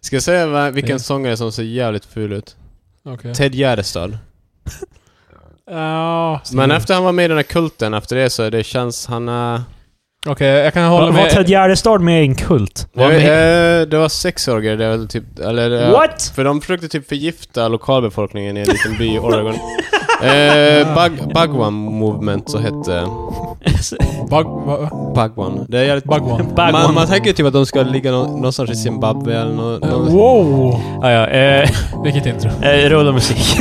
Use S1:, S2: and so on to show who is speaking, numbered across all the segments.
S1: Ska jag säga vad- vilken sångare som ser jävligt ful ut?
S2: Okej.
S1: Ted Gärdestad.
S2: Ja.
S1: Men efter han var med i den här kulten, efter det så det känns han... eh,
S2: Okej, jag kan hålla
S3: Var, var
S2: med.
S3: Ted Gärdestad med i en kult?
S1: jag
S3: Var han
S1: vet-
S3: med?
S1: eh, det var sexorger, det var typ... Eller, eh,
S3: What?
S1: För de försökte typ förgifta lokalbefolkningen i en liten by i Oregon. eh, bug, Bugwan Movement så hette...
S2: Bug, va, va?
S1: Bugwan. Det är jävligt...
S2: Bugwan.
S1: Man,
S3: Bagwan.
S1: man tänker ju typ att de ska ligga nå- någonstans i Zimbabwe eller nå, nå,
S2: Wow!
S3: Ja, ja. Eh,
S2: Vilket intro.
S3: eh, rulla musik.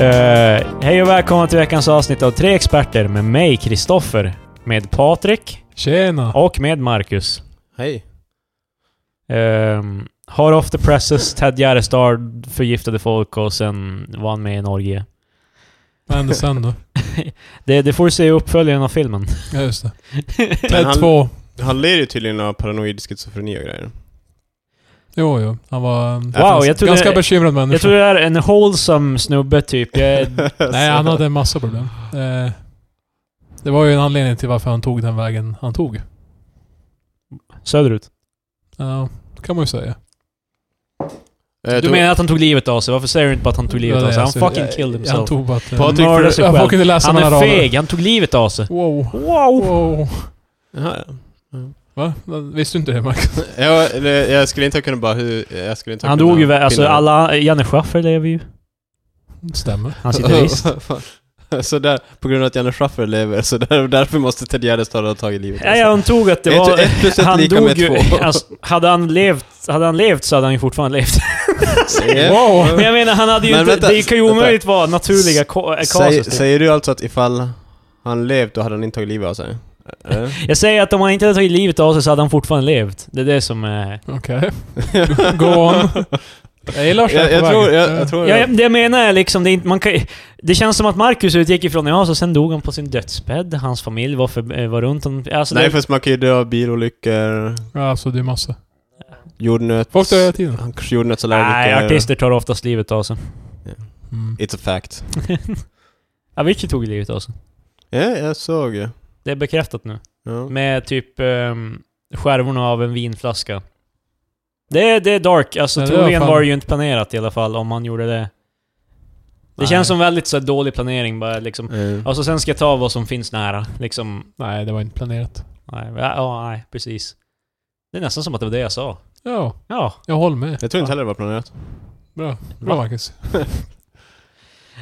S3: Eh, hej och välkomna till veckans avsnitt av Tre Experter med mig, Kristoffer, med Patrik
S2: Tjena!
S3: och med Marcus.
S1: Hej.
S3: Um, Hard off the presses, Ted Gärdestad förgiftade folk och sen var han med i Norge.
S2: Vad hände sen då?
S3: Det, det får du se i uppföljaren av filmen.
S2: Ja, just det.
S1: Men
S2: Ted
S1: han-
S2: 2.
S1: Han ler ju tydligen av paranoid schizofreni och grejer.
S2: Jo, jo. Han var en
S3: Wow, jag trodde,
S2: ganska bekymrad människa.
S3: jag trodde det är en wholesome snubbe typ. Jag,
S2: Nej, han hade en massa problem. Eh, det var ju en anledning till varför han tog den vägen han tog.
S3: söderut.
S2: Ja, det kan man ju säga.
S1: Eh,
S3: Du
S1: tog-
S3: menar att han tog livet av sig? Varför säger du inte bara att han tog livet
S2: Ja,
S3: av sig? Han
S2: alltså,
S3: fucking
S2: jag-
S3: killed
S2: Han
S3: himself.
S2: tog bara att... eh,
S1: Patrik,
S3: mördade sig
S2: Jag
S3: själv.
S2: får inte läsa
S3: Han
S2: mellan
S3: är
S2: raderna.
S3: feg, han tog livet av sig.
S2: Wow.
S3: Wow!
S2: Wow.
S1: Jaha, ja.
S2: Va? Visste du inte det, Marcus?
S1: Jag, eller, jag skulle inte kunna bara hur... Jag skulle inte
S3: Han
S1: kunna
S3: dog ju, vä- alltså
S1: pinna det.
S3: alla, Janne Schaffer lever ju.
S2: Stämmer.
S3: Han sitter visst.
S1: så där, på grund av att Janne Schaffer lever, så där, därför måste Ted Gärdestad ha tagit livet
S3: Nej, jag antog att det
S1: Ett-
S3: var...
S1: ett plus ett
S3: han
S1: lika
S3: dog
S1: med
S3: ju...
S1: två.
S3: Alltså, hade, han levt, hade han levt så hade han ju fortfarande levt.
S1: Säger-
S2: Wow!
S3: Men jag menar, han hade ju
S1: Men
S3: inte,
S1: vänta,
S3: det kan ju
S1: vänta.
S3: omöjligt vara naturliga ko- eh,
S1: Säger,
S3: kasus.
S1: säger du alltså att ifall han levt, då hade han inte tagit livet av sig? Eh?
S3: jag säger att om han inte hade tagit livet av sig så hade han fortfarande levt. Det är det som är...
S2: Okej. Go on. Jag gillar vart
S1: jag,
S2: är
S1: jag,
S2: på
S1: tror,
S2: väg.
S1: jag,
S2: Eh,
S1: jag tror...
S3: Ja, det jag menar är liksom, det, är inte, man kan, det känns som att Marcus utgick ifrån ja, så sen dog han på sin dödsbädd, hans familj var, för, eh, var runt honom. Alltså,
S1: Nej,
S3: det,
S1: för man kan ju dö av bilolyckor,
S2: Ja, alltså det är massa.
S1: jordnöts...
S2: Folk dör hela tiden.
S3: nej,
S1: Jordnötsallergiker.
S3: artister tar oftast livet av sig.
S2: Mm.
S1: It's a fact.
S3: Avicii tog livet av sig.
S1: Ja, jag såg ju.
S3: Det är bekräftat nu.
S1: Ja.
S3: Med typ um, skärvorna av en vinflaska. Det, det är dark, alltså
S2: Ja, det var
S3: troligen
S2: fan-
S3: var det ju inte planerat i alla fall om han gjorde det. Det
S1: Nej.
S3: känns som väldigt så här, dålig planering bara liksom.
S1: Eh.
S3: Och så sen ska jag ta vad som finns nära. Liksom,
S2: Nej, det var inte planerat.
S3: nej, ja, ja, nej, precis. Det är nästan som att det var det jag sa.
S2: Ja,
S3: Ja.
S2: jag håller med.
S1: Jag tror inte heller det var planerat.
S2: Bra. Bra, Marcus. Tre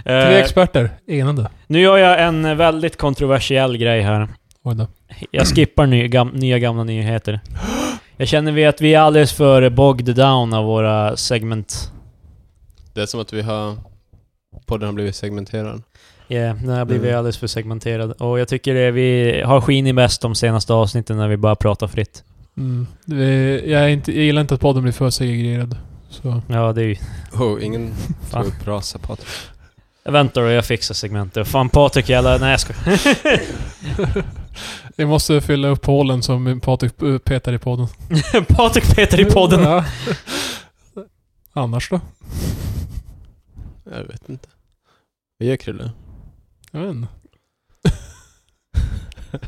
S3: Eh,
S2: experter. Enande.
S3: nu gör jag en väldigt kontroversiell grej här.
S2: Oj då.
S3: Jag skippar ny, gam, nya gamla nyheter. Jag känner vi att vi är alldeles för bogged down av våra segment.
S1: Det är som att vi har... Podden har blivit segmenterad.
S3: Yeah, den här blir vi
S1: Mm.
S3: alldeles för segmenterad. Och jag tycker det, vi har skinit bäst de senaste avsnitten när vi bara pratar fritt.
S2: Mm. Det är- Jag, är inte, jag gillar inte att podden blir för segregerad. Så.
S3: Ja, det är ju...
S1: Oh, ingen
S3: Fan.
S1: tror brasa Patrik.
S3: Vänta då, jag fixar segmentet. Fan Patrik jävla... Nej jag skojar.
S2: Vi måste fylla upp hålen som Patrik eh, petar i podden.
S3: Patrik Peter i podden.
S2: Ja. Annars då?
S1: Jag vet inte. Vi gör Krille.
S2: Jag vet inte.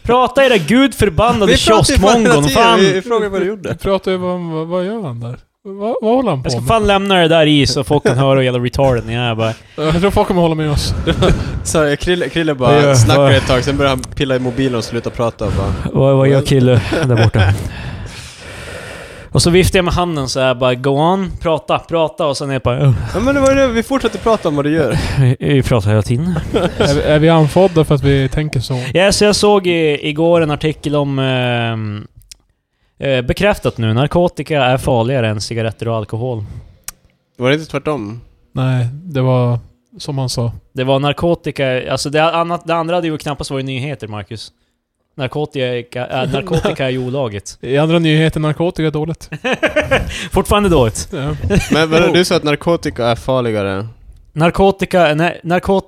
S3: Prata era gudförbannade kioskmongon. Fan!
S1: frågar vad du gjorde.
S2: Vi pratar ju om vad, vad gör han där? Vad, vad håller han på
S3: Jag ska
S2: med?
S3: fan lämna det där i så folk kan höra hur jävla retarden jag är bara.
S2: Jag tror folk kommer hålla med oss.
S1: Sorry, Krille, Krille
S3: Det
S1: bara
S3: gör-
S1: snackar ett tag, sen börjar han pilla i mobilen och sluta prata och bara...
S3: Vad, vad gör kille där borta? Och så viftar jag med handen så här bara go on, prata, prata och sen är jag bara... "Ugh,
S1: Ja men det var ju det, vi fortsätter prata om vad du gör.
S3: vi- Vi pratar hela tiden.
S2: är, vi- är vi anfådda för att vi tänker så?
S3: Ja, så jag såg i, igår en artikel om... ehm, eh, bekräftat nu, narkotika är farligare än cigaretter och alkohol.
S1: Var det inte tvärtom?
S2: Nej, det var som han sa.
S3: Det var narkotika, alltså det, annat, det andra hade ju knappast varit nyheter, Marcus. Narkotika, äh, narkotika är ju olagligt.
S2: I andra nyheter, narkotika är dåligt.
S3: Fortfarande dåligt.
S2: Ja.
S1: Men vadå, du sa att narkotika är farligare?
S3: Narkotika, nej, narkot...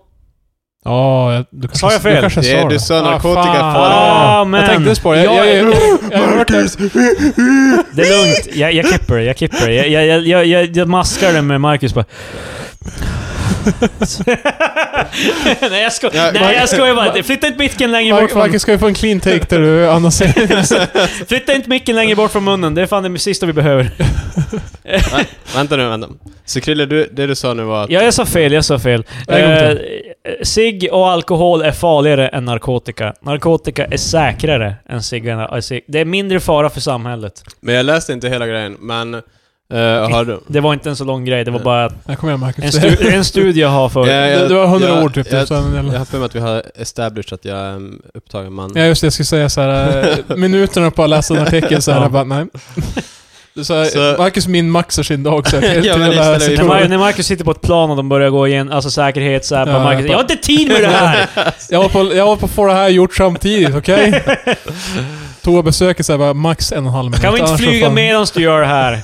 S2: Ja, jag, du kanske
S4: Sa jag fel?
S2: Du kanske
S1: Det- du
S2: sa det.
S1: sa narkotika
S2: fan.
S1: förut.
S2: Ah,
S3: Ah, men-
S2: Jag tänkte spara. Jag, jag,
S3: Jag-
S2: jag, jag, jag, har varit där.
S3: Det är lugnt. Jag, jag klipper, jag klipper. Jag, jag, jag, jag, jag, jag maskar det med Marcus bara. Nej jag
S1: Ja,
S3: skojar. Nej jag skojar bara. Flytta inte micken längre bort från...
S2: Marcus ska ju få en clean take där du annonserar.
S3: Flytta inte micken längre bort från munnen. Det är fan det sista vi behöver.
S1: Vänta nu, vänta. Så Krille, du, det du sa nu var att...
S3: Ja, jag sa fel, jag sa fel.
S2: Ja, en gång
S3: Eh, Cigg och alkohol är farligare än narkotika. Narkotika är säkrare än cigg. och nar- cigg. Det är mindre fara för samhället.
S1: Men jag läste inte hela grejen, men... eh, har du...
S3: Det var inte en så lång grej, det var bara att
S2: Nej, kom igen Marcus.
S3: en, stu en studie jag har för...
S1: Ja, jag-
S2: det var 100
S1: jag-
S2: ord typ.
S1: Jag,
S2: så en jävla-
S1: jag har för mig att vi har established att jag är en upptagen man.
S2: Ja just det, jag skulle säga så här. eh, minuterna på att läsa en artikel så här, jag bara nej. Du sa,
S1: Så-
S2: Marcus min maxar sin dag så
S1: Ja,
S2: här,
S1: men
S2: till att lära
S1: istället-
S2: sig
S3: När, Mar-
S2: provet.
S3: när Marcus sitter på ett plan och de börjar gå igen, alltså säkerhet så här,
S2: Ja,
S3: på Marcus,
S2: jag-
S3: jag har inte tid med det här!
S2: jag var på, jag var på få det här gjort samtidigt, okej? Tog besöket såhär bara max en och en halv minut.
S3: Kan vi inte
S2: annars så
S3: flyga
S2: fan-
S3: medans du gör det här?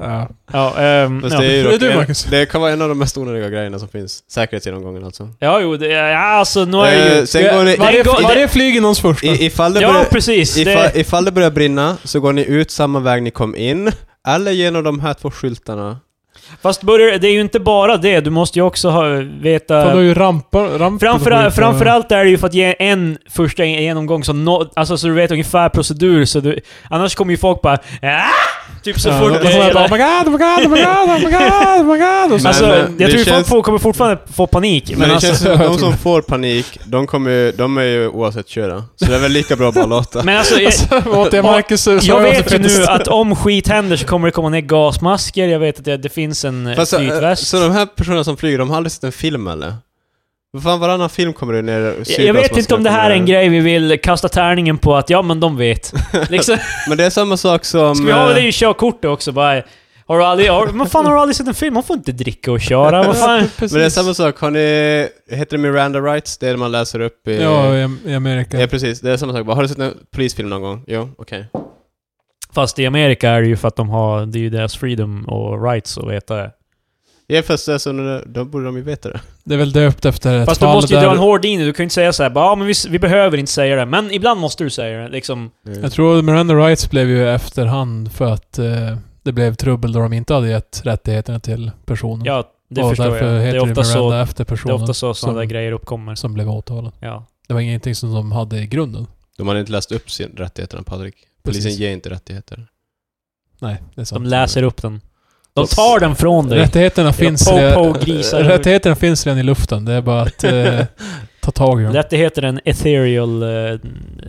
S2: Ja.
S3: Ja, ehm,
S1: Fast
S3: ja.
S1: det, är ju
S2: Det är
S1: dock
S2: du,
S1: en-
S2: Marcus.
S1: det kan vara en av de mest onödiga grejerna som finns. Säkerhetsgenomgången alltså.
S3: ja, jo, det, ja, alltså nu är det
S1: Eh,
S3: ju...
S1: sen går ni,
S2: varje,
S3: Det går-
S2: varje flyg är någons första.
S1: i, ifall, det
S3: Ja,
S1: börjar,
S3: precis!
S1: ifall,
S3: Det,
S1: ifall det börjar brinna så går ni ut samma väg ni kom in, eller genom de här två skyltarna.
S3: fast börjar, det är ju inte bara det, du måste ju också ha, veta...
S2: Fan, du har ju rampar, ramp
S3: Framförallt, framförallt är det ju för att ge en första genomgång som nå- alltså, så du vet ungefär procedur, så du, annars kommer ju folk bara "Ah!" Typ så
S2: Ja,
S3: fort...
S2: de kommer bara,
S3: eller-
S2: oh my god, oh my god, oh my god, oh my god, oh my god. Och så,
S1: Men,
S3: alltså,
S1: eh,
S3: jag
S1: det
S3: tror
S1: känns-
S3: folk får, kommer fortfarande få panik, men,
S1: Men, det
S3: alltså,
S1: känns som att
S2: jag
S1: de
S2: tror
S1: som får panik, de, kommer, ju- de är ju oavsett köra. Så det är väl lika bra att bara låta.
S3: men alltså... Jag,
S2: åt det Marcus sa
S3: jag
S2: också
S3: vet ju
S2: precis.
S3: nu att om skit händer så kommer det komma ner gasmasker, jag vet att det, det finns en eh,
S1: Fast, eh,
S3: flytväst.
S1: så de här personerna som flyger, de har aldrig sett en film eller? Vad fan, varannan film kommer det ner
S3: Jag- jag vet inte om det här är en grej vi vill kasta tärningen på att ja, men de vet. Liksom,
S1: Men det är samma sak som...
S3: ska vi ha
S1: eh,
S3: det i körkortet också bara? Har du aldrig... Har, men fan, har du aldrig sett en film? Man får inte dricka och köra. Vad fan?
S1: Men det är samma sak, har ni... Heter det Miranda Rights? Det är det man läser upp i...
S2: Ja, i, i Amerika.
S1: Ja, precis. Det är samma sak. Bara, Har du sett en polisfilm någon gång? Jo, okej.
S3: Fast i Amerika är det ju för att de har, det är ju deras freedom och rights att veta det.
S1: Ja, fast det är så, nu- då borde de ju veta det.
S2: Det är väl döpt efter ett
S3: Fast du
S2: fall
S3: måste ju
S2: där...
S3: dra en hård linje, du kan ju inte säga såhär bara ja men vi, vi behöver inte säga det, men ibland måste du säga det liksom.
S2: Jag tror Miranda Rights blev ju efterhand för att eh, det blev trubbel då de inte hade gett rättigheterna till personen.
S3: Ja, det
S2: och
S3: förstår jag.
S2: därför
S3: Det
S2: heter
S3: är
S2: det
S3: ofta
S2: Miranda
S3: så,
S2: efter
S3: det är
S2: personen
S3: ofta så sådana där
S2: som-
S3: grejer uppkommer.
S2: som blev åtalad.
S3: Ja.
S2: Det var ingenting som de hade i grunden.
S1: De har inte läst upp sin rättigheterna, Patrik. Polisen
S2: Precis.
S1: ger inte rättigheter.
S2: Nej, det är sant.
S3: De läser upp den. De tar den från dig.
S2: Rättigheterna finns,
S3: po-
S2: redan-
S3: po- grisar.
S2: rättigheterna finns redan i luften. Det är bara att eh, ta tag i dem.
S3: Rättigheter är en ethereal, eh,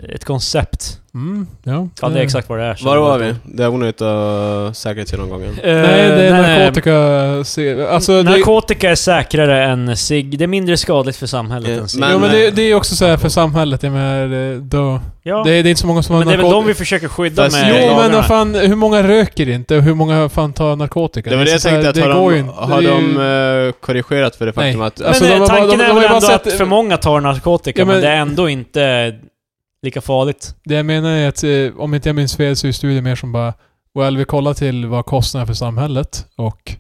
S3: ett koncept.
S2: Mm, ja,
S3: Ja, det är exakt vad det är. så-
S1: Var var vi? Det är onödigt att säkerhetsgenomgången.
S3: Eh,
S2: Nej, det är
S3: nej, nej.
S2: narkotika... se- Alltså, det,
S3: Narkotika är säkrare än cigg. Det är mindre skadligt för samhället
S1: Eh,
S3: än cigg.
S1: men-
S2: jo, men det, det är också så här för samhället. Jag menar, eh, då,
S3: ja.
S2: det, är- det är inte så många som har
S3: Men det är väl
S2: narkotika.
S3: de vi försöker skydda
S1: Fast-
S3: med
S1: Nej,
S2: Jo, men
S3: lagarna.
S2: vad fan, hur många röker inte och hur många fan tar narkotika?
S1: Det var det
S2: är
S1: jag
S2: så här,
S1: tänkte, att
S2: det går
S1: har
S2: ju
S1: de,
S2: inte.
S1: har
S2: Det är ju-
S1: de eh, korrigerat för det
S2: Nej.
S1: faktum att...
S2: Ja, Alltså,
S3: men
S2: de
S3: eh,
S2: har bara-
S3: tanken
S2: de- de
S3: är
S2: har
S3: väl
S2: ju bara
S3: ändå
S2: sett-
S3: att för många tar narkotika,
S2: Ja,
S3: men,
S2: men-
S3: det är ändå inte lika farligt.
S2: Det jag menar är att, eh, om inte jag minns fel, så är studien mer som bara Well, vi kollar till vad kostnaderna för samhället och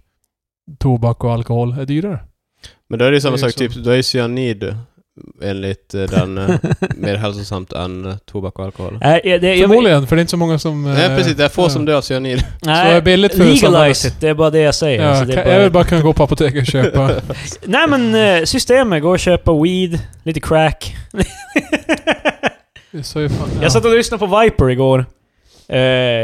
S2: tobak och alkohol är dyrare.
S1: Men då är det ju samma
S2: Det är
S1: sak,
S2: ju
S1: typ, då är ju cyanid enligt eh, den eh, mer hälsosamt än eh, tobak och alkohol.
S3: Nej, eh, det, jag, vill-
S2: Förmodligen, för det är inte så många som...
S1: Nej
S2: eh,
S1: precis, det är få
S2: ja.
S1: som dör av cyanid.
S2: Så är
S3: nej,
S2: billigt för
S3: legalize
S2: samhället.
S3: it, det är bara det jag säger.
S2: Ja,
S3: alltså, det är
S2: kan,
S3: bara...
S2: Jag vill bara kunna gå på apoteket och köpa...
S3: Nej men eh, systemet, gå och köpa weed, lite crack.
S2: Det sa ju fan, ja.
S3: Jag satt och lyssnade på Viper igår. Eh,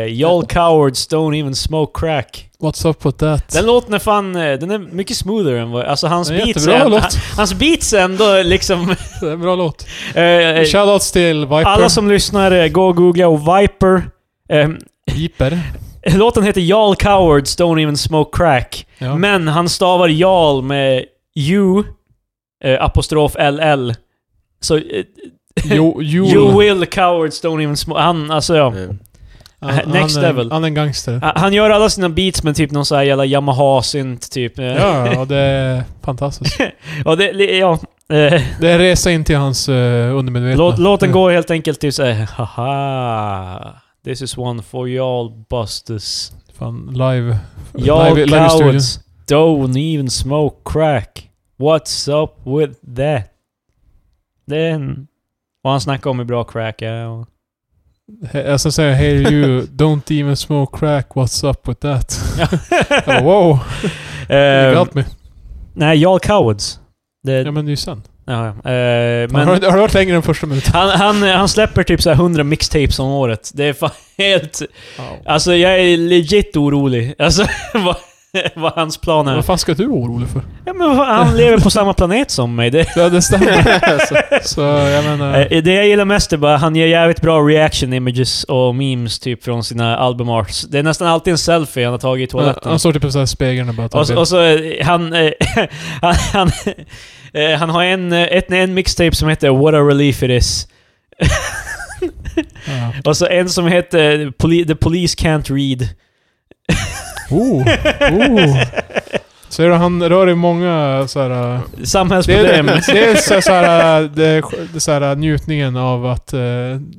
S3: Y'all cowards don't even smoke crack.
S2: What's up with that?
S3: Den låten är fan, eh, den är mycket smoother än vad, alltså hans
S2: Det är en
S3: beats
S2: jättebra
S3: är,
S2: låt.
S3: hans beats är ändå liksom...
S2: Det är en bra låt.
S3: eh,
S2: Shoutouts till Viper.
S3: alla som lyssnar, eh, gå och googla och Viper. Ehm,
S2: Viper.
S3: Låten heter Jarl Cowards Don't Even Smoke Crack.
S2: Ja.
S3: Men han stavar Jarl med U, eh, apostrof LL. Så eh,
S2: Jo, jo.
S3: You will cowards don't even smoke... Han, alltså ja.
S1: Mm.
S2: Han-
S3: Next
S2: han är-
S3: level.
S2: Han är en gangster.
S3: Han han gör alla sina beats med typ någon sån här jävla Yamaha-synt typ. Eh,
S2: Ja, och det är fantastiskt.
S3: Och det, li- ja. Eh,
S2: Det är resa in till hans uh, undermedvetna.
S3: låt, låten går helt enkelt till såhär, haha. This is one for y'all busters.
S2: Fan, live.
S3: Y'all
S2: live, live i studion.
S3: cowards don't even smoke crack. What's up with that? Det är en... Och han snackar om hur bra crack är och...
S2: He- Eh, Jag ska säga Hey you, don't even smoke crack, what's up with that? Jag bara, wow, you
S3: Eh,
S2: got me.
S3: nej, Jarl Cowards. Det...
S2: Ja men det är ju sen.
S3: Ja, ja. Eh, men
S2: Har, du, har du varit längre än första minuten?
S3: han, han, han släpper typ så här 100 mixtapes om året. Det är fan helt... Alltså jag är legit orolig. Alltså vad, vad hans plan är.
S2: Vad fan ska du vara orolig för?
S3: Ja, men vad fan, han lever på samma planet som mig. Det,
S2: Ja, det stämmer. så, så jag menar...
S3: eh, det jag gillar mest är bara han ger jävligt bra reaction images och memes typ från sina albumarts. Det är nästan alltid en selfie han har tagit i toaletten.
S2: Han står typ i så här spegeln och bara tar
S3: Och, så-
S2: bild.
S3: och så eh, han... eh, han, han, eh, han har en, eh, ett, en mixtape som heter “What a relief it is”.
S2: Ja.
S3: Och så en som heter eh, Poli- “The police can't read”.
S2: Oh, oh. Ser du, han rör i många så här... äh, Det är,
S3: Samhällsproblem.
S2: det är så, så här, äh, det, det, så här äh, njutningen av att eh,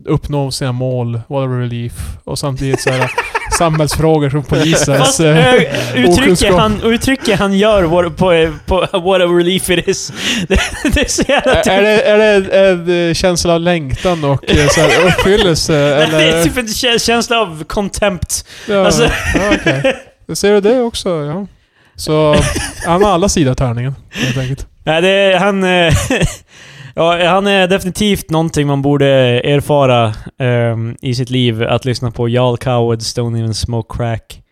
S2: uppnå sina mål, what a relief. Och samtidigt så här samhällsfrågor som polisens...
S3: Fast
S2: eh,
S3: ö, uttrycket,
S2: okunskap.
S3: han, uttrycket han gör what, på, eh, på “What a relief it is”. Det, det är så jävla typ-
S2: Är det, är det en eh, känsla av längtan och eh, så här, uppfyllelse?
S3: Det är
S2: eller?
S3: typ en kä- känsla av contempt.
S2: Ja,
S3: Alltså-
S2: ja, okej. Då Ser du det också? Ja. Så han har alla sidor av tärningen, helt enkelt.
S3: Nej, det är, han... eh, ja, han är definitivt någonting man borde erfara ehm, i sitt liv. Att lyssna på Jarl Cowards Don't Even Smoke Crack.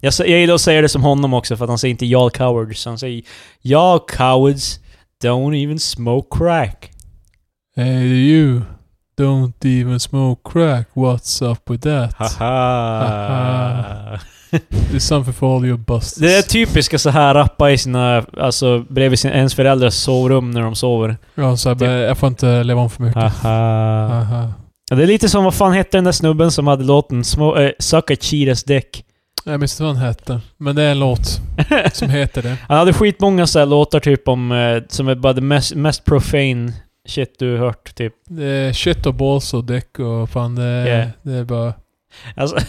S3: Jag, sä- jag gillar att säga det som honom också, för att han säger inte Jarl Cowards. Han säger Jarl Cowards Don't Even Smoke Crack.
S2: Hey you, don't even smoke crack, what's up with that?
S3: Haha.
S2: Haha. It's something for all your busters.
S3: Det är typiska så här rappa i sina... Alltså bredvid sin, ens föräldrars sovrum när de sover.
S2: Ja, så här, men jag får inte leva om för mycket.
S1: Ah.
S2: Ah,
S3: Haha.
S2: Aha.
S3: Ja, det är lite som, vad fan hette den där snubben som hade låten små, eh, “Suck a cheetah's dick”?
S2: Jag minns inte vad den hette, men det är en låt som heter det.
S3: Han hade skitmånga så här låtar typ om, eh, som är bara det mest, mest profane shit du har hört typ.
S2: Det är shit och balls och däck och fan det,
S3: Yeah.
S2: det är bara...
S3: Alltså,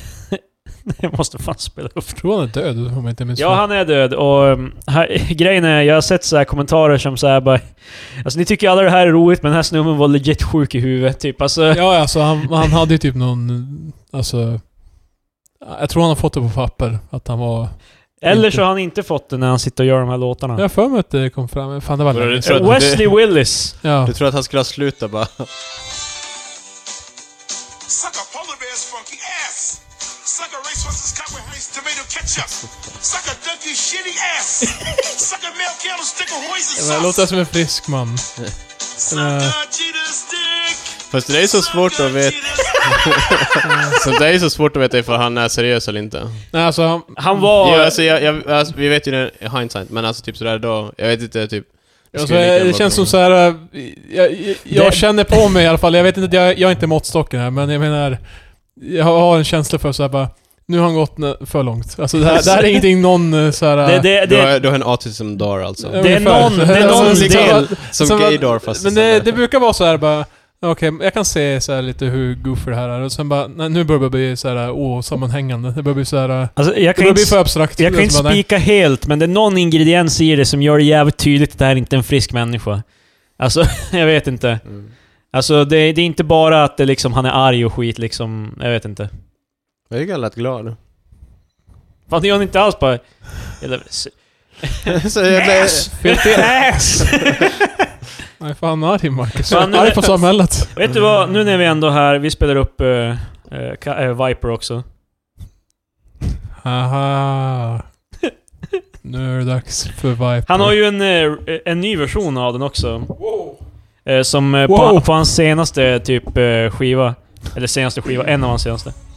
S3: jag måste fan spela upp.
S2: Jag tror han är död om jag inte minns
S3: Ja,
S2: fel.
S3: han är död och um, här, grejen är, jag har sett så här kommentarer som så här bara... Alltså ni tycker alla det här är roligt men den här snubben var legit sjuk i huvudet typ. Alltså,
S2: Ja, alltså han, han hade ju typ någon... Alltså... Jag tror han har fått det på papper, att han var...
S1: Ah.
S3: eller så har han inte fått det när han sitter och gör de här låtarna.
S2: Jag har för mig att det kom fram. Fan, det var
S1: Var det
S2: länge
S1: så
S2: sedan.
S1: att-
S3: Wesley Willis.
S2: Ja.
S1: Du tror att han skulle ha slutat bara...
S4: Suck a polar bear's funky ass. Suck a racehorse's copper rice tomato ketchup. Suck a donkey's shitty ass. Suck a male candlestick of hoisin
S2: Det
S4: sauce.
S2: låter som en frisk man.
S4: Suck a cheetah's dick.
S1: Fast det är så svårt att veta... Så Alltså, det är så svårt att veta ifall han är seriös eller inte.
S2: Nej, alltså han...
S3: Han var...
S1: Ja, alltså, jag, jag, alltså, vi vet ju det i hindsight, men alltså typ sådär då... Jag vet inte, typ... jag
S2: Alltså,
S1: skulle lika gärna
S2: det
S1: vara-
S2: känns som så här. äh, Jag, jag,
S3: Det-
S2: jag känner på mig i alla fall. Jag vet inte, jag, jag är inte måttstocken här, men jag menar... Jag har en känsla för så här bara... Nu har han gått nä- för långt. Alltså det här, det här är ingenting någon äh, så här...
S3: det, det,
S1: Du
S3: det,
S1: har, du har en autism dar alltså.
S2: äh,
S3: det är
S2: ungefär.
S3: någon- det är någon
S2: Alltså, liksom,
S3: del.
S1: Som,
S2: som-
S1: gaydar fast...
S2: Men eh, det, det brukar vara så här bara... Okej, jag kan se så här lite hur goofy det här är. Och sen bara... Nej, nu börjar det bli så här osammanhängande. Det börjar bli så här... äh,
S3: Alltså, jag
S2: Det
S3: kan
S2: börjar
S3: inte,
S2: bli för abstrakt.
S3: jag kan inte
S2: Alltså, bara, nej.
S3: spika helt, men det är någon ingrediens i det som gör det jävligt tydligt att det här är inte är en frisk människa. Alltså, jag vet inte.
S1: Mm.
S3: Alltså, det, det är inte bara att det liksom, han är arg och skit liksom. Jag vet inte.
S1: Jag tycker han lät glad.
S3: Fan, det gör han inte alls bara... Eller, s-
S1: så
S3: Äh,
S1: jag,
S3: Ass!
S2: Fet-
S3: Ass!
S2: Nej, fan arg Marcus.
S3: Fan, nu-
S2: arg på samhället.
S3: vet du vad? Nu när vi ändå är här, vi spelar upp eh, eh, Ka- eh, Viper också.
S2: Haha. Nu är det dags för Viper.
S3: Han har ju en, eh, en ny version av den också.
S2: Wow.
S3: Eh, som eh, på,
S2: Wow.
S3: på hans senaste typ eh, skiva. Eller senaste skiva, en av hans senaste.
S4: Here's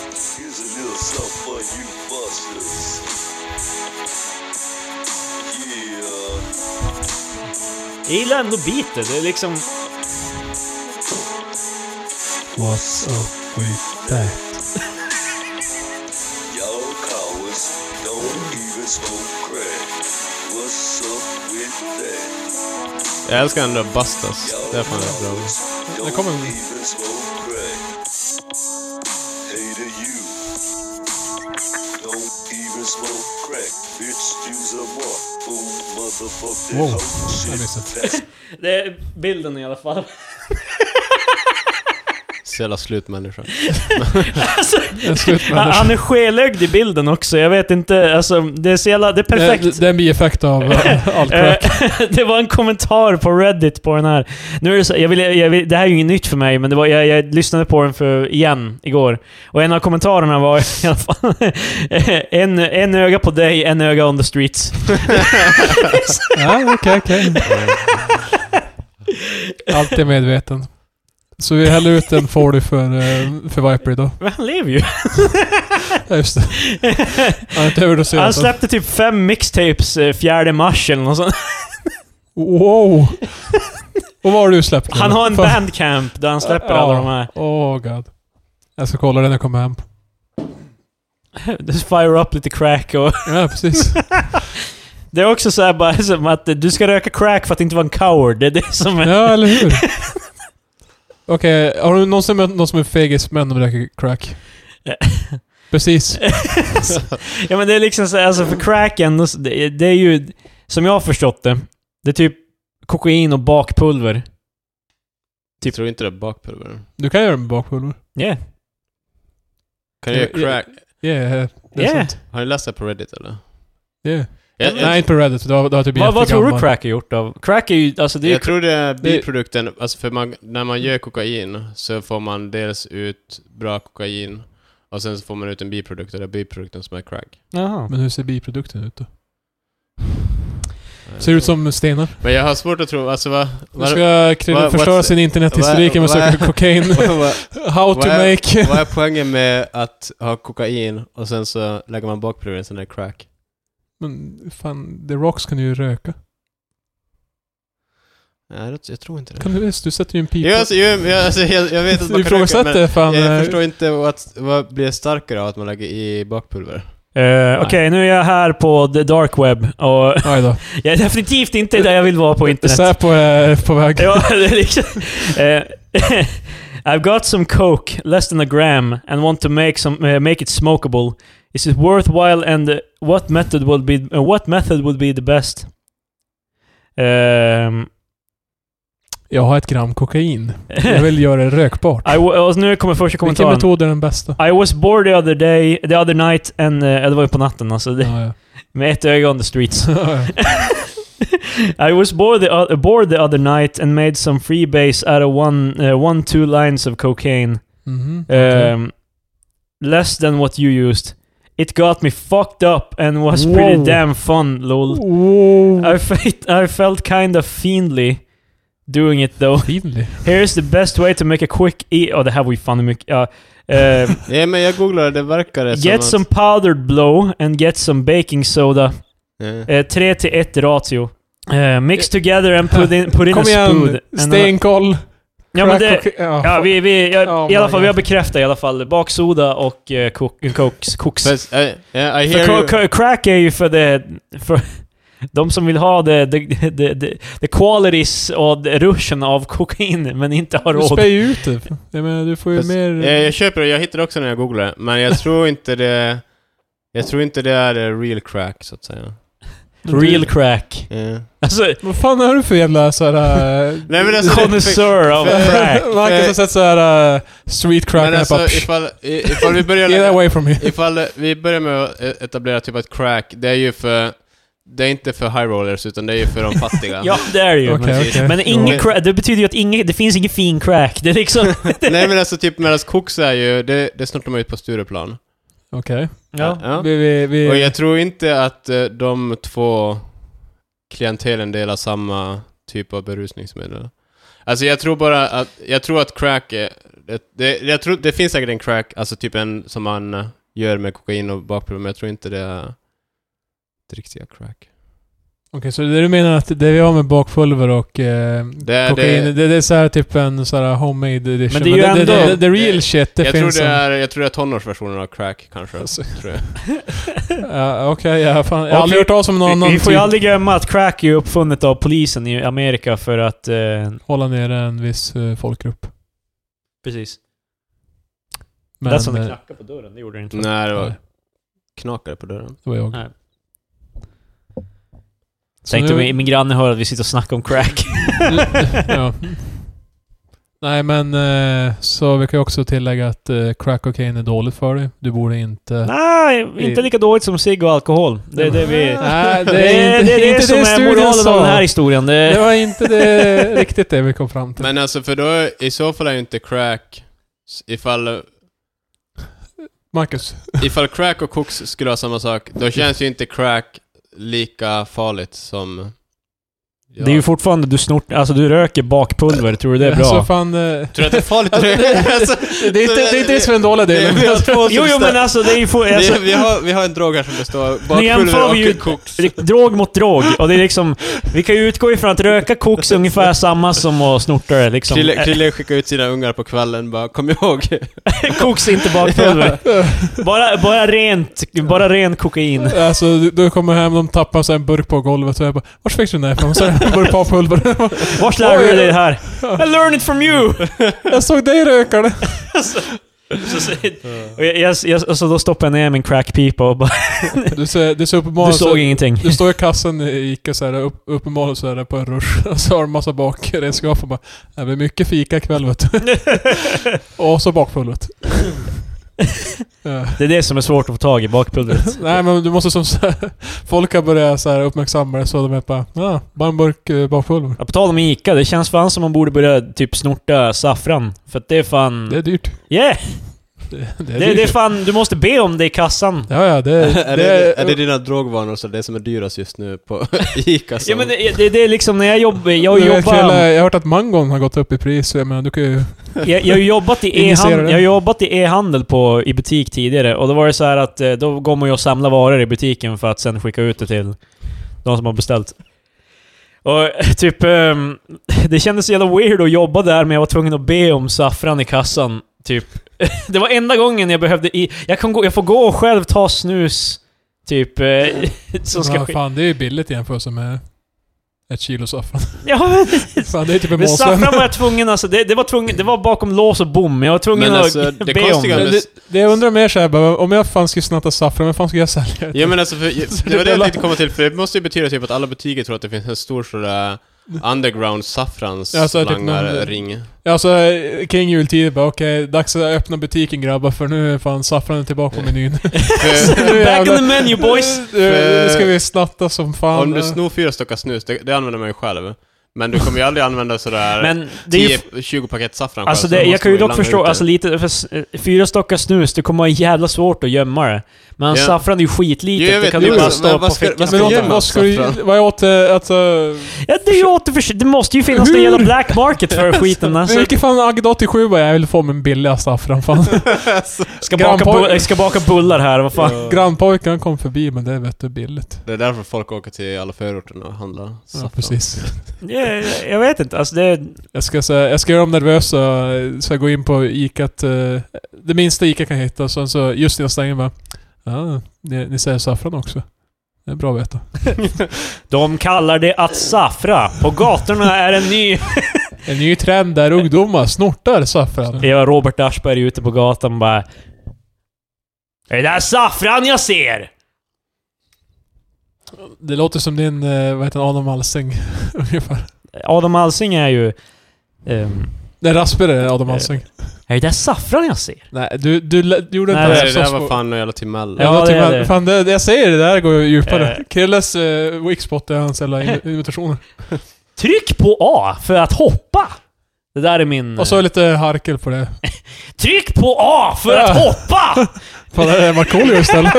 S4: a little something for you busters. Yeah.
S3: Jag gillar ändå beatet, det är liksom...
S2: What's up with that?
S4: Y'all cowards don't even smoke crack. What's up with that?
S1: jag älskar ändå Bustas. Det är fan rätt bra.
S2: Det kommer en...
S4: Even smoke crack. Hey to you. Don't even smoke
S5: crack, bitch, use a more. Boom, motherfucker,
S2: Wow.
S5: hoe,
S2: Jag
S5: shit,
S2: missade.
S5: that's
S3: Det är bilden i alla fall.
S1: Så jävla slut människa.
S3: Alltså,
S2: En slutmänniska.
S3: han är skelögd i bilden också, jag vet inte. Alltså, det är så jävla... Det är perfekt.
S2: Eh, Det, det är en bieffekt av eh, all crack.
S3: Eh, det var en kommentar på Reddit på den här. Nu är det, så, jag vill, jag vill, det här är ju inget nytt för mig, men det var, jag, jag lyssnade på den för, igen igår. Och en av kommentarerna var i alla fall... eh, en, en öga på dig, en öga on the streets.
S2: Ja, okej, okej. Alltid medveten. Så vi häller ut en 40 för, eh, för Viper idag.
S3: Men han lever ju.
S2: Ja, just det. Han är inte
S3: Han
S2: överdoserad.
S3: släppte typ fem mixtapes eh, 4 mars eller något sånt.
S2: Wow! Och vad har du släppt? nu?
S3: Han har en
S2: Fan.
S3: bandcamp där han släpper alla de här.
S2: Åh oh, god. Jag ska kolla det när jag kommer hem.
S3: Fire up lite crack och...
S2: Ja, precis.
S3: Det är också så här bara som att du ska röka crack för att inte vara en coward. Det är det som är...
S2: Ja, eller hur? Okej, har du någonsin mött någon som är fegis men de röker crack?
S3: Eh.
S2: Precis.
S3: Ja men det är liksom så här, alltså för cracken, då- det det är ju... Som jag har förstått det, det är typ kokain och bakpulver.
S1: Typ. Tror inte det är bakpulver.
S2: Du kan göra det med bakpulver.
S3: Yeah.
S1: Kan jag
S2: Ja,
S1: göra crack?
S2: Yeah, det är
S3: Yeah.
S2: sant.
S1: Har ni läst det på Reddit eller?
S2: Yeah.
S1: Jag, jag,
S2: Nej, inte på Reddit. för Då, då har jag typ
S3: Vad, vad tror du
S2: jättegammal.
S3: crack är gjort av? Crack är ju... Alltså det är ju...
S1: jag tror det är biprodukten, alltså för man, när man gör kokain så får man dels ut bra kokain och sen så får man ut en biprodukt och det är biprodukten som är crack.
S3: Jaha.
S2: Men hur ser biprodukten ut då?
S1: Eh,
S2: Ser ut som stenar.
S1: Men jag har svårt att tro, alltså vad...
S2: Du
S1: vad,
S2: ska Krille
S1: vad-
S2: förstöra
S1: what's-
S2: sin internethistorik genom att
S1: vad-
S2: söka kokain.
S1: vad, vad,
S2: How to
S1: vad är-
S2: make...
S1: vad är poängen med att ha kokain och sen så lägger man bakpulver i en sån där crack?
S2: Men fan, The Rocks kan ju röka.
S1: Nej, jag, jag tror inte det.
S2: Kan du visst? Du sätter ju en pipa.
S1: Jo, alltså, jo, jag, alltså, jag, jag vet att
S2: du
S1: man kan röka, men
S2: ifrågasätter fan...
S1: jag
S2: eh,
S1: förstår inte vad, vad blir starkare av att man lägger i bakpulver.
S3: Eh, Okej, nu är jag här på the dark web och
S2: Aj då.
S3: jag är definitivt inte där jag vill vara på internet.
S2: Säpo är på väg.
S3: Ja, det är liksom... eh, I've got some coke, less than a gram, and want to make some eh, make it smokable. Is it worthwhile and eh, what method would be eh, what method would be the best? Ehm,
S2: Jag har ett gram kokain. Jag vill göra det rökbart.
S3: I wa- och nu kommer första
S2: Vilken
S3: kommentaren.
S2: metod är den bästa?
S3: I was bored the other day, the other night, and... eh, ja, det var ju på natten alltså. Det,
S2: Ja, ja.
S3: Med ett öga on the streets.
S2: Ja, ja.
S3: I was bored the, o- bored the other night and made some freebase out of one, eh, one two lines of cocaine.
S2: Mhm.
S1: Eh,
S3: Um, less than what you used. It got me fucked up and was pretty
S2: Whoa.
S3: damn fun,
S1: oh.
S3: lol.
S2: Wow.
S3: I, felt I felt kinda fiendly doing it though.
S2: Finlig.
S3: Here's the best way to make a quick e... Oh, det här var ju fan hur mycket... ja. Eh,
S1: Nej, men jag googlade, det verkar som
S3: get some powdered blow and get some baking soda.
S1: att...
S3: Eh, 3 till 1 ratio. Eh, mix together and put in, put in a
S2: Kom
S3: spoon.
S2: igen!
S3: And-
S2: Stenkoll!
S3: ja, men det,
S2: Crack och- ja,
S3: Ja,
S2: fuck.
S3: vi, vi, jag,
S2: Oh
S3: i alla
S2: my
S3: fall, vi har
S2: God.
S3: bekräftat i alla fall baksoda och eh, kok- koks. koks. För
S1: Fast, I, uh, yeah, I hear
S3: ko- ko- crack är ju för det... För de som vill ha det, the, the, the, the qualities och the rushen av kokain, men inte har
S2: Du
S3: råd.
S2: spär ju ut det. Jag menar, du får ju
S1: Fast,
S2: mer...
S1: eh, jag köper det, jag hittade också när jag googlade, men jag tror inte det... Jag tror inte det är eh, real crack, så att säga.
S3: Real crack.
S1: Yeah.
S3: Alltså,
S2: Vad fan är du för jävla såhär... eh,
S1: Nej, men alltså-
S3: konnässör av
S1: för-
S3: crack.
S2: Marcus har sett såhär eh, street crack
S1: Men
S2: och
S1: alltså,
S2: bara... psh,
S1: ifall, i- ifall vi börjar...
S2: Get away from me.
S1: Ifall eh, vi börjar med att eh, etablera typ att crack, det är ju för... Det är inte för high rollers, utan det är ju för de fattiga.
S3: Ja, det är det ju.
S2: Okej,
S1: precis.
S2: okej.
S3: Men ingen
S1: Jo.
S3: crack, det betyder ju att ingen, det finns ingen fin crack. Det är liksom...
S1: Nej men alltså typ medans koks är ju, det, det snortar man ut på Stureplan.
S2: Okej.
S3: Ja.
S2: Vi, vi, vi,
S1: Och jag tror inte att eh, de två klientelen delar samma typ av berusningsmedel. Alltså jag tror bara att, jag tror att crack är, det, det, jag tror, det finns säkert en crack, alltså typ en som man eh, gör med kokain och bakpulver, men jag tror inte det är det riktiga crack.
S2: Okej, så det du menar att det vi har med bakpulver och eh,
S1: Det-
S2: kokain, det,
S1: det-
S2: det, är så här typ en så här homemade edition.
S3: Men det är ju
S2: det, det,
S3: ändå-
S2: det, det real shit, det
S1: jag, tror
S2: finns
S1: det
S2: en-
S1: är, jag tror det är tonårsversionen av crack kanske.
S2: Alltså.
S1: Tror jag.
S2: Ja, Okej, ja, fan. jag
S3: Och
S2: har aldrig
S3: vi-
S2: hört talas om någon
S3: Vi
S2: annan
S3: får ju
S2: typ
S3: aldrig glömma att crack är ju uppfunnet av polisen i Amerika för att... Eh,
S2: hålla nere en viss eh, folkgrupp.
S3: precis.
S2: Men,
S3: Där som det
S2: eh,
S3: knackade på dörren, det gjorde det inte.
S1: Nej, det var
S2: nej,
S1: knakare på dörren.
S2: det var jag.
S3: Nej. Tänkte
S2: nu-
S3: min, min granne hör att vi sitter och snackar om crack.
S2: ja. Nej men, eh, så vi kan ju också tillägga att eh, crack cocaine är dåligt för dig. Du borde inte...
S3: Nej, inte lika dåligt som cigg och alkohol. Det är det vi...
S2: Nej,
S3: Det, är- det är det, som är
S2: studien
S3: moralen av
S2: sa.
S3: den här historien.
S2: Det
S3: Det,
S2: var inte det, riktigt det vi kom fram till.
S1: Men alltså, för då är, i så fall är ju inte crack... s- Ifall,
S2: Marcus.
S1: ifall crack och koks skulle vara samma sak, då känns ju inte crack lika farligt som... Ja.
S3: det är ju fortfarande du snort... Alltså du röker bakpulver, tror du det är
S2: Så
S3: bra?
S2: fan, eh,
S1: Tror du att det är farligt?
S2: Alltså, det-
S1: Alltså,
S2: det är inte det, är inte det som är den dåliga
S1: det-
S2: delen.
S1: vi har två
S3: Jo, jo
S1: substan-
S3: men alltså det är ju... for- Alltså,
S1: vi, vi, har, vi har en drog här som består av
S3: jämför vi
S1: bakpulver
S3: ju-
S1: och koks.
S3: Det är Drog mot drog. Och det är liksom... Vi kan ju utgå ifrån att röka koks är ungefär samma som att snorta det liksom.
S1: Krille, Krille skickar ut sina ungar på kvällen bara, kom ihåg.
S3: koks är inte bakpulver. Bara, bara rent... Bara ren kokain.
S2: Alltså, du, du kommer hem, de tappar så här en burk på golvet och jag bara Vart fick du den där ifrån? Så är det en burk bakpulver.
S3: Vart lärde du
S2: Oj.
S3: dig det här? I learned it from you!
S2: jag såg dig röka det.
S3: Så, så, och jag, jag, jag, alltså då stoppade jag ner min crackpipa och bara...
S2: Du ser, du ser
S3: Du
S2: uppenbarligen...
S3: såg ingenting.
S2: Du står i kassen i Ica så här, upp, uppenbarligen så här på en rush och så har du massa bakredskap och bara Det blir mycket fika ikväll vet du. Och så bakpulvret. Ja.
S3: Det är det som är svårt att få tag i, bakpulvret.
S2: Nej men du måste som så här, Folk har börjat så här uppmärksamma det så de är bara ja, bara en burk eh, bakpulver.
S3: Ja, på tal om Ica, det känns fan som man borde börja typ snorta saffran. För att det är fan...
S2: Det är dyrt.
S3: yeah!
S2: Det,
S3: Det, det är fan... Du måste be om det i kassan.
S2: Ja ja, det,
S1: är, det, är det dina drogvanor så det som är dyrast just nu på Ica? Som,
S3: Ja men det, det, det är liksom när jag jobbar... Jag har
S2: Du vet, Krille,
S3: jobbat...
S2: jag har hört att mangon har gått upp i pris, så jag menar du kan ju...
S3: Jag, jag har jobbat i
S2: Injicerar
S3: e-handel,
S2: det.
S3: jag har jobbat i e-handel på, i butik tidigare och då var det så här att eh, då går man ju och samlar varor i butiken för att sen skicka ut det till de som har beställt. Och typ, ehm, det kändes så jävla weird att jobba där men jag var tvungen att be om saffran i kassan. Typ. Det var enda gången jag behövde... I, jag, kan gå, jag får gå och själv ta snus. Typ, eh, som ska
S2: Ja,
S3: skicka...
S2: fan, det är ju billigt jämfört med ett kilo saffran.
S3: Ja, men,
S2: Fan, det är typ en
S3: men
S2: månadslön.
S3: saffran var jag tvungen alltså. Det, det, var tvungen, det var bakom lås och bom. Jag var tvungen
S1: Men
S3: att
S1: alltså, det
S3: be om
S1: konstiga
S3: det.
S2: Men det, det jag undrar mer såhär bara, om jag fan skulle snatta saffran, vem fan skulle jag sälja det
S1: Ja men alltså, för, det var det jag tänkte komma till, för det måste ju betyda typ att alla butiker tror att det finns en stor sådär underground
S2: Ja, så är det typ
S1: saffranslangarring.
S2: till? Alltså, eh, kring jultid bara, okej, dags att öppna butiken grabbar för nu är fan saffranen tillbaka på menyn.
S1: För
S2: Nu
S3: Back on
S2: jävlar.
S3: the menu boys!
S2: Nu nu ska vi snatta som fan.
S1: om du snor fyra stockar snus, det, det använder man ju själv. Men du kommer ju aldrig använda sådär
S3: Men det är ju...
S1: 10-20 paket saffran
S3: Alltså
S1: själv, så
S3: det,
S1: då
S3: jag
S1: måste
S3: kan ju
S1: man
S3: dock
S1: langa
S3: förstå,
S1: ut det.
S3: alltså lite, för s- eh, fyra stockar snus, du kommer ha jävla svårt att gömma det. Men
S1: Ja.
S3: saffran är ju skitlitet,
S1: Jo, jag
S3: det
S1: vet,
S3: kan
S1: jo,
S3: du bara
S1: men
S3: stå på
S1: vad ska-
S3: fickan.
S1: vad ska jag
S2: men vad-
S1: göra
S2: vad
S1: med
S2: ska du...
S1: saffran?
S2: Vad jag åt... eh, Alltså...
S3: Ja, det är ju återförs- Det måste ju finnas någon
S2: Hur?
S3: jävla black market för skiten alltså.
S2: Vilken fan Agda 87 bara, jag vill få min billiga saffran fan.
S3: Ska baka,
S2: grannpoj-
S3: bu- eh, ska baka bullar här, vad fan.
S2: Grannpojkarna kom förbi, men det vet du billigt.
S1: Det är därför folk åker till alla förorterna och handlar
S2: Ja,
S1: saffran.
S2: precis.
S3: Ja, jag vet inte, alltså det...
S2: Jag ska, säga, jag ska göra dem nervösa, så jag går in på Ica. Att, eh, det minsta Ica kan hitta, sen så just när jag stänger bara... Ja, ni, ni säger saffran också. Det är bra att veta.
S3: De kallar det att saffra. På gatorna är en ny...
S2: En ny trend där ungdomar snortar saffran.
S3: Det var Robert Aschberg ute på gatan bara... Är det där saffran jag ser?
S2: Det låter som din, eh, vad heter han, Adam Alsing ungefär.
S3: Adam Alsing är ju... ehm,
S2: Nej, Rasper är Adam Alsing.
S3: är det där saffran jag ser?
S2: Nej, du, du, lä- du gjorde
S3: Nej,
S2: inte
S1: Nej,
S2: ens
S1: det
S2: så
S1: där var
S2: svår-
S1: fan någon jävla Timell.
S3: Ja,
S2: Ja,
S3: det
S2: typ,
S3: är
S2: det
S3: det.
S2: Fan, det, jag säger det där går ju djupare.
S3: Eh.
S2: Krilles eh, weakspot är hans jävla in- invitationer.
S3: Tryck på A för att hoppa! Det där är min...
S2: Och så lite harkel på det.
S3: Tryck på A för att
S2: Ja.
S3: hoppa!
S2: Fan, det är Markoolio istället.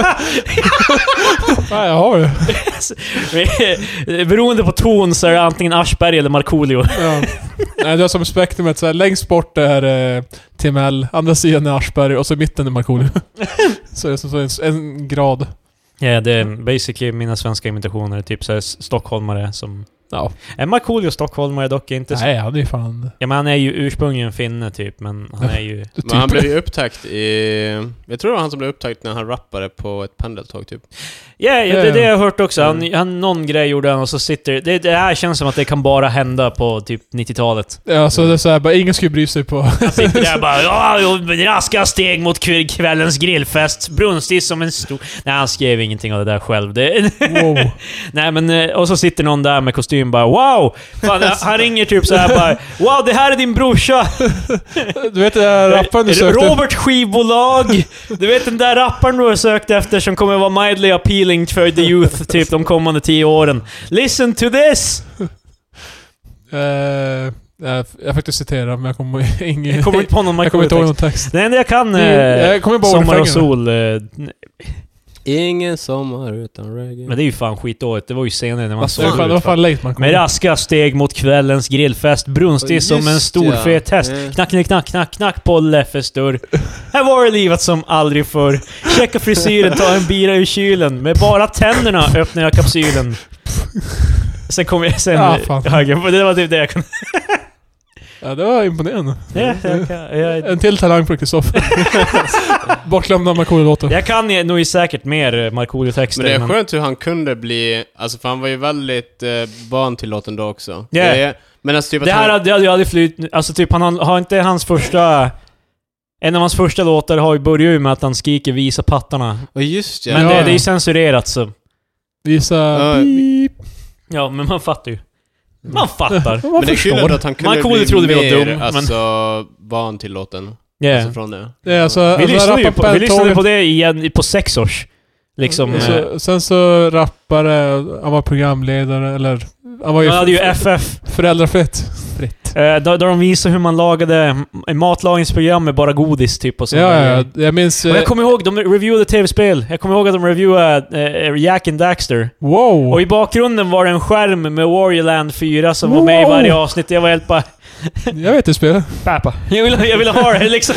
S2: Nej, jag har det.
S3: Beroende på ton så är det antingen Aschberg eller Markoolio.
S2: Ja. Nej, du har som spektrumet såhär, längst bort är eh, Timell, andra sidan är Aschberg och så i mitten är Markoolio. så det är som så en, en grad.
S3: Ja, det är basically mina svenska imitationer. Typ såhär stockholmare som...
S2: Ja.
S3: Är Markoolio stockholmare är dock inte... Nej.
S2: Nej, han är ju fan...
S3: Ja, men han är ju ursprungligen finne typ, men han är ju...
S2: Typ.
S1: Men han blev ju upptäckt i... Jag tror det var han som blev upptäckt när han rappade på ett pendeltåg typ.
S3: Ja, ja,
S2: Ja,
S3: det är
S2: ja.
S3: det jag har hört också.
S2: Mm.
S3: Han, han, någon grej gjorde han och så sitter... Det, det här känns som att det kan bara hända på typ 90-talet.
S2: Ja, så det är så här, bara, ingen skulle bry sig på...
S3: Han sitter där och bara "Ja, jag raska steg mot kv- kvällens grillfest. Brunstig som en stor... Nej, han skrev ingenting av det där själv. Det,
S2: Wow.
S3: Nej men, eh, och så sitter någon där med kostym bara wow! Fan, han- han ringer typ så här bara wow det här är din brorsa!
S2: Du vet den där rapparen du sökte?
S3: Robert skivbolag! Du vet den där rapparen du har sökt efter som kommer vara mildly appealing för the youth typ de kommande tio åren. Listen to this!
S2: Eh, jag, jag försökte citera men jag kommer ingen...
S3: Jag kommer inte på någon
S2: jag kommer inte ihåg
S3: Michael
S2: någon text.
S3: Det enda jag kan... Eh,
S2: Jag kommer bara ihåg
S3: Sommar och
S2: refrängen.
S3: sol. Eh,
S1: Ingen sommar utan reggae.
S3: men det är ju fan skitdåligt. Det var ju senare när man
S1: Vad
S2: Det var
S3: såg
S2: fan, det var
S3: ut.
S2: fan late man kom.
S3: Med raska steg mot kvällens grillfest, brunstig
S1: Ja,
S3: som en
S1: just
S3: stor
S1: ja.
S3: fet häst.
S1: Mm.
S3: Knack, knack, knack, knack, knack på Leffes dörr. Här var det livat som aldrig förr. Checka frisyren, ta en bira ur kylen. Med bara tänderna öppnar jag kapsylen. Sen kom jag... Sen...
S2: Ja,
S3: Ja,
S2: fan.
S3: det var typ det jag kunde...
S2: Ja, det var imponerande.
S3: Ja, jag, kan, jag,
S2: En till talang för Kristoffer. Bortglömda Markoolio-låten.
S3: jag kan ju nog säkert mer eh, Markoolio-texter.
S1: Men det är skönt hur han kunde bli, alltså för han var ju väldigt eh, van till låten då också.
S3: Ja.
S1: Det är- Men alltså typ att
S3: Det här
S1: han,
S3: hade hade ju aldrig flyt... Alltså typ, han har, har inte hans första... En av hans första låtar har ju börjat ju med att han skriker 'Visa pattarna'
S1: Ja, just ja.
S3: Men
S2: Ja,
S3: det,
S2: ja.
S3: det är ju censurerat så...
S2: Visa...
S1: Ja,
S2: Beep.
S3: Ja, men man fattar ju. Man fattar.
S2: Man
S1: men det är kul
S2: förstår.
S1: ändå att han kunde
S3: Markoolio
S1: bli
S3: trodde vi var
S1: mer,
S3: dum, men-
S1: alltså, van till låten.
S3: Yeah.
S1: Alltså från det.
S2: Det är alltså...
S3: Vi
S2: alltså,
S3: lyssnade ju
S2: rappar
S3: på, vi
S2: Bad
S3: lyssnade
S2: Tone.
S3: på det igen på sex års. Liksom.
S2: Mm.
S1: Ja,
S3: eh,
S2: Så, sen så rappare, han var programledare, eller... Han var ju,
S3: Man hade ju FF,
S2: föräldrafritt. Fritt.
S3: eh, där där de visade hur man lagade m- matlagningsprogram med bara godis typ och sånt
S2: Ja,
S3: där.
S2: ja, jag minns...
S3: Och
S2: eh,
S3: jag kommer ihåg, de reviewade tv-spel. Jag kommer ihåg att de reviewade eh, Jack and Daxter.
S2: Wow!
S3: Och i bakgrunden var det en skärm med Warrior Land 4 som var med i
S2: Wow!
S3: varje avsnitt. Jag var helt bara...
S2: Jag vet hur spelet.
S3: Pappa. Jag ville, jag ville ha det liksom.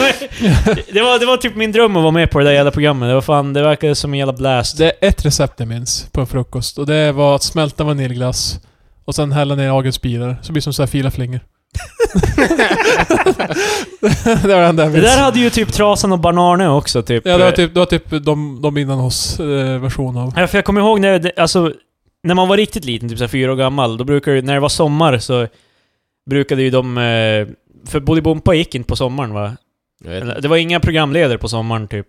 S3: det, var, det var typ min dröm att vara med på det där jävla programmet. Det var fan, det verkade som en jävla blast.
S2: Det är ett recept jag minns på en frukost och det var att smälta vaniljglass och sen hälla ner agelspirar. Så blir det som så här fila flingor. det var det enda jag
S3: Det
S2: minns.
S3: där hade ju typ Trasan och Banane också typ.
S2: Ja, det var typ, det var typ de, de innan oss eh, version av.
S3: Ja, för jag kommer ihåg när, det- alltså, när man var riktigt liten, typ så här fyra år gammal, då brukade ju- när det var sommar så brukade ju de... eh, För Bolibompa gick inte på sommaren va?
S1: Jag, vet,
S3: Eller, Det var inga programledare på sommaren typ.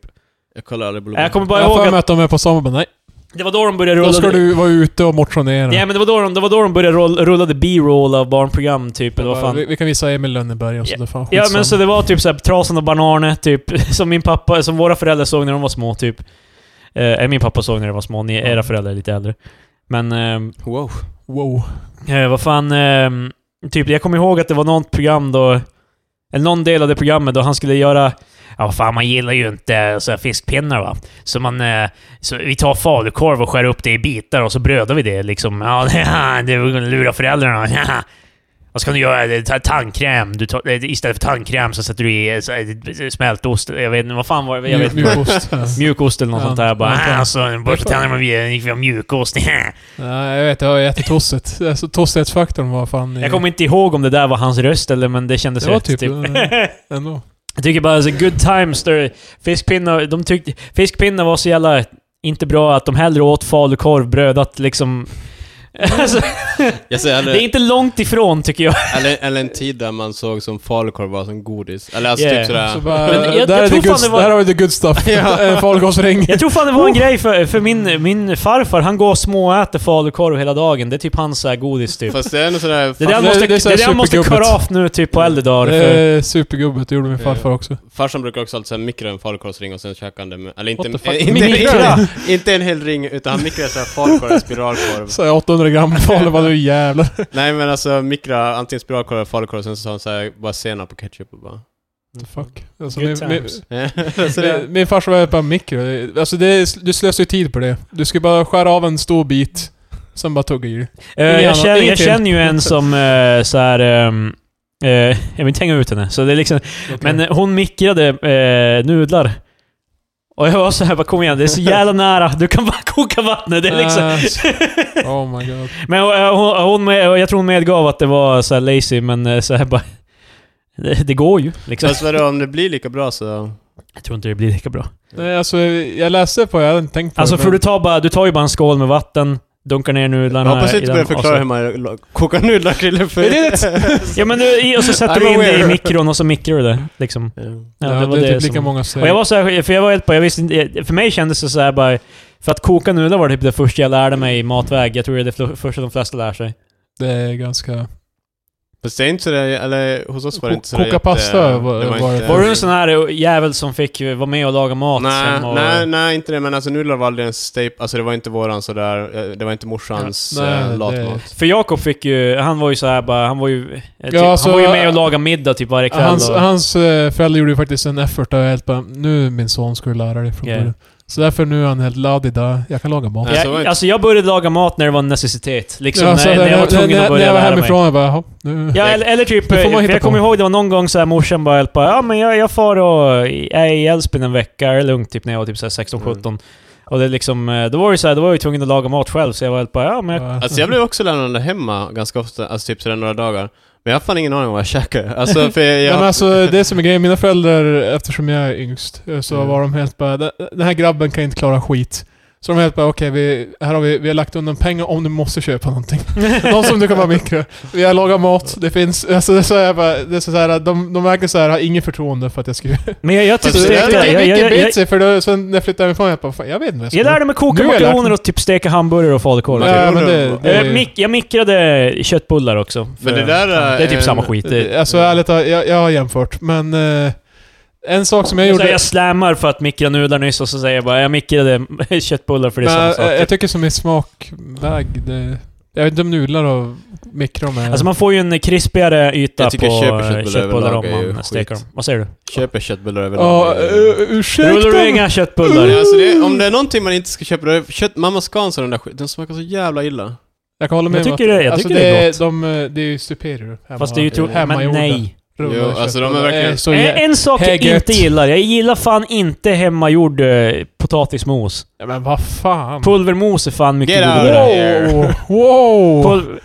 S1: jag kollar aldrig Blue
S3: Jag kommer bara
S2: jag har
S3: ihåg
S2: för mig
S3: att
S2: att de är på samma men nej.
S3: det var då de började rulla...
S2: Då ska du vara ute och motionera.
S3: Ja men det var då de, det var då de började rulla, rulla the B-roll av barnprogram typ, eller vad fan.
S2: vi, vi kan visa Emil Lönneberg och sådär. Fan,
S3: Ja men
S2: skitsamma.
S3: så det var typ såhär Trasan och Banane, typ. Som min pappa, som våra föräldrar såg när de var små, typ. Eh, min pappa såg när de var små, ni, era föräldrar är lite äldre. Men, ehm,
S1: Wow.
S2: Wow.
S3: eh, vad fan... ehm, typ, jag kommer ihåg att det var något program då... Eller någon del av det programmet då han skulle göra... Ja, vad fan, man gillar ju inte eh, så här fiskpinnar va. Så man... Eh, så vi tar falukorv och skär upp det i bitar och så brödar vi det liksom. Ja, det är att lura föräldrarna. Vad ska du göra? Det- Ta tandkräm. Du tar, eh, istället för tandkräm så sätter du i eh, så här, smältost. Jag vet inte, vad fan var det? Jag vet,
S2: Mjukost.
S3: mjukost eller något
S2: Ja,
S3: sånt där. Bara,
S2: ja, ja.
S3: "Ah, alltså, borsta tänderna med vi har mjukost.
S2: Nej, jag vet. Det var jättetossigt. Alltså, Tossighetsfaktorn var fan... i-
S3: Jag kommer inte ihåg om det där var hans röst eller, men det kändes
S2: Det var
S3: rätt.
S2: typ...
S3: Typ.
S2: eh, Ändå.
S3: Jag tycker bara, alltså, good times. Där fiskpinnar, de tyckte, fiskpinnar var så jävla inte bra att de hellre åt falukorv brödat liksom. Alltså,
S1: Jag säger
S3: det är
S1: eller,
S3: inte långt ifrån tycker jag.
S1: eller, eller en tid där man såg som falukorv var som godis. Eller alltså
S3: Yeah.
S1: typ sådär...
S2: Så bara,
S3: Men jag- jag
S2: där, är the
S3: tror fan
S2: good,
S3: det var-
S2: där har vi the good stuff.
S1: Ja.
S2: En falukorvsring.
S3: Jag tror fan det var
S2: Oh.
S3: en grej för, för min, min farfar, han går och småäter falukorv hela dagen. Det är typ hans så här godis typ.
S1: Fast det är ändå sådär...
S3: Det där
S2: det-
S3: måste,
S2: det är så
S3: det
S2: här
S3: där måste
S2: supergubbet.
S3: cut off nu typ på äldre dagar.
S2: Det
S3: För,
S2: är Eh, supergubbet, det gjorde min farfar också.
S1: Farsan brukar också alltid säga mikra en falukorvsring och sen käka den med... Eller inte,
S2: What the fuck?
S1: eh, inte,
S3: Mikra?
S1: inte, inte en hel ring, utan han mikrar såhär falukorv, spiralkorv.
S2: Så jag 800 gram falu, vad du jävlar.
S1: Nej men alltså mikra antingen spiralkorv eller falukorv, och sen så sa han såhär bara senap och ketchup och bara...
S2: Fuck. Alltså,
S3: Good
S2: min, min,
S3: times.
S1: så det,
S2: min, min farsa var bara mikro. Alltså det, är- du slösar ju tid på det. Du ska bara skära av en stor bit, sen bara tugga i det.
S3: Eh,
S2: Ingen
S3: jag,
S2: annan-
S3: känner, jag
S2: ingenting.
S3: känner ju en som eh, så här. ehm, eh, jag vill inte hänga ut henne. Så det är liksom, Men eh, hon mikrade eh, nudlar. Och jag var så här, bara kom igen, det är så jävla nära. Du kan bara koka vattnet. Det är liksom...
S2: Äh, oh my god.
S3: Men eh, hon, hon med, jag tror hon medgav att det var så här lazy, men eh, så här bara... Det, det går ju liksom.
S1: Fast alltså, vadå, om det blir lika bra så...
S3: Jag tror inte det blir lika bra.
S2: Nej, alltså jag läste på det, jag hade inte tänkt på
S3: Alltså
S2: det.
S3: för du tar, bara, du tar ju bara en skål med vatten, dunkar ner
S1: Jag
S3: nudlarna
S1: hoppas
S2: eh,
S3: i
S1: inte
S3: den
S1: börjar
S3: och så-
S1: förklara hur man la- kokar nudlar för...
S2: It is.
S3: Ja men du, i- och så sätter
S1: I'm
S3: du in det i
S1: aware.
S3: mikron och så mikrar du det. Liksom. Ja,
S2: Ja,
S3: det var
S2: det är
S3: det
S2: typ lika
S3: som...
S2: många steg.
S3: Och jag var så här, för jag var helt på, jag visste inte, för mig kändes det så här bara... För att koka nudlar var typ det första jag lärde mig i matväg. Jag tror det är det fl- första de flesta lär sig.
S2: Det är ganska...
S1: Fast det är inte sådär, eller hos oss var det inte sådär
S2: Koka
S1: jätte-
S2: pasta var- var det.
S3: Var du en sån här jävel som fick vara med och laga mat?
S1: Nej,
S3: sen och,
S1: nej, nej, inte det. Men alltså nudlar var aldrig en staple. Alltså det var inte våran sådär, eh, det var inte morsans
S2: Ja, nej,
S1: eh,
S2: det-
S1: latmat.
S3: För Jakob fick ju, han var ju så här bara, han var ju... eh, Typ,
S2: alltså,
S3: han var ju med och lagade middag typ varje kväll.
S2: Hans,
S3: och,
S2: hans eh, föräldrar gjorde ju faktiskt en effort att hjälpa. Nu min son ska du lära dig från
S3: Ja.
S2: början. Så därför nu är han helt laddig där. Jag kan laga mat.
S1: Ja, så var
S3: jag,
S1: det.
S3: alltså jag började laga mat när det var en necessitet. Liksom
S2: Ja, så
S3: när, när jag var tvungen
S2: när,
S3: att
S2: när
S3: börja
S2: jag var
S3: lära mig.
S2: hemifrån, jag bara jaha, nu...
S3: Ja, eller, eller typ...
S2: Det får man
S3: för
S2: hitta
S3: jag kommer
S2: på.
S3: ihåg det var någon gång så här morsan bara hjälpa. Ja men jag, jag far och är i Älvsbyn en vecka, är lugnt, typ när jag var typ så här 16-17.
S2: Mm.
S3: Och det liksom, eh, då var det så här, då var jag ju tvungen att laga mat själv så jag var helt bara, ja men jag,
S2: Bara,
S1: Alltså jag blev också lämnad hemma ganska ofta, alltså typ sådär några dagar. Men jag har fan ingen aning om vad jag käkar. Alltså för jag...
S2: Nej, men alltså det som är grejen, mina föräldrar, eftersom jag är yngst, eh, så
S1: Mm.
S2: var de helt bara "Den- Den här grabben kan inte klara skit. Så de var helt bara okej, vi, här har vi, vi har lagt undan pengar om du måste köpa någonting. Någon som du kan vara mikro. Vi har lagat mat, det finns... Alltså det är så jag bara, det är så här, de, de verkar så här, har inget förtroende för att jag ska...
S3: men jag, jag typ
S1: Så
S2: Så det
S1: det-
S2: är
S3: stekte... Jag, jag, jag,
S2: mycket
S3: jag, jag,
S2: bet sig, för då, sen när jag flyttade hemifrån, jag bara fan, jag vet inte vad jag ska
S3: jag lärde mig koka
S2: Nu har jag lärt
S3: makaroner
S2: mig.
S3: och typ steka hamburgare och falukorv.
S1: mig-
S2: Ja, men det, det,
S3: Eh, mik jag mikrade köttbullar också.
S1: Men det där eh, är...
S3: det är typ
S1: en-
S3: samma skit. Det,
S2: Alltså ärligt talat, jag, jag har jämfört, men... eh, en sak som jag
S3: jag,
S2: gjorde...
S3: jag, jag slammar för att mikra nudlar nyss och så säger jag bara jag mikrade köttbullar för det är samma
S2: Men, eh,
S3: sak.
S2: jag, jag tycker som i smakväg, det, Jag vet inte om nudlar och mikron är...
S3: Alltså man får ju en krispigare yta
S1: Jag tycker
S3: på eh,
S1: köper
S3: köttbullar,
S1: köttbullar överlag
S3: om
S1: är ju
S3: man steker dem.
S1: skit.
S3: Vad säger du?
S1: Köper köttbullar
S2: Ja,
S1: överlag.
S2: eh,
S3: Rullar
S2: ursäkta!
S3: du inga köttbullar?
S1: Ja, alltså det, om det är någonting man inte ska köpa, då är det kött, mamma Scans och den där skiten, den smakar så jävla illa.
S2: Jag kan hålla med
S3: Jag
S2: om
S3: tycker
S2: att-
S3: det- jag
S2: alltså
S3: tycker det är gott.
S2: De, eh, det är ju superior. Hemma,
S3: Fast det är ju tro...
S2: hemma
S3: Men nej. Eh,
S1: Jo, alltså de är verkligen-
S2: Så
S3: En,
S2: jä-
S3: en sak jag
S2: Hägget.
S3: inte gillar. Jag gillar fan inte hemmagjord eh, potatismos.
S2: ja, men vad fan?
S3: Pulvermos är fan mycket
S1: Get out.
S3: godare.
S2: Wow! wow.
S3: Pulver...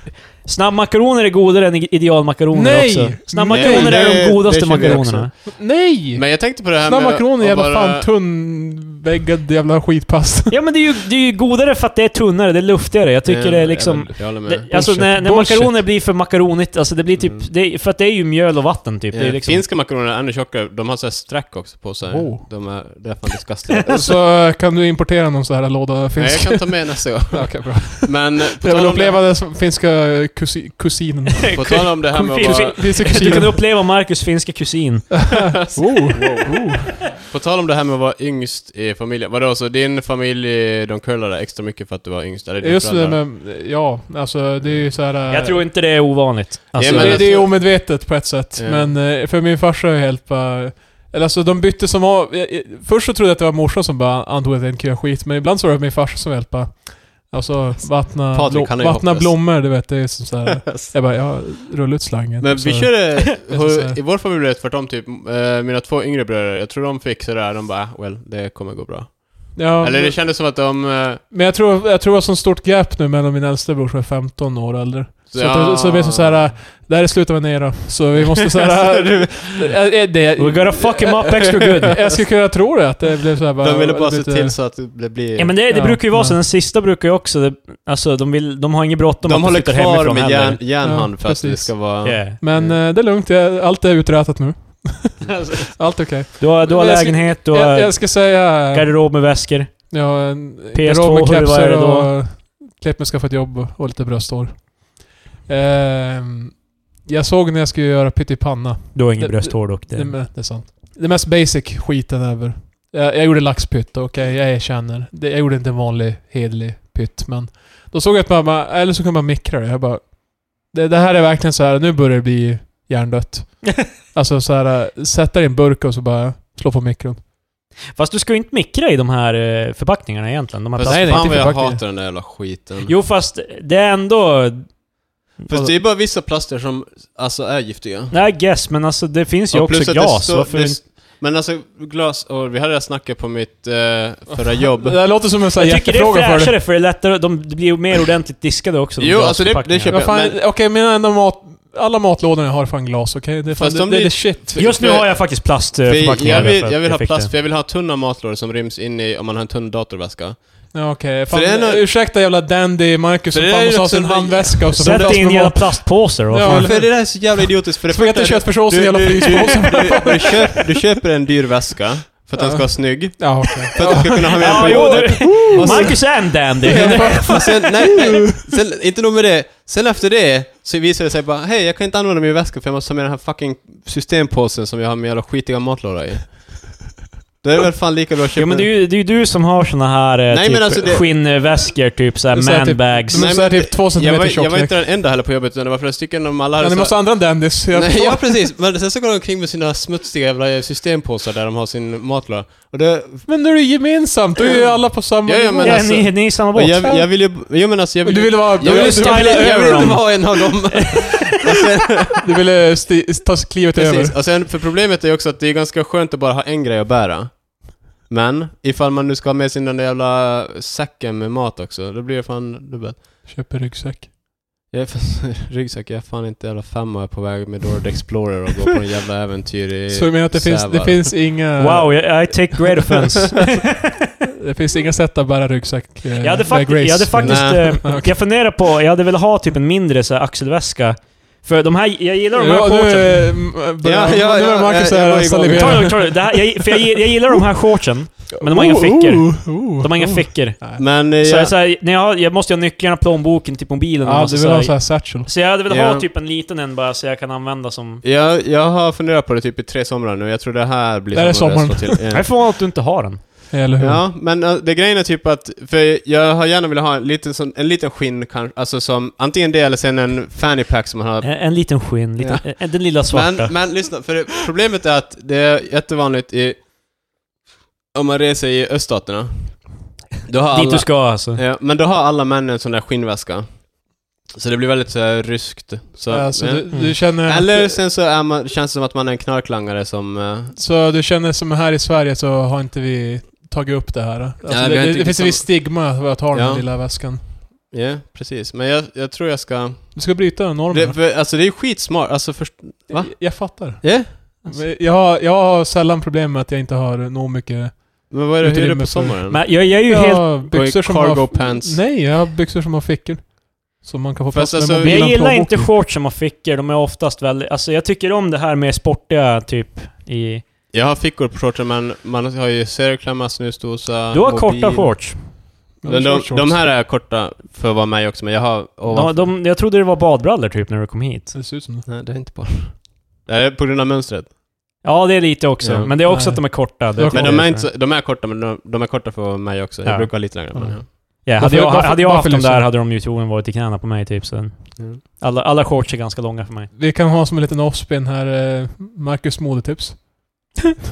S3: Snabbmakaroner är godare än idealmakaroner
S2: Nej!
S3: också. Snabbmakaroner
S1: Nej,
S3: är
S1: det-
S3: de godaste
S1: det känner jag
S3: makaronerna.
S2: Nej!
S1: Men jag tänkte på det här
S2: Snabba kronor,
S1: att
S2: jävla
S1: bara-
S2: fan tunnväggad jävla skitpasta.
S3: Ja men det är, ju, det är ju godare för att det är tunnare, det är luftigare. Jag tycker
S1: Nej,
S3: det är liksom...
S1: Jag håller med.
S3: Det, alltså
S2: Bullshit.
S3: när, när
S2: Bullshit.
S3: makaroner blir för makaronigt, alltså det blir typ...
S1: Mm. Eh,
S3: Det, för att det är ju mjöl och vatten typ. Det
S1: Ja,
S3: är liksom...
S1: Finska makaroner är ännu tjockare, de har såhär streck också på sig.
S2: Oh.
S1: De är, det är fan disgustiga.
S2: Så eh, kan du importera någon så här låda
S1: Alltså- Nej, jag
S2: finsk?
S1: kan ta med nästa gång.
S2: Okej, bra.
S1: Men eh, på
S2: Jag vill
S1: tal om
S2: uppleva
S1: det,
S2: den som finska kusi, kusinen.
S1: på tal om det här med att vara,
S3: Kusin.
S2: Finska
S3: Du kan
S2: kusinen.
S3: uppleva Marcus finska kusin.
S2: Oh, oh.
S1: på tal om det här med att vara yngst i familjen. Vadå, så din familj, eh, de curlade extra mycket för att du var yngst? Eller dina
S2: Just det,
S1: föräldrar?
S2: men ja, alltså det är ju så här. eh,
S3: Jag tror inte det är ovanligt. Alltså,
S1: Ja, men
S2: det, det är
S1: alltså-
S2: omedvetet på ett sätt,
S1: Ja.
S2: men eh, för min farsa är helt bara... Eller alltså de bytte som av... eh, eh, Först så trodde jag att det var morsan som bara antog att jag inte kunde göra skit, men ibland så var det min farsa som helt bara... Alltså vattna,
S1: Patrik,
S2: blom,
S1: han är ju
S2: vattna
S1: hopplös.
S2: blommor, du vet. Det är som så här. Jag bara, ja, rulla ut slangen.
S1: Men
S2: så,
S1: vi körde,
S2: så här.
S1: i vår familj blev det tvärtom typ, eh, mina två yngre bröder, jag tror de fick sådär, de bara well, det kommer gå bra.
S2: ja,
S1: Eller det kändes som att de... eh,
S2: Men jag tror, jag tror det var sånt stort gap nu mellan min äldsta bror som är 15 år äldre. Så,
S1: Ja.
S2: att det, så det blir som såhär, det här är slutet av en era. Så vi måste såhär... det, det,
S3: We gotta fuck him up extra good.
S2: jag skulle kunna tro det, att det blev såhär bara...
S1: de ville bara se
S2: lite-
S1: till så att det blir...
S3: Ja, men det, det
S2: Ja,
S3: brukar ju vara så.
S2: men-
S3: Den sista brukar ju också... Det, alltså, de, vill, de har inget bråttom
S1: de
S3: att
S1: håller
S3: flytta
S1: kvar
S3: hemifrån
S1: med
S3: heller.
S1: järn, järnhand
S2: Ja,
S1: för att det
S2: precis.
S1: ska vara...
S3: Yeah.
S2: Men
S1: Mm.
S2: eh, det är lugnt, jag, allt är uträtat nu. allt är okej.
S3: Du har, du har
S2: Men jag ska-
S3: lägenhet, du har
S2: Jag, jag ska säga...
S3: garderob med väskor.
S2: Ja, en
S3: PS2
S2: garderob med
S3: hur var
S2: kepsar
S3: det
S2: och... Klipp mig skaffa ett jobb och- och lite brösthår. Ehm, jag såg när jag skulle göra pyttipanna.
S3: Du har inget
S2: Det-
S3: brösthår dock.
S2: Det,
S3: Det.
S2: me- det är sant. Det mest basic skiten över. Jag, jag gjorde laxpytt, okej,
S3: Mm.
S2: jag erkänner. Det, jag gjorde inte en vanlig, hederlig pytt, men... Då såg jag att mamma, eller så kunde man mikra det. Jag bara... Det, det här är verkligen så här. nu börjar det bli hjärndött. alltså så här, äh, sätta det i en burk och så bara slå på mikron.
S3: Fast du ska ju inte mikra i de här eh, förpackningarna egentligen. De här
S1: Fast
S3: plast-
S2: nej,
S1: fan
S2: inte
S1: vad jag
S2: förpackning.
S1: hatar den där jävla skiten.
S3: Jo, fast det är ändå...
S1: Fast det är bara vissa plaster som alltså är giftiga.
S3: Nej, I guess, men alltså det finns ju
S1: Och
S3: också
S1: att
S3: gas.
S1: står-
S3: Varför
S1: det,
S3: inte-
S1: Men alltså, glasår, vi hade det här snacket på mitt eh, förra jobb.
S2: Det där låter som en sån här
S3: Jag tycker det är
S2: hjärtefråga för dig.
S3: fräschare för det är lättare, de det blir ju mer ordentligt diskade också. de
S1: Jo, alltså det- det
S3: glasförpackningarna.
S1: köper
S2: Vad fan,
S1: Men-
S2: Okej, mina enda mat... Alla matlådor jag har är fan glas, okej? Det är fan,
S1: Fast
S2: det,
S1: de
S2: det, är
S1: blir-
S2: the shit.
S3: Just nu
S1: För-
S3: har jag faktiskt
S1: För jag,
S3: plastförpackningar.
S1: vill,
S3: därför
S1: jag vill
S3: att
S1: ha
S3: fick
S1: plast,
S3: det.
S1: för jag vill ha tunna matlådor som ryms in i, om man har en tunn datorväska.
S2: Ja, okej. Fan,
S1: det är nog-
S2: Ursäkta jävla dandy Marcus
S1: För
S2: som
S1: det är
S2: fan
S1: ju
S2: måste ha
S1: också
S2: sin
S1: en-
S2: handväska och så
S3: Sätt in jävla plastpåsar. vad
S2: Ja,
S3: fan.
S2: eller-
S1: För det där är så jävla idiotiskt, för det
S2: Spagetti
S1: första-
S2: köttfärssås och jävla
S1: du, du,
S2: fryspåse.
S1: du, du, köp, du köper en dyr väska, för att den ska vara snygg.
S2: Ja, okej.
S1: För att du ska kunna ha med den
S3: Ja,
S1: på
S3: jo,
S1: jobbet.
S3: du,
S1: Och sen-
S3: Marcus and Dandy.
S1: Men sen, nej, nej, sen, inte nog med det. Sen efter det så visar det sig bara, hej jag kan inte använda min väska för jag måste ha med den här fucking systempåsen som jag har min jävla skitiga matlåda i. Då är det väl fan lika bra att köpa
S3: Jo men det är ju, det är ju du som har såna här eh,
S1: Nej,
S3: typ
S1: men alltså det-
S3: skinnväskor, typ såhär
S2: Det är så här typ-
S3: manbags.
S2: Men så är det typ två centimeter
S1: jag var, jag
S2: tjocklek.
S1: var inte den enda heller på jobbet utan det var flera stycken om alla
S2: Ja,
S1: hade
S2: ni
S1: så-
S2: måste ha andra än dandys. Jag
S1: Nej,
S2: förstår.
S1: ja precis, men sen så går de omkring med sina smutsiga jävla systempåsar där de har sin matlåda. Och det,
S2: Men det är ju gemensamt, då är ju alla på samma
S1: Ja, ja,
S2: nivå.
S1: men
S3: ja,
S1: alltså-
S3: ni, ni är i samma
S1: och
S3: båt.
S1: jag, jag vill ju, jo men alltså jag vill
S2: Du ville vara...
S1: jag vill,
S2: du,
S1: jag vill,
S3: styla
S1: jag vill
S3: över
S1: inte
S3: dem.
S1: vara en av dem. Alltså,
S2: du ville eh, sti- ta klivet
S1: Precis,
S2: över.
S1: och sen för problemet är ju också att det är ganska skönt att bara ha en grej att bära. Men ifall man nu ska ha med sig den där jävla säcken med mat också, då blir det fan dubbelt.
S2: Köper ryggsäck.
S1: Jag är fan, ryggsäck, jag är fan inte jävla femma, jag är på väg med Dord Explorer och går på en jävla äventyr i...
S2: Så du menar att det finns, det
S1: Sävar.
S2: finns inga...
S3: Wow, I, I take great offense.
S2: Det finns inga sätt att bära ryggsäck? eh,
S3: jag hade,
S2: Bear
S3: fakt- jag hade
S2: Grylls.
S3: faktiskt...
S1: Nej.
S3: eh, Jag funderar på, jag hade velat ha typ en mindre så här, axelväska. För de här, jag gillar de här
S2: Ja, nu
S3: shortsen.
S2: är m- börjar-
S1: Ja,
S2: nu
S1: ja,
S2: börjar
S1: ja,
S2: Marcus
S1: jag- jag var
S2: här
S1: igång.
S3: Ta det
S2: salivera.
S3: lugnt, ta det lugnt. Det här- jag- För jag, gi- jag gillar de här shortsen. Men de har inga
S2: Oh,
S3: fickor. De har inga fickor.
S1: Men eh,
S3: Så,
S1: jag,
S3: jag, så här, när jag, har- jag måste ju ha nycklarna, plånboken till mobilen. och
S2: Ja,
S3: massa
S2: du
S3: så
S2: vill
S3: här-
S2: ha såhär satchel.
S3: Så jag hade velat
S1: Ja.
S3: ha typ en liten en bara så jag kan använda som...
S1: jag, jag har funderat på det typ i tre somrar nu, jag tror det här blir
S2: Det här är
S1: sommaren jag slår till.
S3: Jag är förvånad att du inte har den.
S2: Eller hur?
S1: Ja, men eh, det grejen är typ att, för jag har gärna velat ha en liten, sån, en liten skinn kanske, alltså som, antingen det eller sen en fanny pack som man har
S3: En, en liten skinn, liten, en- den lilla svarta.
S1: Men, men lyssna, för det- problemet är att det är jättevanligt i... Om man reser i öststaterna. Då har
S3: Dit
S1: alla,
S3: du ska alltså.
S1: ja, men då har alla män en sån där skinnväska. Så det blir väldigt så här, ryskt. Så,
S2: Eh, Så
S1: ja.
S2: du, du känner... att-
S1: Eller sen så är man, känns det som att man är en knarklangare som... eh,
S2: Så du känner som här i Sverige så har inte vi tagit upp det här? Alltså,
S1: Nej, vi har
S2: det, det,
S1: inte
S2: det finns ett
S1: samma-
S2: visst stigma att jag tar den
S1: Ja.
S2: här lilla väskan.
S1: Ja, precis. Men jag, jag tror jag ska...
S3: Mm.
S2: Du ska bryta den normen.
S1: Det, för, alltså det är ju skitsmart, alltså först... va?
S2: Jag- Jag fattar.
S1: Ja?
S2: Men Jag har, jag har sällan problem med att jag inte har nog mycket...
S1: Men vad är det, hur är det
S2: Utrymme
S1: på
S2: för-
S1: sommaren?
S3: Men jag, jag är ju
S2: Jag
S3: helt...
S2: har byxor som
S1: cargo
S2: har...
S1: pants.
S2: Nej, jag har byxor som har fickor. Som man kan få
S1: Fast
S2: plats med
S1: alltså,
S2: mobilen
S3: Men jag
S2: och
S3: gillar
S2: plånboken.
S3: inte shorts som har fickor, de är oftast väldigt... Alltså jag tycker om det här med sportiga typ i...
S1: Jag har fickor på shortsen men man har ju serieklämma, snusdosa,
S3: Du har
S1: mobil.
S3: korta shorts.
S2: Ja,
S1: De, de,
S2: shorts.
S1: de här är korta för att vara mig också, men jag har...
S3: De,
S1: Ovanför.
S3: de, jag trodde det var badbrallor typ när du kom hit.
S2: Det ser ut som det.
S1: Nej, det är inte bara. Det är på grund av mönstret.
S3: Ja, det är lite också.
S1: Ja.
S3: Men det är också
S2: Nej.
S3: att de är korta.
S2: Men
S1: Men
S2: Ja,
S1: de är, inte, så- de är korta, men de, de är korta för att vara mig också.
S3: Ja.
S1: Jag brukar ha lite längre. Men,
S2: Ja.
S1: ja.
S3: Ja, hade
S2: Varför-
S3: jag,
S2: varför-
S3: hade jag haft
S2: varför
S3: dem där
S2: lyssnar?
S3: hade de ju troligen varit i knäna på mig typ. Så
S1: Mm.
S3: alla, alla shorts är ganska långa för mig.
S2: Vi kan ha som en liten offspin här, eh, Marcus modetips.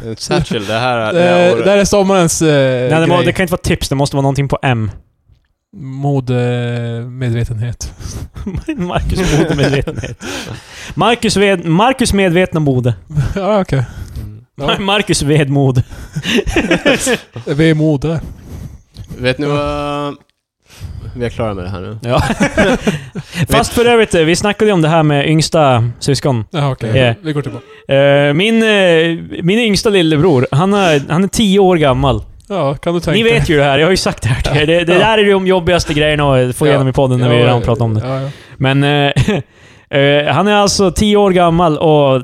S1: En Satchel, det här är...
S2: Eh,
S1: Det här året.
S2: där är sommarens eh,
S3: Nej, det, må,
S2: grej.
S3: det kan inte vara tips, det måste vara någonting på M.
S2: Modemedvetenhet.
S3: Marcus modemedvetenhet. Marcus, ved, Marcus medvetna mode.
S2: ja, okej.
S1: Mm.
S2: Ja.
S3: Marcus vedmod.
S2: Vi är mode.
S1: Vet ni vad... Vi är klara med det här nu.
S3: Ja. Fast för övrigt, eh, vi snackade ju om det här med yngsta syskon.
S2: Ja, okej.
S3: Ja.
S2: Vi går tillbaka.
S3: Eh, Min, eh, min yngsta lillebror, han är, han är tio år gammal.
S2: Ja, kan du tänka
S3: Ni vet ju det här, jag har ju sagt det här till er. Det, det
S2: Ja.
S3: där är ju de jobbigaste grejerna att få
S2: Ja.
S3: igenom i podden när vi redan pratat om det.
S2: Ja, ja.
S3: Men eh, eh, han är alltså 10 år gammal och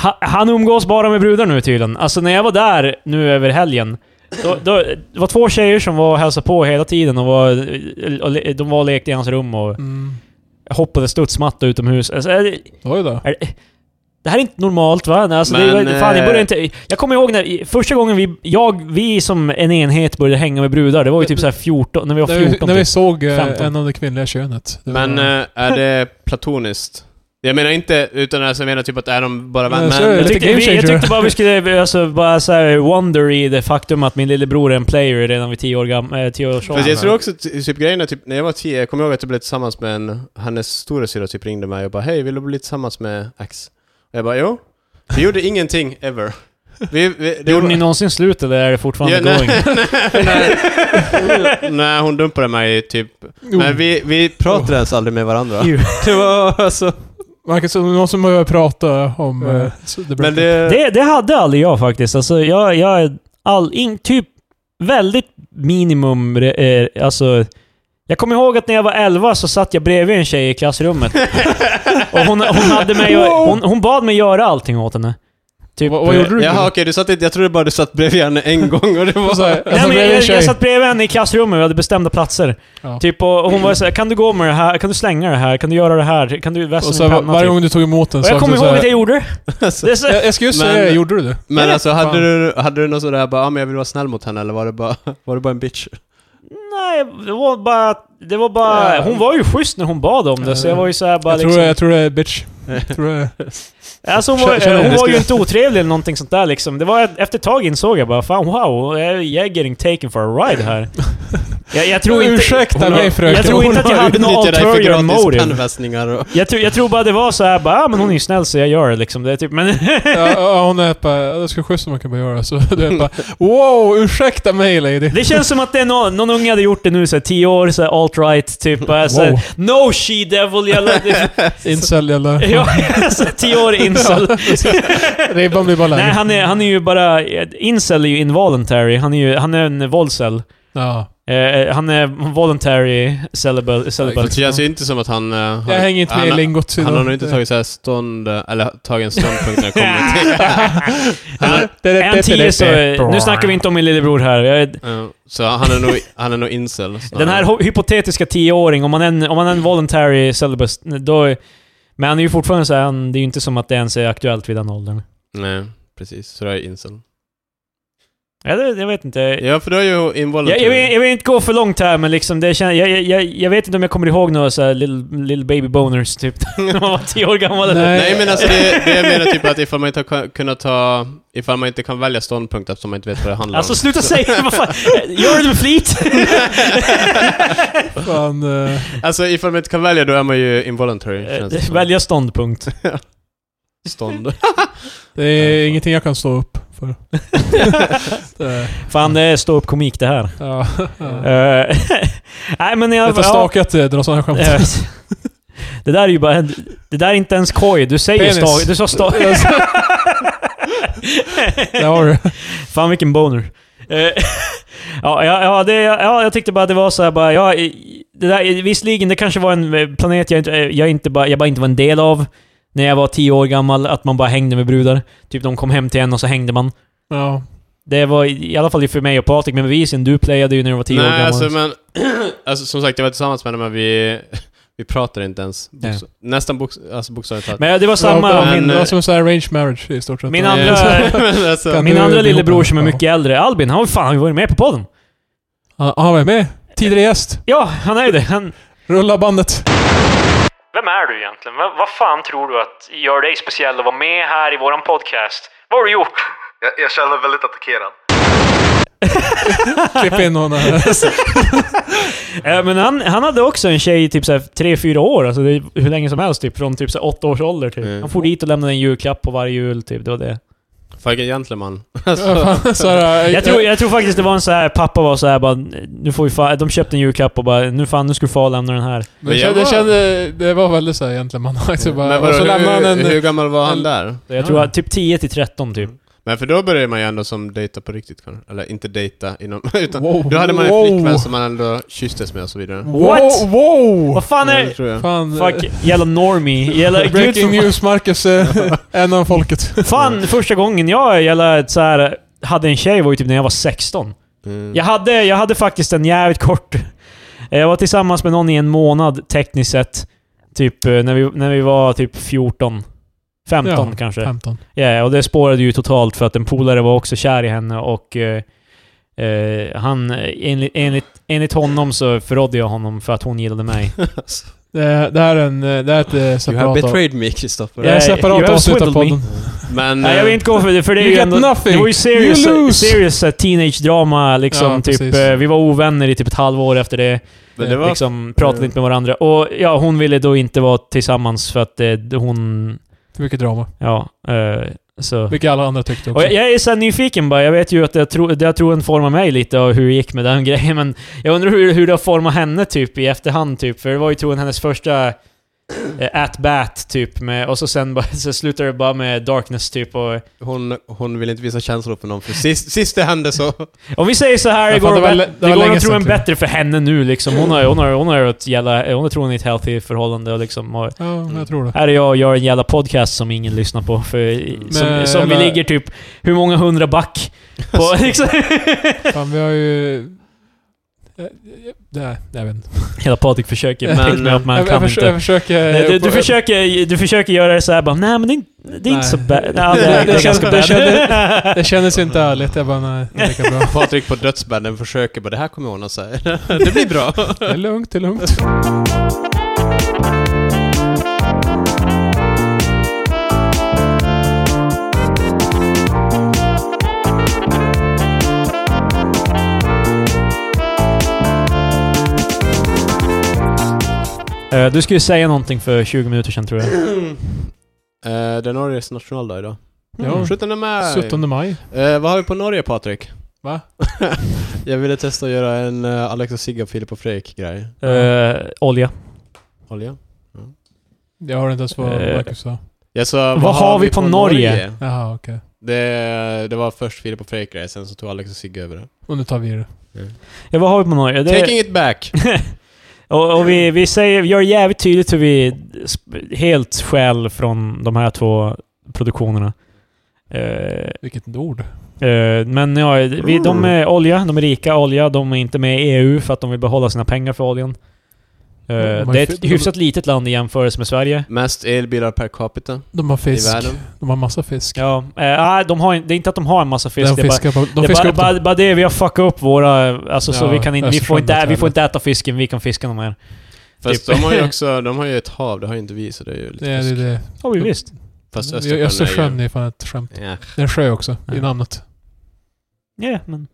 S3: ha, han umgås bara med brudar nu tydligen. Alltså när jag var där nu över helgen, då, då, det var två tjejer som var och hälsade på hela tiden och, var, eh, och le- de var och lekte i hans rum och
S2: Mm.
S3: hoppade studsmatta utomhus. Alltså, är det,
S2: Oj då.
S3: är det, det här är inte normalt va? Nej, Alltså, det,
S1: Men,
S3: var- fan, jag, började
S1: eh,
S3: inte, jag kommer ihåg när, första gången vi, jag, vi som en enhet började hänga med brudar, det var ju typ så här 14, när vi var
S2: När vi,
S3: 14
S2: när vi
S3: typ.
S2: såg eh,
S3: 15.
S2: en av det kvinnliga könet. Det
S1: Men
S2: var-
S1: eh, är det platoniskt? Jag menar inte, utan alltså, jag menar typ att är de bara
S2: Ja,
S1: vänner?
S2: så är det.
S3: Jag
S2: Lite
S3: tyckte,
S2: game
S3: vi, jag
S2: changer.
S3: tyckte bara vi skulle alltså, bara så här, wonder i det faktum att min lillebror är en player redan vid 10 år gam- äh, 10 års
S1: Fast jag tror
S3: ålder.
S1: också, ty- typ grejen är typ, när jag var tio, jag kommer ihåg att jag blev tillsammans med en, hennes storasyrra typ ringde mig och bara hej, vill du bli tillsammans med X? Och jag bara jo. Vi gjorde ingenting, ever. Vi, vi,
S3: Gjorde
S1: var-
S3: ni någonsin slut eller är det fortfarande
S1: Ja,
S3: going?
S1: nej, nej, nej, hon dumpade mig typ... Men vi, vi pratade ens aldrig med varandra. Det var alltså...
S2: Marcus, om det är någon som behöver prata om...
S1: Ja.
S2: eh, så det
S1: Men
S2: men
S1: det...
S3: Det, det hade aldrig jag faktiskt. Alltså, jag, jag är all, in, typ väldigt minimum... Eh, alltså, jag kommer ihåg att när jag var 11 så satt jag bredvid en tjej i klassrummet. och hon, hon, hade mig, hon, hon bad mig göra allting åt henne. Typ,
S2: vad, vad gjorde du?
S1: Jaha, okej, du satt inte... Jag trodde bara du satt bredvid henne en gång och det var...
S2: Jag sa, jag
S3: Nej,
S2: satt
S3: men
S2: bredvid Alltså, en
S3: jag, jag
S2: tjej.
S3: satt bredvid henne i klassrummet, vi hade bestämda platser.
S2: Ja.
S3: Typ, och, och hon var såhär, kan du gå med det här? Kan du slänga det här? Kan du göra det här? Kan du vässa
S2: Och
S3: min
S2: så,
S3: penna?
S2: var- varje
S3: typ.
S2: gång du tog emot en
S3: och jag
S2: sak
S3: kommer
S2: så
S3: ihåg
S2: här-
S3: att jag gjorde det. det. är så,
S2: jag, jag ska just
S1: Men-
S2: säga, gjorde du det?
S1: Men alltså, hade
S2: Fan.
S1: du, hade du någon sån där bara, ah, men jag vill vara snäll mot henne, eller var det bara, var det bara en bitch?
S3: Nej, det var bara... Det var bara
S2: Ja.
S3: Hon var ju schysst när hon bad om det, så jag var ju såhär bara
S2: Jag tror,
S3: liksom...
S2: det- jag tror det är bitch. Jag tror det,
S3: alltså, hon var,
S2: Känner jag.
S3: hon
S2: Det
S3: var
S2: skulle
S3: ju
S2: jag-
S3: inte otrevlig eller någonting sånt där liksom. Det var, efter ett tag insåg jag bara fan wow, jag jag är getting taken for a ride här. Jag, jag tror inte...
S2: Ursäkta
S3: Hon har-
S2: mig, fröken.
S3: Jag tror
S2: Hon
S3: inte att jag
S2: har
S3: hade något ulterior motive.
S1: pennvässningar och...
S3: Jag tror, jag tror bara det var så här, bara, ah, men hon är ju snäll så jag gör det liksom. Det är typ, men...
S2: ja, ja, hon är bara, ja, det ska schysst om man kan bara göra så. Du är bara, wow, ursäkta mig lady.
S3: Det känns som att det är någon, någon unge hade gjort det nu, såhär, 10 år, såhär, alt-right, typ. Alltså,
S2: Wow.
S3: No she devil, jävla...
S2: Incel jävla...
S3: Ja, alltså, 10 år incel.
S2: Ribban blir bara lägre.
S3: Nej, han är, han är ju bara... eh, Incel är ju involuntary. Han är ju han är en våldscell.
S2: ja.
S3: Eh, han är voluntary celibate.
S1: Det
S3: celibate.
S1: känns ju inte som att han... eh, har-
S2: Jag hänger inte med i
S1: han,
S2: lingot.
S1: Han har nog
S2: idag.
S1: inte tagit så här stånd, eh, eller tagit en ståndpunkt när det kommer till... han,
S2: Det- det- det-
S3: En
S2: det-
S3: 10
S2: det-
S3: så... eh,
S2: det-
S3: Nu snackar vi inte om min lillebror här. Jag, är-
S1: eh, så han är nog, han är nog incel. snarare.
S3: den här ho- hypotetiska 10-åring, om man är en, om man är en voluntary celibate, då... är- Men han är ju fortfarande såhär, han- det är ju inte som att det ens är aktuellt vid den åldern.
S1: Nej, precis. Så det är incel.
S3: Ja, det, jag vet inte.
S1: Ja, för då är ju
S3: Jag,
S1: involuntary.
S3: jag, vill, jag vill inte gå för långt här, men liksom det känns, jag, jag- jag, jag vet inte om jag kommer ihåg några såhär little, little baby boners typ, när man var tio år gammal.
S2: Nej.
S1: Nej men alltså det, det jag menar typ att ifall man inte har ka- kunnat ta... Ifall man inte kan välja ståndpunkt eftersom man inte vet vad det handlar
S3: Alltså
S1: om.
S3: sluta säga vad fan, gör det med flit!
S2: Fan, eh,
S1: Alltså ifall man inte kan välja då är man ju involuntary.
S3: Eh,
S1: känns det som.
S3: Välja ståndpunkt.
S1: stånd.
S2: det är ingenting jag kan stå upp för. det,
S3: Fan, det är ståuppkomik det här.
S2: ja.
S3: Eh, Nej men jag...
S2: Det tar
S3: ja,
S2: stakat eh, dra sådana skämt.
S3: eh, det där är ju bara... Det där är inte ens koj, du säger
S2: Penis.
S3: stag... Du sa stag...
S2: Där har du.
S3: Fan vilken boner. Eh, ja, ja, ja, det, ja, jag tyckte bara att det var så här bara, ja, i- det där, visserligen det kanske var en eh, planet jag, inte, eh, jag, inte bara, jag bara inte var en del av när jag var tio år gammal, att man bara hängde med brudar. Typ de kom hem till en och så hängde man.
S2: Ja.
S3: Det var i i alla fall ju för mig och Patrik, men bevisen, du playade ju när du var tio år
S1: Nej
S3: gammal.
S1: alltså men... Alltså som sagt jag var tillsammans med henne men vi... Vi pratade inte ens. Bok, nästan bok, alltså bokstavligt talat.
S3: men det var samma...
S2: Ja,
S1: min-
S2: det var som en sån här arranged marriage i stort sett.
S3: Min
S2: Ja.
S3: andra-
S1: men alltså,
S2: Kan
S3: min
S2: du-
S3: andra
S2: du
S3: lillebror
S2: hoppar?
S3: som är
S2: Ja.
S3: mycket äldre, Albin, han, har ju fan, han har ju varit med på podden.
S2: Ja, Han var med. Tidigare gäst.
S3: Ja, han är ju det. Han...
S2: Rulla bandet.
S3: Vem är du egentligen? Vad, vad fan tror du att gör dig speciell att vara med här i våran podcast? Vad har du gjort?
S6: Jag, jag känner mig väldigt attackerad.
S2: Klipp in någon här.
S3: Ja, Eh, men han, han hade också en tjej i typ såhär 3-4 år, alltså det är hur länge som helst typ. Från typ såhär 8 års ålder typ.
S1: Mm.
S3: Han for dit och lämnade en julklapp på varje jul typ, det var det.
S1: Fucking gentleman.
S2: Så här, eh,
S3: Jag tror, jag tror faktiskt det var en så här pappa var så här bara, nu får vi fa- de köpte en julklapp och bara, nu fan, nu ska far lämna den här.
S2: Men jag kände, det, kände, det var väldigt såhär gentlemannaaktigt bara.
S1: men vadå,
S2: och så lämnade han
S1: hur,
S2: en...
S1: hur gammal var han
S2: en-
S1: där?
S3: Så jag tror
S2: Ja.
S3: att typ 10 till 13 typ.
S1: Men för då började man ju ändå som dejta på riktigt kanske. Eller inte dejta inom... Utan
S2: Wow.
S1: då hade man en
S2: Wow.
S1: flickvän som man ändå kysstes med och så vidare.
S3: What?
S2: Wow! wow.
S3: Vad fan
S1: Ja, det
S3: är
S1: tror jag.
S2: Fan.
S3: Fuck,
S2: eh,
S3: jävla normie. Jävla, gud,
S2: Breaking
S3: för-
S2: news, Marcus. eh, en av folket.
S3: Fan, första gången jag jävla, ett så här, hade en tjej var ju typ när jag var 16.
S1: Mm.
S3: Jag hade, jag hade faktiskt en jävligt kort... eh, Jag var tillsammans med någon i en månad tekniskt sett. Typ eh, när vi, när vi var typ 14. 15
S2: Ja,
S3: kanske. Ja,
S2: 15.
S3: och det spårade ju totalt för att en polare var också kär i henne och... Eh, eh, han, enligt, enligt, enligt honom så förrådde jag honom för att hon gillade mig.
S2: Det, det här är en... eh, Det här är ett eh,
S1: You have
S2: separat... av-
S1: betrayed me, Kristoffer.
S2: Det här är ett
S3: Yeah, you
S2: separat
S3: have
S2: avsnitt av
S3: swindled
S2: podden.
S1: Men...
S3: Nej, jag vill inte gå för det, för det är
S2: You
S3: ju
S2: get
S3: ändå...
S2: nothing.
S3: Det var ju serious,
S2: You lose.
S3: serious eh, teenage-drama liksom.
S2: Ja,
S3: typ,
S2: precis.
S3: eh, vi var ovänner i typ ett halvår efter det.
S1: men det var...
S3: liksom, pratade
S1: Mm.
S3: inte med varandra. Och ja, hon ville då inte vara tillsammans för att eh, hon...
S2: För mycket drama.
S3: Ja. Eh, Så.
S2: Vilket alla andra tyckte också.
S3: Och jag, jag är så här nyfiken bara. Jag vet ju att jag tror, jag tror en formar mig lite av hur det gick med den grejen, men jag undrar hur, hur det har format henne typ i efterhand typ. För det var ju troligen hennes första eh, at-bat typ. Med, och så sen bara, så slutar det bara med darkness typ. Och,
S1: Hon, hon vill inte visa känslor för någon, för sist, sist det hände så...
S3: om vi säger så här,
S2: Ja,
S3: det
S2: fan,
S3: går,
S2: det var
S3: det
S2: lä- det var
S3: det går
S2: länge sedan,
S3: nog
S2: typ.
S3: troligen
S2: tror jag.
S3: bättre för henne nu liksom. Hon har, hon har, hon har ett jävla, hon är troligen i ett healthy förhållande och liksom. Och,
S2: Ja, men jag tror det.
S3: Här är jag och gör en jävla podcast som ingen lyssnar på. För, som
S2: Men
S3: som vi
S2: jävla-
S3: ligger typ hur många hundra back på. liksom.
S2: Fan, vi har ju... Eh, eh, Nej, jag vet inte.
S3: Hela Patrik försöker, men,
S1: Men,
S3: pick me up, men
S2: Jag,
S3: han
S2: jag,
S3: kan
S2: försöker, jag
S3: inte.
S2: försöker...
S3: Nej, Du, du, försöker, du försöker göra det så här bara, nej men det är, inte- det är inte
S2: Nej.
S3: så bad. Ja,
S2: Det-
S3: det, är-
S2: det
S3: det är
S2: känns-
S3: ganska
S2: det
S3: bad.
S2: Det kändes inte ärligt. Jag bara, nej, det är lika bra.
S1: Patrik på dödsbädden försöker bara, det här kommer ordna sig. det blir bra.
S2: Det är lugnt, det är lugnt.
S3: Eh, du skulle säga någonting för 20 minuter sedan tror jag.
S1: Eh, det är Norges nationaldag idag.
S2: Ja.
S1: 17 maj.
S2: 17 maj.
S1: Eh, vad har vi på Norge, Patrik?
S2: Va?
S1: Jag ville testa att göra en eh, Alex och Sigge, Filip och Fredrik-grej.
S3: Eh, olja.
S1: Olja.
S2: Jag hörde inte ens vad
S3: Eh.
S2: Marcus sa.
S1: Jag sa,
S3: Vad har vi på Norge?
S2: Jaha, okej.
S1: Det, det var först Filip och Fredrik-grej, sen så tog Alex och Sigge över det.
S2: Och nu tar vi det.
S3: Ja, vad har vi på Norge? Det,
S1: Taking it back!
S3: och och vi, vi säger, vi gör jävligt tydligt hur vi sp- helt skäl från de här två produktionerna. Eh,
S2: Vilket ord.
S3: Eh, Men ja, vi, de är olja, de är rika olja, de är inte med i EU för att de vill behålla sina pengar för oljan. Eh,
S2: De har
S3: Det är
S2: ju
S3: ett
S2: fi- de-
S3: hyfsat litet land i jämförelse med Sverige.
S1: Mest elbilar per capita
S2: De har
S1: i
S2: fisk.
S1: världen.
S2: De har massa fisk.
S3: Ja, eh, ah, de har, en- det är inte att de har en massa
S2: de
S3: fisk. det är bara,
S2: fiskar, på,
S3: det
S2: de
S3: är
S2: fiskar
S3: bara,
S2: upp dem.
S3: bara, bara det, vi har fuckat upp våra... Alltså så
S2: Ja,
S3: vi kan inte... Vi
S2: Östersjön
S3: får inte, ä-
S2: är
S3: vi får inte äta fisken, vi kan fiska de här.
S1: Fast
S3: Typ.
S1: de har ju också, de har ju ett hav, det har ju inte vi så det är ju lite
S2: Det är det.
S1: fusk.
S2: det.
S3: Ja, vi visst.
S1: Fast
S2: Östersjön, Östersjön
S1: är
S2: är fan ett skämt.
S1: ju... Ja.
S2: Det är en sjö också, i
S3: Ja.
S2: namnet.
S3: Ja, men...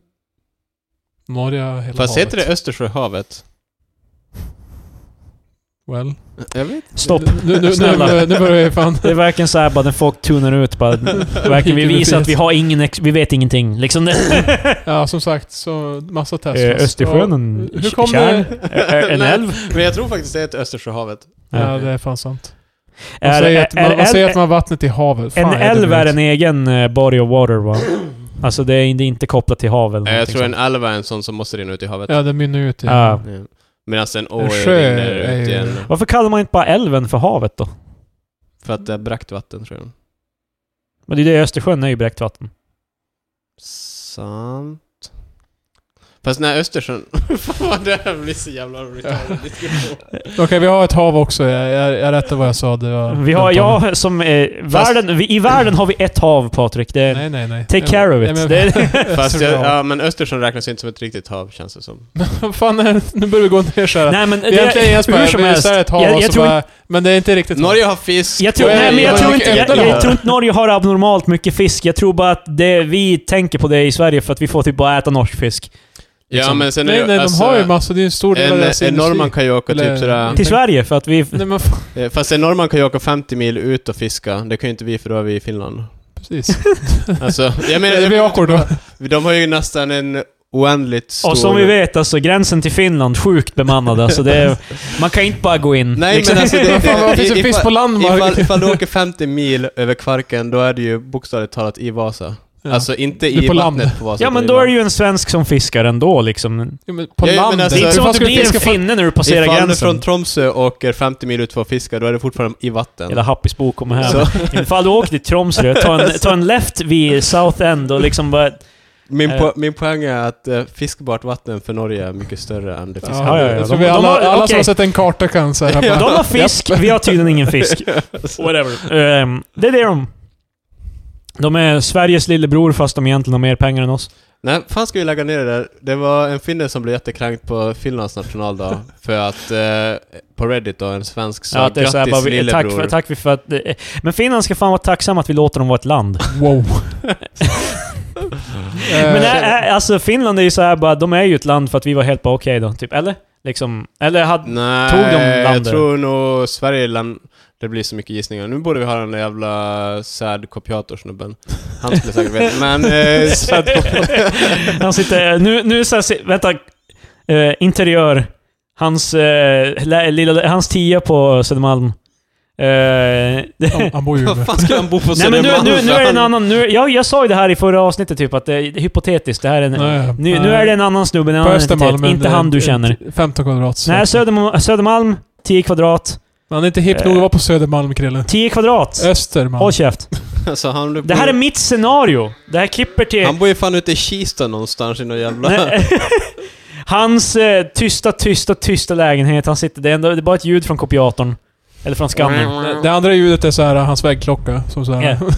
S2: Norge har hela
S1: Fast
S2: havet.
S1: heter det Östersjöhavet?
S2: Well.
S1: Jag vet
S3: Stopp.
S2: Nu, nu, nu,
S3: Snälla.
S2: nu, nu börjar jag fan...
S3: Det är verkligen såhär bara, när folk tunar ut bara... Verkligen, vi visar att vi har ingen... Ex, vi vet ingenting. Liksom det.
S2: Ja, som sagt, så massa test.
S3: Eh, Östersjön, en
S2: Hur kom
S3: tjärn?
S2: det?
S3: Ä- En
S1: Nej,
S3: älv?
S1: Men jag tror faktiskt det heter Östersjöhavet.
S2: Ja, det är fan sant. Man
S3: Är-
S2: säger att
S3: är-
S2: man, man,
S3: är-
S2: säger att man har vattnet i havet. Fan,
S3: En
S2: är det
S3: älv är
S2: dumt.
S3: en egen eh, body of water va? Alltså det är in- det är inte kopplat till hav eller
S1: Nej, jag
S3: någonting
S1: tror en
S3: sånt.
S1: älv är en sån som måste rinna ut i havet.
S2: Ja, den mynnar ut i...
S3: Ja.
S1: Ja. Medan en å
S2: En sjö
S1: rinner
S2: är
S1: ut
S2: ju-
S1: igen.
S3: Varför kallar man inte bara älven för havet då?
S1: För att det är brakt vatten tror jag.
S3: Men det är det, Östersjön är ju bräckt vatten.
S1: Sant. Fast nej, Östersjön... Fan vad det här blir så jävla retarded diskussion.
S2: Okej, vi har ett hav också. Jag, jag, jag rättar vad jag sa. Det var
S3: Vi har, ja som eh, världen, vi, i världen har vi ett hav Patrik. Det är,
S2: Nej, nej, nej.
S3: Eh, take care of
S2: Nej,
S3: it.
S2: men-
S3: det är,
S1: Fast jag,
S2: Östersjön.
S1: ja, men Östersjön räknas ju inte som ett riktigt hav känns det som.
S2: Vad fan är det? Nu börjar vi gå ner såhär.
S3: nej men det,
S2: Egentligen är Jesper,
S3: hur som
S2: vi är
S3: helst.
S2: såhär ett hav
S3: jag,
S2: och
S3: jag,
S2: så
S3: tror,
S2: bara, Men det är inte riktigt
S1: Norge har fisk.
S3: jag, tror,
S1: och
S3: nej, men jag,
S1: elbilar.
S3: tror
S2: jag-
S3: inte, jag,
S2: jag-
S3: jag tror inte Norge har abnormalt mycket fisk. Jag tror bara att det, vi tänker på det i Sverige för att vi får typ bara äta norsk fisk.
S1: Ja,
S3: liksom-
S1: men sen är
S2: Nej,
S1: det-
S2: nej,
S1: alltså,
S2: de har ju massor. Det är en stor del av
S1: En, eh,
S2: deras
S1: en
S2: industri.
S1: norrman kan ju åka
S2: Eller-
S1: typ sådär...
S3: Till Sverige för att vi...
S2: Nej, men fan,
S1: Eh, Fast en norrman kan ju åka 50 mil ut och fiska. Det kan ju inte vi för då är vi i Finland.
S2: precis.
S1: Alltså, jag menar...
S2: Det blir awkward då.
S1: De har ju nästan en oändligt stor...
S3: Och som vi vet, alltså gränsen till Finland, sjukt bemannad. Alltså, det är, man kan inte bara gå in.
S1: Nej
S3: liksom.
S1: men alltså det...
S2: Fan, vad finns det
S1: i-
S2: fisk på land, Mark?
S1: ifall, ifall du åker 50 mil över Kvarken, då är det ju bokstavligt talat i Vasa.
S2: Ja.
S1: Alltså inte
S2: Du är
S1: i
S2: på land.
S1: vattnet på Vasa.
S3: Ja
S1: utan
S3: men
S1: i
S3: då är
S1: land.
S3: det ju en svensk som fiskar ändå liksom.
S2: Jo, men på
S1: Ja, men
S2: land.
S1: alltså-
S3: Det är inte
S1: Så
S3: som
S2: fan
S3: att du
S2: ska
S3: blir en
S2: fiska på-
S3: finne när du passerar
S1: Ifall du
S3: gränsen.
S1: från Tromsö åker 50 mil ut för att fiska, då är det fortfarande i vatten.
S3: Hela Happisbo kommer
S1: Så.
S3: här. Ifall du åker till Tromsö, ta en, ta en left vid South End och liksom bara...
S1: Min,
S3: Eh.
S1: po- min poäng är att eh, fiskbart vatten för Norge är mycket större än det fiskbara.
S3: Ja, ja, ja.
S2: Jag
S3: De-
S2: tror vi
S3: de
S2: alla,
S3: har-
S2: alla
S3: okej.
S2: som har sett en karta kan säga
S3: De
S2: bara...
S3: har fisk, vi har tydligen ingen fisk.
S1: Alltså.
S3: Whatever. Ehm, det är det de... De är Sveriges lillebror fast de egentligen har mer pengar än oss.
S1: Nej, fan ska vi lägga ner det där? Det var en finne som blev jättekränkt på Finlands nationaldag för att eh, på Reddit då, en svensk sa
S3: Ja, att det är så här,
S1: grattis
S3: bara, vi,
S1: lillebror.
S3: tack, för, tack för att... eh, Men Finland ska fan vara tacksamma att vi låter dem vara ett land.
S2: Wow. Eh,
S3: eh, Men äh, äh, alltså Finland är ju så här bara, de är ju ett land för att vi var helt bara okej då, typ. Eller? Liksom, eller hade...
S1: Nej,
S3: Tog de
S1: jag
S3: landet?
S1: tror nog Sverige land... Det blir så mycket gissningar. Nu borde vi ha den där jävla sad kopiatorsnubben. Han skulle säkert veta. Men eh, sad
S3: Han sitter... eh, Nu, nu så här, se- vänta. Eh, interiör. Hans, eh, lä- lilla, hans tia på Södermalm. Eh,
S2: Han, han bor ju
S1: Vad
S2: över.
S1: fan ska han bo på
S3: Nej men nu,
S1: Södermalm?
S3: nu, nu är det en annan... Nu, jag, jag sa ju det här i förra avsnittet typ, att det är hypotetiskt. Det här är en,
S2: Nej,
S3: nu,
S2: nej.
S3: nu är det en annan snubbe, en
S2: På
S3: annan
S2: Östermalm.
S3: identitet.
S2: men
S3: Inte
S2: det-
S3: han du
S2: ett-
S3: känner.
S2: 15 kvadrat. så.
S3: Nej, Södermalm, Södermalm 10 kvadrat.
S2: Men han är inte hipp nog att vara på Södermalm, Krille.
S3: 10 kvadrat! Håll
S2: Östermalm.
S3: käft.
S1: Alltså, han, bor,
S3: Det här är mitt scenario. Det här klipper till...
S1: han bor ju fan ute i Kista någonstans i någon jävla...
S3: Nej. Hans eh, tysta, tysta, tysta lägenhet. Han sitter... Det är, ändå, det är bara ett ljud från kopiatorn. Eller från skammen.
S2: Det, det andra ljudet är så här, hans väggklocka. Som så här.
S3: Ja.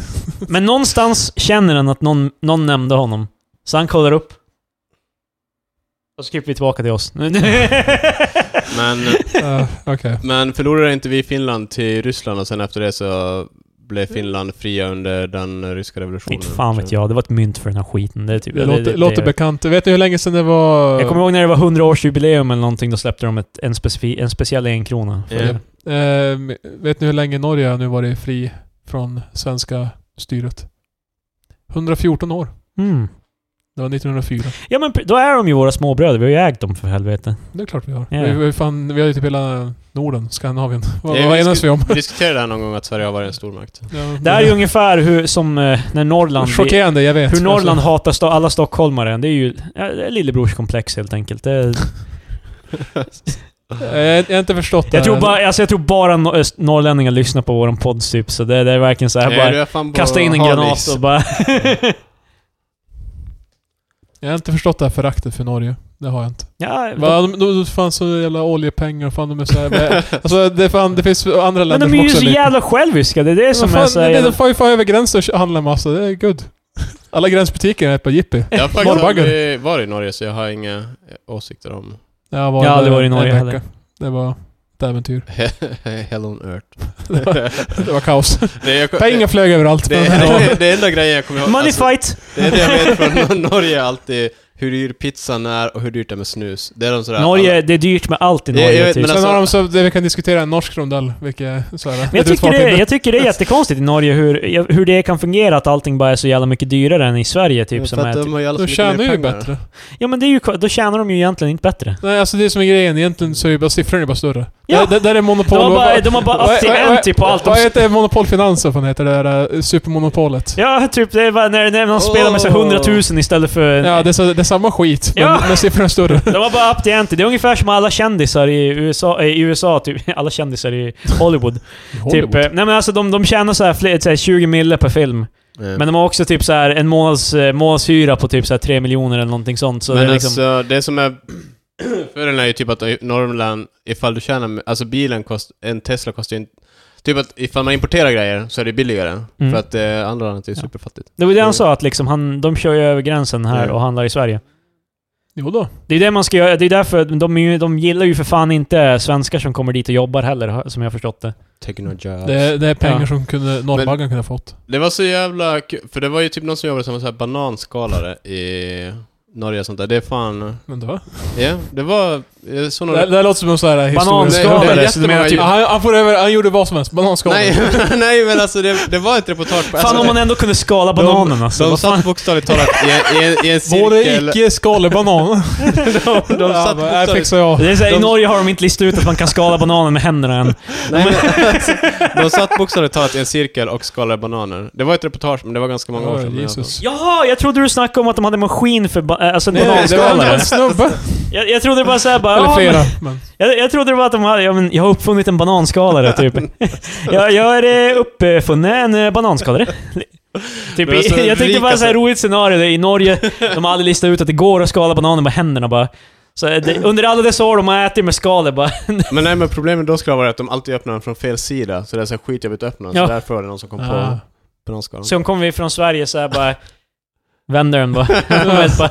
S3: Men någonstans känner han att någon, någon nämnde honom. Så han kollar upp. Och så klipper vi tillbaka till oss.
S1: Men,
S2: Eh, Okej.
S1: men förlorade inte vi Finland till Ryssland och sen efter det så blev Finland fria under den ryska revolutionen?
S3: Inte fan vet jag. Det var ett mynt för den här skiten. Det, är typ,
S2: Det låter,
S3: det- det-
S2: låter bekant. Vet ni hur länge sedan det var...
S3: Jag kommer ihåg när det var 100-årsjubileum eller någonting. Då släppte de ett, en, specifi, en speciell enkrona.
S1: Ja.
S2: Eh, vet ni hur länge Norge har nu varit fri från svenska styret? 114 år.
S3: Mm.
S2: Det var 1904.
S3: Ja men pr- då är de ju våra småbröder. Vi har ju ägt dem för helvete.
S2: Det är klart vi har.
S3: Ja.
S2: Vi, vi, fan, vi har ju typ hela Norden, Skandinavien. Vad,
S1: Ja,
S2: vad
S1: vi
S2: enas vi om?
S1: Vi diskuterade det här någon gång, att Sverige har varit en stormakt.
S2: Ja,
S3: Det här är ju ungefär hur, som eh, när Norrland...
S2: Chockerande, jag vet.
S3: hur Norrland hatar sto- alla stockholmare. Det är ju ja, det är lillebrorskomplex helt enkelt. Det,
S2: Eh, Jag jag har inte förstått det
S3: jag, tror
S2: här.
S3: bara, alltså, jag tror bara no- öst- norrlänningar lyssnar på våran podd typ. Så det, det är verkligen så här
S1: Nej, Eh, du
S3: bara...
S1: är fan på
S3: Kasta in en
S1: hal
S3: granat
S1: is.
S3: och bara...
S2: Jag har inte förstått det här föraktet för Norge. Det har jag inte.
S3: ja,
S2: Va, de, de, de fanns så jävla oljepengar och fan de är så här, Alltså det, fan, det finns andra
S3: men
S2: länder
S3: de är ju
S2: som också
S3: så
S2: lyckas.
S3: jävla själviska. Det är det
S2: Vad
S3: som
S2: fan,
S3: är så
S2: det,
S3: jävla...
S2: de får ju fan över gränsen och handla massa. Det är good. Alla gränsbutiker är på jippi.
S1: Jag har faktiskt
S2: Norrbaggar.
S1: aldrig varit i Norge, så jag har inga eh, åsikter om
S2: Jag var
S3: Jag har aldrig
S2: där
S3: varit i
S2: en
S3: Norge
S2: vecka.
S3: heller.
S2: Det var ett äventyr.
S1: Hell on Earth.
S2: Det var, det var kaos.
S1: Det, jag,
S2: Pengar flög överallt.
S1: det,
S2: men-
S1: det, det är enda grejen jag kommer ihåg.
S3: Money
S1: alltså,
S3: fight!
S1: det är det jag vet från Norge är alltid hur dyr pizzan är och hur dyrt det är med snus. Det är de sådär...
S3: Norge, det är dyrt med allt i
S1: Ja, jag
S3: Norge
S1: vet,
S3: typ.
S1: men
S2: Sen
S1: alltså-
S2: har de så, det vi kan diskutera, en norsk rondell. Vilket är typ så här,
S3: Men jag,
S2: ett
S3: tycker det,
S2: utfarthinder.
S3: jag tycker det är jättekonstigt i Norge hur, hur det kan fungera att allting bara är så jävla mycket dyrare än i Sverige. Typ, som
S1: Mm, för
S3: är,
S1: att
S3: typ.
S1: de har ju alla så
S2: De
S1: mycket
S2: tjänar
S1: mer
S2: ju
S1: pengar.
S2: bättre.
S3: Ja men det är ju, då tjänar de ju egentligen inte bättre.
S2: Nej, alltså det är som är grejen. Egentligen så är ju bara siffrorna bara större.
S3: Ja.
S2: Där, där, där är monopol.
S3: De har
S2: och-
S3: bara- de har bara
S2: vad-
S3: up till
S2: vad- vad-
S3: ante på allt de-
S2: Vad heter monopolfinans vad fan heter det där eh, supermonopolet?
S3: Ja, typ det är bara när, när man spelar med så här 100 000 istället för...
S2: Ja, det är, så, det är samma skit, men,
S3: Ja.
S2: men siffrorna är större.
S3: De var bara up the ante. Det är ungefär som alla kändisar i USA, eh, i USA typ. Alla kändisar i Hollywood. typ, eh, nej men alltså de, de tjänar så här, fler, så här 20 mille per
S1: Mm.
S3: film.
S1: Ja.
S3: Men de har också typ så här en månads, eh, månadshyra på typ så här 3 miljoner eller någonting sånt. Så
S1: men
S3: det är liksom,
S1: alltså, det som är... Fördelen är ju typ att i Norrland, ifall du tjänar... Alltså bilen kostar... En Tesla kostar ju inte... Typ att ifall man importerar grejer så är det billigare.
S3: Mm.
S1: För att eh, andra landet är ju
S3: Ja.
S1: superfattigt.
S3: det var det han sa, att liksom han, de kör ju över gränsen här
S1: Ja.
S3: och handlar i Sverige.
S2: Jo då.
S3: Det är det man ska göra. Det är därför de, är ju- de gillar ju för fan inte svenskar som kommer dit och jobbar heller, som jag har förstått det.
S1: Taking no jobs.
S2: Det, är- det är pengar
S3: Ja.
S2: som kunde, norrbaggarna kunde ha fått.
S1: Det var så jävla kul, för det var ju typ någon som jobbade som en sån här bananskalare i Norge och sånt där. Det är fan...
S2: Men det var...
S1: Ja, det var... Jag såg någon...
S2: Det, det här låter som en sån här historia.
S1: Bananskalare,
S3: Bananskalare,
S1: det-
S3: så du menar
S1: det-
S3: typ...
S2: Ja, han, han, får över, han gjorde vad som helst. Bananskalare.
S1: nej, nej men alltså det, det var ett reportage på...
S3: Fan
S1: alltså,
S3: om man ändå kunde skala
S1: de,
S3: bananen alltså.
S1: De
S3: Vad fan?
S1: satt bokstavligt talat i, en- i, en- i en
S2: Både
S1: cirkel...
S2: icke-skalbanan.
S1: de, de
S2: Ja,
S1: satt
S2: bara, här
S1: bokstavligt
S2: fixar jag.
S3: Det är så här, I
S1: de-
S3: Norge har de inte listat ut att man kan skala bananen med händerna än.
S1: Nej, men, alltså, de satt bokstavligt talat i en cirkel och skalade bananer. Det var ett reportage, men det var ganska många år
S2: Åh,
S1: sedan.
S2: Jesus.
S3: Jaha! Jag trodde du snackade om att de hade maskin för ba- äh, alltså en
S2: Nej, det var
S3: bananskalare.
S2: en snubbe.
S3: Jag, jag trodde bara såhär bara...
S2: Eller
S3: ja,
S2: flera.
S3: men,
S2: Men.
S3: jag, jag trodde bara att de hade... Ja, men, jag har uppfunnit en bananskalare typ. jag, jag har eh, uppfunnit en eh, bananskalare. Typ,
S1: Men alltså,
S3: i- jag tänkte
S1: rika
S3: bara såhär
S1: så-
S3: roligt scenario där i Norge. De har aldrig listat ut att det går att skala bananen med händerna bara. Så eh, det, under alla dessa år de har ätit med skalet bara.
S1: Men nej, men problemet då skulle ha varit att de alltid öppnade den från fel sida, så det är så här skitjobbigt att öppna.
S3: Ja.
S1: Så därför var det någon som kom
S2: Ah.
S1: på bananskalen.
S3: Så kommer vi från Sverige såhär bara... Vänder den bara. Och bara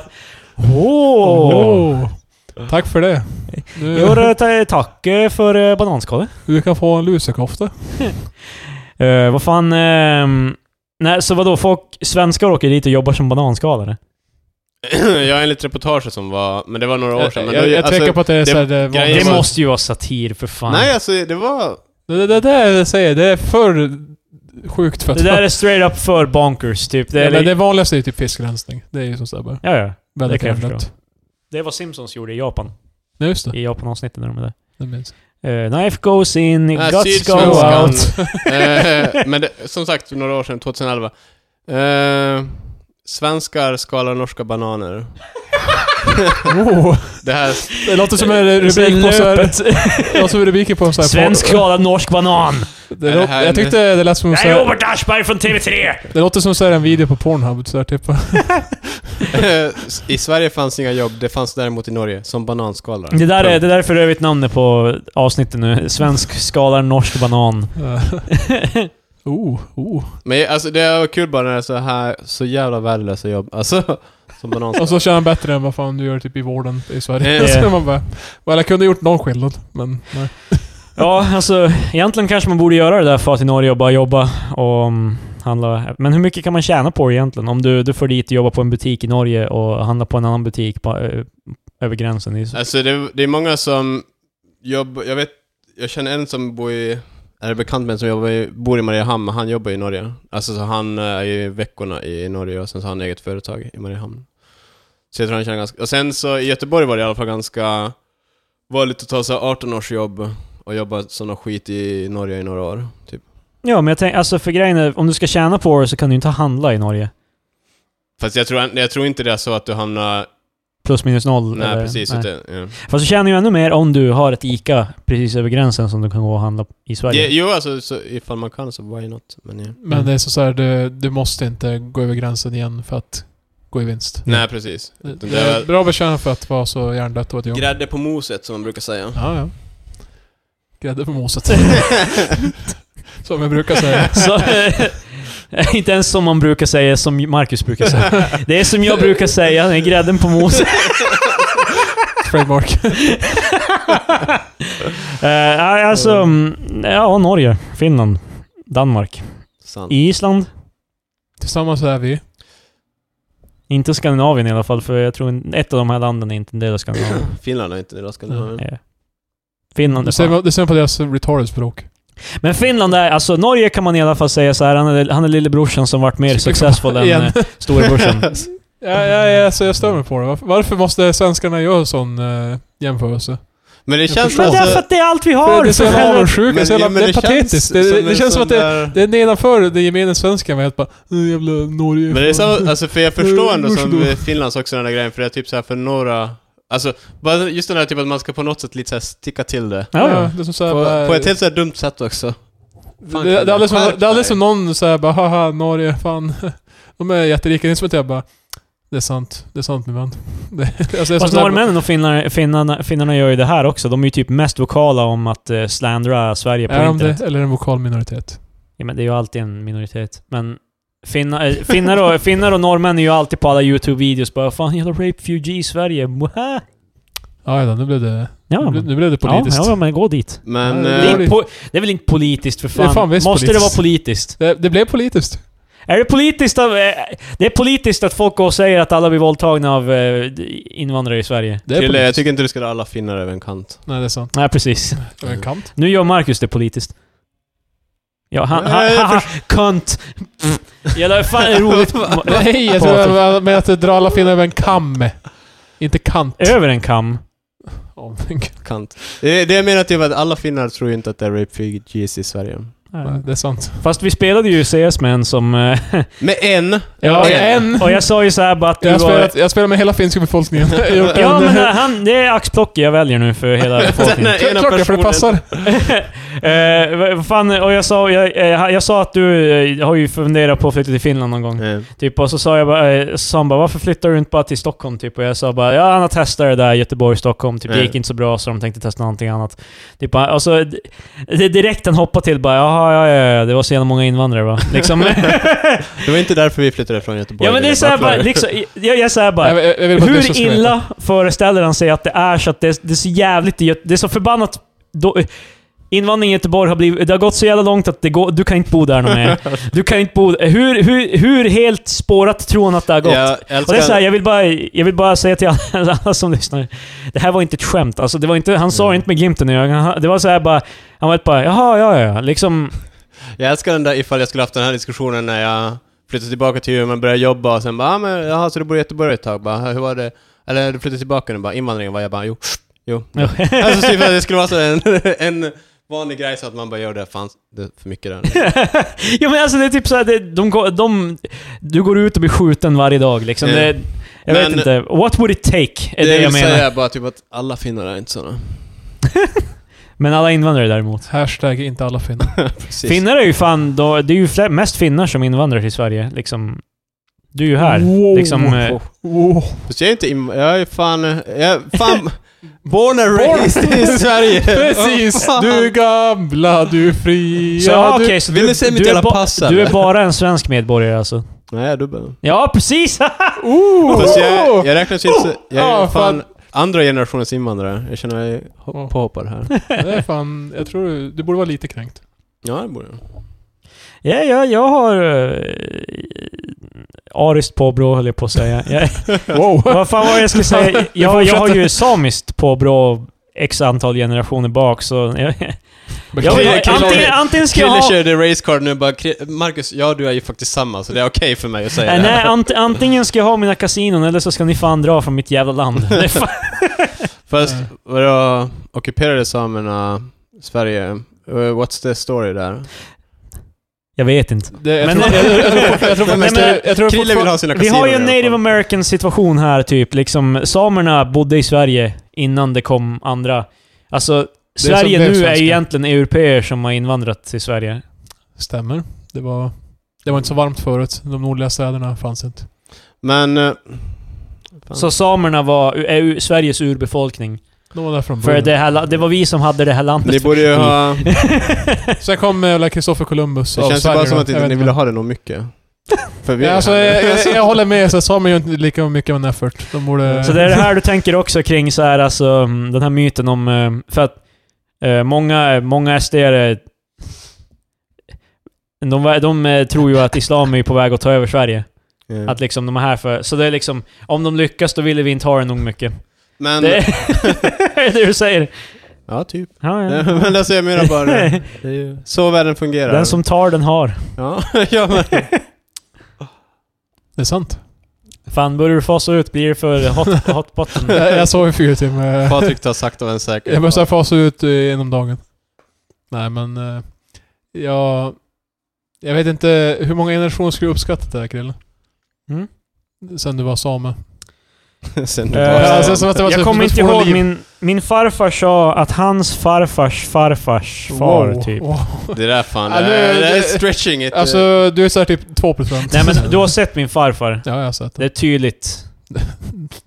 S3: Åh!
S2: Åh. Tack för det. Du,
S3: Jo, då, ta- tack eh, för eh, bananskalet.
S2: du kan få en lusekofta.
S3: Eh, vad fan... ehm, nej, så vadå? Folk, svenskar åker dit och jobbar som bananskalare?
S1: ja, enligt reportaget som var... Men det var några år
S2: Jag,
S1: sedan. Men
S2: jag,
S1: då-
S2: jag
S1: alltså,
S2: tvekar på att det är såhär... Det, var-
S1: grejen
S3: Det
S1: var-
S3: måste ju vara satir för fan.
S1: Nej, alltså det var...
S2: det, det, det där jag säger, det är för sjukt för att...
S3: det där är straight up för bonkers, typ. Det
S2: det,
S3: är
S2: ja,
S3: li-
S2: men det vanligaste är ju typ fiskrensning. Det är ju som sådär bara.
S3: ja, ja.
S2: Väldigt
S3: kan jag
S2: renligt.
S3: förstå. Det var Simpsons gjorde i Japan.
S2: Ja, just det.
S3: I Japan-avsnittet när de är där.
S2: Det minns
S3: Eh, knife goes in,
S1: Ah,
S3: guts go
S1: Sydsvenskan.
S2: out.
S3: out.
S1: eh, men det, som sagt, för några år sedan, 2011. Eh, svenskar skalar norska bananer.
S2: Oh,
S1: Det här...
S2: det låter som en rubrik på såhär... Det låter som rubriken på en sån här
S3: Svensk
S2: podd.
S3: skadad norsk banan.
S2: Det
S1: Är
S2: lå-
S1: det här
S2: jag
S1: nu?
S2: tyckte det lät som
S3: Det
S2: så
S3: är
S2: här,
S3: Robert Aschberg från TV3!
S2: Det låter som så här en video på Pornhub, så här, typ.
S1: I Sverige fanns inga jobb, det fanns däremot i Norge, som bananskalar.
S3: Det där, är, det där är för övrigt namnet på avsnittet nu. Svensk skalar norsk banan.
S2: oh, oh.
S1: Men alltså det är kul bara när det är så här så jävla värdelösa jobb. Alltså, som bananskalar.
S2: Och så kör han bättre än vad fan du gör typ i vården i Sverige.
S1: Eh.
S2: så man bara... Well, jag kunde gjort någon skillnad, men nej.
S3: Ja, alltså egentligen kanske man borde göra det där för att i Norge och bara jobba och mm, handla. Men hur mycket kan man tjäna på det egentligen? Om du, du får dit och jobbar på en butik i Norge och handlar på en annan butik på, ö, över gränsen. i-
S1: Alltså det, det är många som jobbar, jag vet, jag känner en som bor i, är bekant med en som jobbar i, bor i Mariehamn, men han jobbar i Norge. Alltså så han eh, är ju veckorna i Norge och sen så har han eget företag i Mariehamn. Så jag tror han känner ganska, och sen så i Göteborg var det i alla fall ganska vanligt att ta så här 18-årsjobb och jobba som någon skit i Norge i några år, typ.
S3: Ja, men jag tänker, alltså för grejen är, om du ska tjäna på det så kan du inte handla i Norge.
S1: Fast jag tror, jag tror inte det är så att du hamnar,
S3: Plus minus noll.
S1: nej
S3: Mm, eller-
S1: precis,
S3: nej.
S1: utan, ja.
S3: Fast du tjänar ju ännu mer om du har ett ICA precis över gränsen som du kan gå och handla i Sverige.
S1: Ja, Jo alltså, så, ifall man kan så why not? Men ja.
S2: Men det är så så här, du, du måste inte gå över gränsen igen för att gå i vinst.
S1: Nej
S3: Mm.
S1: precis.
S2: Det,
S1: Utan
S2: det
S1: det är-
S2: är bra betjänt för att vara så hjärndött och ett jobb.
S1: Grädde på moset som man brukar säga.
S2: ja, ja. Grädde på moset. Som jag brukar säga.
S3: Så, eh, inte ens som man brukar säga, som Marcus brukar säga. Det är som jag brukar säga, det är grädden på moset.
S2: Trademark.
S3: Eh, nej, alltså, mm, ja, Norge, Finland, Danmark,
S1: Sant.
S3: Island.
S2: Tillsammans är vi...
S3: Inte Skandinavien i alla fall, för jag tror en- ett av de här landen är inte en del av Skandinavien.
S1: Finland är inte det ska
S2: Mm.
S3: Eh, Finland är
S2: Det ser,
S3: fan.
S2: man- det ser man på deras retarded språk.
S3: Men Finland är, alltså Norge kan man i alla fall säga så här. han är, han är lillebrorsan som varit mer successful än
S2: Typ- Igen. Alltså-
S3: eh, storebrorsan.
S2: Ja, ja, ja, alltså jag stör mig på det. Varför, varför måste svenskarna göra en sån eh, jämförelse?
S1: Men det känns
S3: Men
S1: alltså...
S3: därför att det är allt vi
S2: Det,
S3: har!
S2: det är så
S3: för
S2: jävla
S3: helvete.
S2: avundsjuk, det är så jävla-
S1: ja, men
S2: det är patetiskt. Det, det, det känns som att det,
S1: där-
S2: det är nedanför det gemene svensken var helt bara "Nu jävla Norge.
S1: Men det är så, alltså för jag förstår ändå som
S2: Varsågod.
S1: eh, Finlands också den där grejen, för det är typ så här för några... Alltså, bara just den där typ att man ska på något sätt lite så här sticka till det.
S3: Ja,
S2: Ja,
S3: ja.
S2: det är som så här,
S1: På,
S2: bara,
S1: på ett helt så här dumt sätt också.
S2: det, det, är alldeles som, det är alldeles som någon såhär bara haha Norge, fan. De är jätterika. Det är som att jag bara det är sant. Det är sant min vän. Det, alltså, det är som
S3: Fast
S2: så här-
S3: norrmännen och finnar, finnarna, finnarna gör ju det här också. De är ju typ mest vokala om att eh, slandra Sverige på
S2: Är de
S3: internet.
S2: det? Eller en vokal minoritet?
S3: Ja, men det är ju alltid en minoritet. Men finna, eh, finnar, och, finnar och norrmän är ju alltid på alla YouTube-videos bara Fan, jävla rape-fugee i Sverige. Mwah!
S2: Ja, ja, nu blev det,
S3: Ja,
S2: nu, blev-
S3: men,
S2: nu blev det politiskt.
S3: Ja, ja, men gå dit.
S1: Men...
S2: Ja,
S3: Det är,
S1: eh,
S3: po- det är väl inte politiskt för fan?
S2: Det är fan visst
S3: Måste det
S2: politiskt.
S3: vara politiskt?
S2: det, det blev politiskt.
S3: Är det politiskt av, eh, Det är politiskt att folk går och säger att alla blir våldtagna av eh, invandrare i Sverige.
S2: Det är
S1: Krille, jag
S2: politiskt.
S1: tycker inte du ska dra alla finnar över en kant.
S2: Nej, det är sant.
S3: Nej, precis.
S2: Det var en kant.
S3: Nu gör Marcus det politiskt. Ja, han... han,
S1: Nej, jag
S3: han, han kunt! Ja, det är fan roligt.
S2: Nej, jag tror
S3: Patrik.
S2: jag med att dra alla finnar över en kam. Inte kant.
S3: Över en kam.
S2: Åh, men gud.
S1: Kant. Det, det jag menar typ att alla finnar tror ju inte att det är rape refugees i Sverige.
S2: Nej, det är sant.
S3: Fast vi spelade ju CS med en som... eh,
S1: Med en!
S3: Ja,
S1: en.
S2: en.
S3: och jag sa ju så här bara att du
S2: Jag
S3: var...
S2: spelar, jag spelar med hela finska befolkningen. Jag gjort
S3: Ja,
S2: en-
S3: men eh, han, det är axplocket jag väljer nu för hela befolkningen.
S1: Den ena
S2: Klart det, för det
S1: personen.
S2: passar.
S3: Eh, vad fan, och jag sa, jag, eh, jag sa att du eh, har ju funderat på att flytta till Finland någon gång.
S1: Eh,
S3: Typ, och så sa jag bara, eh, så sa han bara, varför flyttar du inte bara till Stockholm? Typ, och jag sa bara, ja han har testat det där Göteborg, Stockholm, typ, det
S1: Mm.
S3: gick inte så bra så de tänkte testa någonting annat. Typ, han- och så, d- det är direkt han hoppar till bara, jaha, ja, ja, ja, det var så jävla många invandrare va? Liksom.
S1: Det var inte därför vi flyttade från Göteborg.
S3: ja men det är såhär bara, liksom, jag, jag är såhär bara,
S2: Jag- jag- jag vill bara att du ska
S3: hur
S2: veta.
S3: illa föreställer han sig att det är så att det, det är så jävligt, det är så förbannat då, invandring i Göteborg har blivit... Det har gått så jävla långt att det går, du kan inte bo där någon mer. Du kan inte bo... Hur, hur, hur helt spårat tror hon att det har gått?
S1: Jag
S3: Och det är så här,
S1: älskar...
S3: jag, vill bara, jag vill bara säga till alla, alla som lyssnar. Det här var inte ett skämt. Alltså, det var inte, han sa
S2: Mm.
S3: det inte med glimten i ögonen. Han- Det var så här bara... Han var helt bara jaha, ja, ja. Liksom,
S1: Jag älskar den där ifall jag skulle haft den här diskussionen när jag flyttade tillbaka till Umeå och började jobba och sen bara ah, men jaha, så du bor i Göteborg ett tag? Bara, hur var det? Eller du flyttade tillbaka nu bara, invandringen var jag bara jo, jo. alltså typ att det skulle vara så en, en vanlig grej så att man bara gör det, fan det är för mycket där.
S3: ja men alltså det är typ såhär, de, de, går- de, du går ut och blir skjuten varje dag liksom.
S1: Ja.
S3: Det, jag vet
S1: Men-
S3: inte. What would it take? Är
S1: Det,
S3: det,
S1: jag
S3: jag
S1: vill
S3: menar.
S1: säga bara typ att alla finnar är inte såna.
S3: Men alla invandrare däremot.
S2: Hashtag inte alla finnar.
S1: Precis.
S3: Finnar är ju fan, då, det är ju fler, mest finnar som invandrar till Sverige liksom. Du är ju här.
S2: Wow.
S3: Liksom, eh,
S2: Wow.
S1: Fast jag är inte inv- jag är fan, jag är fan born and raised i Sverige.
S2: Precis! Du är gamla, du är fria.
S3: så ja,
S2: du...
S3: okej, så
S1: vill du se mitt
S3: är
S1: jävla
S3: ba-
S1: pass,
S3: Du är
S1: eller?
S3: bara en svensk medborgare alltså?
S1: Nej, jag är dubbel.
S3: Ja, precis!
S1: Fast jag, jag räknas inte så, jag är
S2: Ah,
S1: fan
S2: fan.
S1: andra generationens invandrare. Jag känner mig hop- påhoppad här.
S2: Det är fan, jag tror du, du borde vara lite kränkt.
S1: Ja, det borde jag.
S3: ja, ja, jag har... Uh, ariskt påbrå höll jag på att säga. Jag,
S2: Wow!
S3: Vad fan var det jag skulle säga? Jag, jag
S2: fortsätter.
S3: har ju samiskt påbrå x antal generationer bak, så... Jag, jag, jag,
S1: Krille-
S3: antingen, antingen ska jag
S1: Krille
S3: ha...
S1: körde racecard nu bara, "Kri- Marcus, ja du är ju faktiskt samma, så det är okej för mig att säga
S3: Nej,
S1: det.
S3: Äh, nej, ant, antingen ska jag ha mina kasinon eller så ska ni fan dra från mitt jävla land. Det är fan-
S1: Fast, vadå, ockuperade samerna Sverige? Eh, What's the story där?
S3: Jag vet inte.
S2: Det, jag,
S3: Men-
S2: tror, jag, tror- jag, tror- jag, tror
S1: Nej,
S2: faktiskt...
S1: men-
S2: jag, jag tror
S1: Krille vill
S2: fortfar-
S1: ha sina
S3: Vi
S1: kasinon.
S3: har ju en
S1: i alla
S3: native
S1: fall.
S3: american situation här, typ. Liksom, samerna bodde i Sverige innan det kom andra. Alltså,
S2: som
S3: Sverige
S2: blev
S3: nu är
S2: svenskar.
S3: ju egentligen europeer som har invandrat till Sverige.
S2: Stämmer. Det var, det var inte så varmt förut. De nordliga städerna fanns inte.
S1: Men... eh, fan.
S3: Så samerna var, är ju Sveriges urbefolkning.
S2: De var där från
S3: För
S2: början.
S3: det, här, la- det var vi som hade det här landet.
S1: Ni borde ju ha... Det
S2: Sen kom eh, Kristoffer Columbus Mm. av
S1: känns ju
S2: Sverige,
S1: bara som
S2: va?
S1: att
S2: Jag
S1: inte
S2: vet
S1: ni ville ha det nog mycket. För vi
S2: Ja, alltså, jag, jag, jag håller med, så samer gör inte lika mycket av en effort. De
S1: eh,
S2: borde...
S3: Så det är det här du tänker också kring så här, alltså, mm, den här myten om... eh, För att eh, många, många sd eh, de, var- de eh, tror ju att islam är på väg att ta över Sverige.
S1: Ja.
S3: Att liksom de är här för... Så det är liksom... Om de lyckas, då ville vi inte ha det nog mycket.
S1: Men...
S3: Det är det du säger.
S1: Ja, typ.
S3: Ja, ja.
S1: Men alltså jag menar bara det. Det är ju så världen fungerar.
S3: Den som tar, den har.
S1: Ja, ja men...
S2: Det är sant.
S3: Fan, börjar du fasa ut blir det för hot, hot button.
S2: Jag, jag sov i fyra timmar.
S1: Patrik tar sakta men säkert.
S2: Jag måste fasa ut eh, genom dagen. Nej men... eh, Jag... Jag vet inte hur många generationer skulle du uppskattat det här Krille?
S3: Mm.
S2: Sen du var same.
S1: Sen du
S3: Eh,
S1: bara-
S2: Ja, alltså, som att det var
S3: jag
S2: så-
S3: kommer
S2: så
S3: inte
S2: två
S3: ihåg,
S2: liv.
S3: min, min farfar sa att hans farfars farfars far
S2: Wow.
S3: typ.
S2: Wow.
S1: Det där fan,
S2: Ja,
S1: det,
S2: nu-
S1: är- det är
S2: det-
S1: stretching it.
S2: Alltså du är såhär typ 2%.
S3: Nej men du har sett min farfar.
S2: Ja, jag har sett
S3: Det
S2: det.
S3: är tydligt.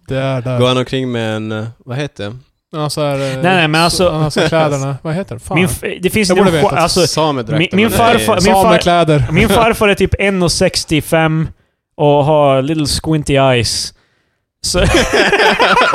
S2: Det är där.
S1: Går han omkring med en, eh, vad heter det?
S2: Ja, så här, eh,
S3: Nej, nej, men alltså-
S2: så- ja, så här kläderna. Vad heter det? Fan.
S3: Min, f- det finns
S2: Jag
S3: inte
S2: borde
S3: en
S2: veta.
S3: chans- alltså,
S1: Samedräkten.
S3: min- min
S1: men
S3: farfar-
S1: nej.
S3: min far-
S2: Samekläder.
S3: Min farfar är typ 1,65 och har little squinty eyes. Så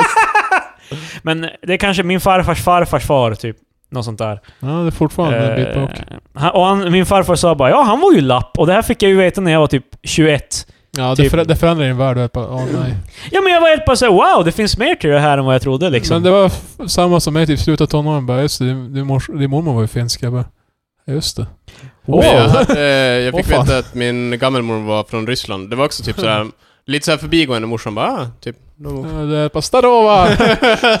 S3: men det är kanske min farfars farfars far typ. Något sånt där.
S2: Ja, det är fortfarande en bit bak.
S3: Eh, han, och han, min farfar sa bara ja, han var ju lapp. Och det här fick jag ju veta när jag var typ 21.
S2: Ja, det,
S3: typ-
S2: förä- det förändrar din värld. och jag bara, Åh nej.
S3: Ja men jag var helt bara såhär wow, det finns mer till det här än vad jag trodde liksom.
S2: Men det var f- samma som mig, typ slutet av tonåren. Bara, just det, din, din, mors, din mormor var ju finsk. Jag bara, just det.
S1: Men Jag,
S2: Wow.
S1: hade, jag fick
S2: Åh, fan.
S1: veta att min gammelmor var från Ryssland. Det var också typ sådär, lite såhär förbigående morsan bara, ah, typ. No.
S2: Ja, Det är bara starova!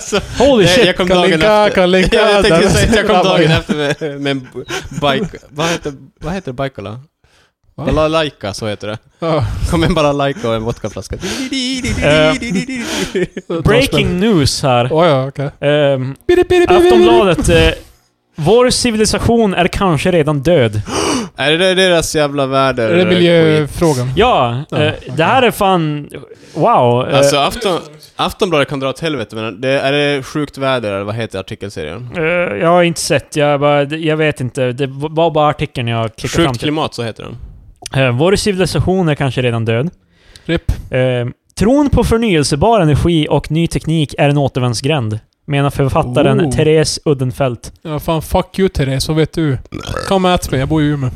S1: så,
S3: Holy
S1: jag,
S3: shit!
S1: jag kom dagen
S2: Kalinka,
S1: efter.
S2: kalinka.
S1: jag tänkte
S2: Där-
S1: säga att jag kom
S2: där var
S1: dagen
S2: jag.
S1: efter med, med en b- bike... Vad heter, vad heter Baikola?
S2: Va?
S1: Balalaika, så heter det.
S2: Ja,
S1: Kom en balalaika och en vodkaflaska.
S2: Eh. det var
S3: Breaking news här.
S2: spännande. Oj, ja, okej.
S3: Ehm,
S2: Bidi, bidi, bidi, bidi.
S3: Aftonbladet. Eh, vår civilisation är kanske redan död.
S1: Är det deras jävla värder?
S2: Är det
S1: skit?
S2: miljöfrågan?
S3: Ja,
S2: Ja,
S3: eh,
S2: okej.
S3: det här är fan... Wow. Eh,
S1: Alltså Afton, Aftonbladet kan dra åt helvete men det, är det sjukt väder eller vad heter artikelserien?
S3: eh, jag har inte sett, jag, bara, jag vet inte. Det var bara artikeln jag klickade fram
S1: Sjukt
S3: till.
S1: klimat, så heter den.
S3: Eh, vår civilisation är kanske redan död. Ehm,
S2: Ripp.
S3: Eh, tron på förnyelsebar energi och ny teknik är en återvändsgränd. menar författaren
S2: Oh.
S3: Therese Uddenfelt.
S2: Ja, fan fuck you Therese, vad vet du? Come at me, jag bor i Umeå.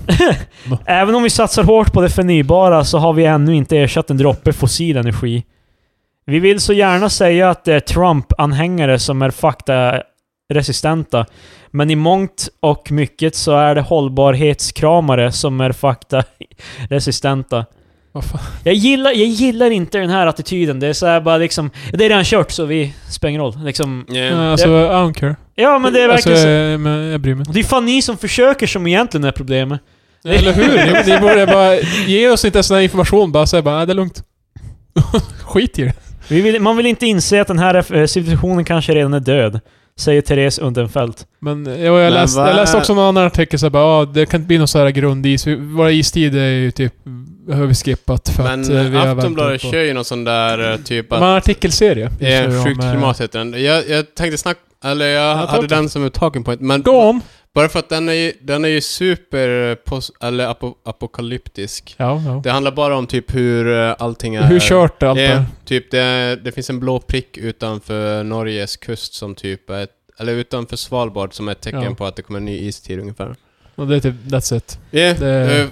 S3: Även om vi satsar hårt på det förnybara så har vi ännu inte ersatt en droppe fossil energi. Vi vill så gärna säga att det är Trump-anhängare som är faktaresistenta, men i mångt och mycket så är det hållbarhetskramare som är faktaresistenta.
S2: Vad fan?
S3: Jag gillar, jag gillar inte den här attityden. Det är så här bara liksom... Det är redan kört så vi spelar ingen roll. Liksom,
S2: Ja, alltså, I don't care.
S3: ja men det är
S2: alltså,
S3: verkligen så.
S2: jag, men jag bryr mig
S3: Det är fan ni som försöker som egentligen är problemet.
S2: inte. Eller hur? Ni, ni borde bara... Ge oss inte sån här information. Bara säg bara, "Nej, det är lugnt. Skit i det.
S3: Vi vill, man vill inte inse att den här eh, civilisationen kanske redan är död. Säger Therese Undenfält.
S2: Men eh, jag, jag,
S1: Men
S2: läste,
S1: vad
S2: jag läste
S1: är-
S2: också någon annan artikel så här, bara, ah, det kan inte bli någon så här grundis. Vi- Våra istider är ju typ... Har vi skippat för att eh,
S1: Men
S2: vi har
S1: Aftonbladet
S2: väntat på...
S1: kör ju någon sån där eh, typ
S2: De har
S1: att
S2: en artikelserie. just
S1: det
S2: nu
S1: är
S2: om,
S1: sjukt
S2: eh,
S1: klimat heter den. Jag, jag tänkte snacka, eller jag
S2: ta
S1: hade
S2: upp det.
S1: den som en talking point, men
S2: Go on!
S1: bara för att den är ju, den är ju super, eh, pos, eller apo, apokalyptisk.
S2: Ja, ja.
S1: Det handlar bara om typ hur eh, allting är...
S2: Hur kört det allt
S1: det
S2: där?
S1: är, typ det, det finns en blå prick utanför Norges kust som typ är ett, eller utanför Svalbard som är ett tecken
S2: Ja.
S1: på att det kommer en ny istid ungefär.
S2: Och det är typ, that's it.
S1: Yeah,
S2: Det-
S1: eh,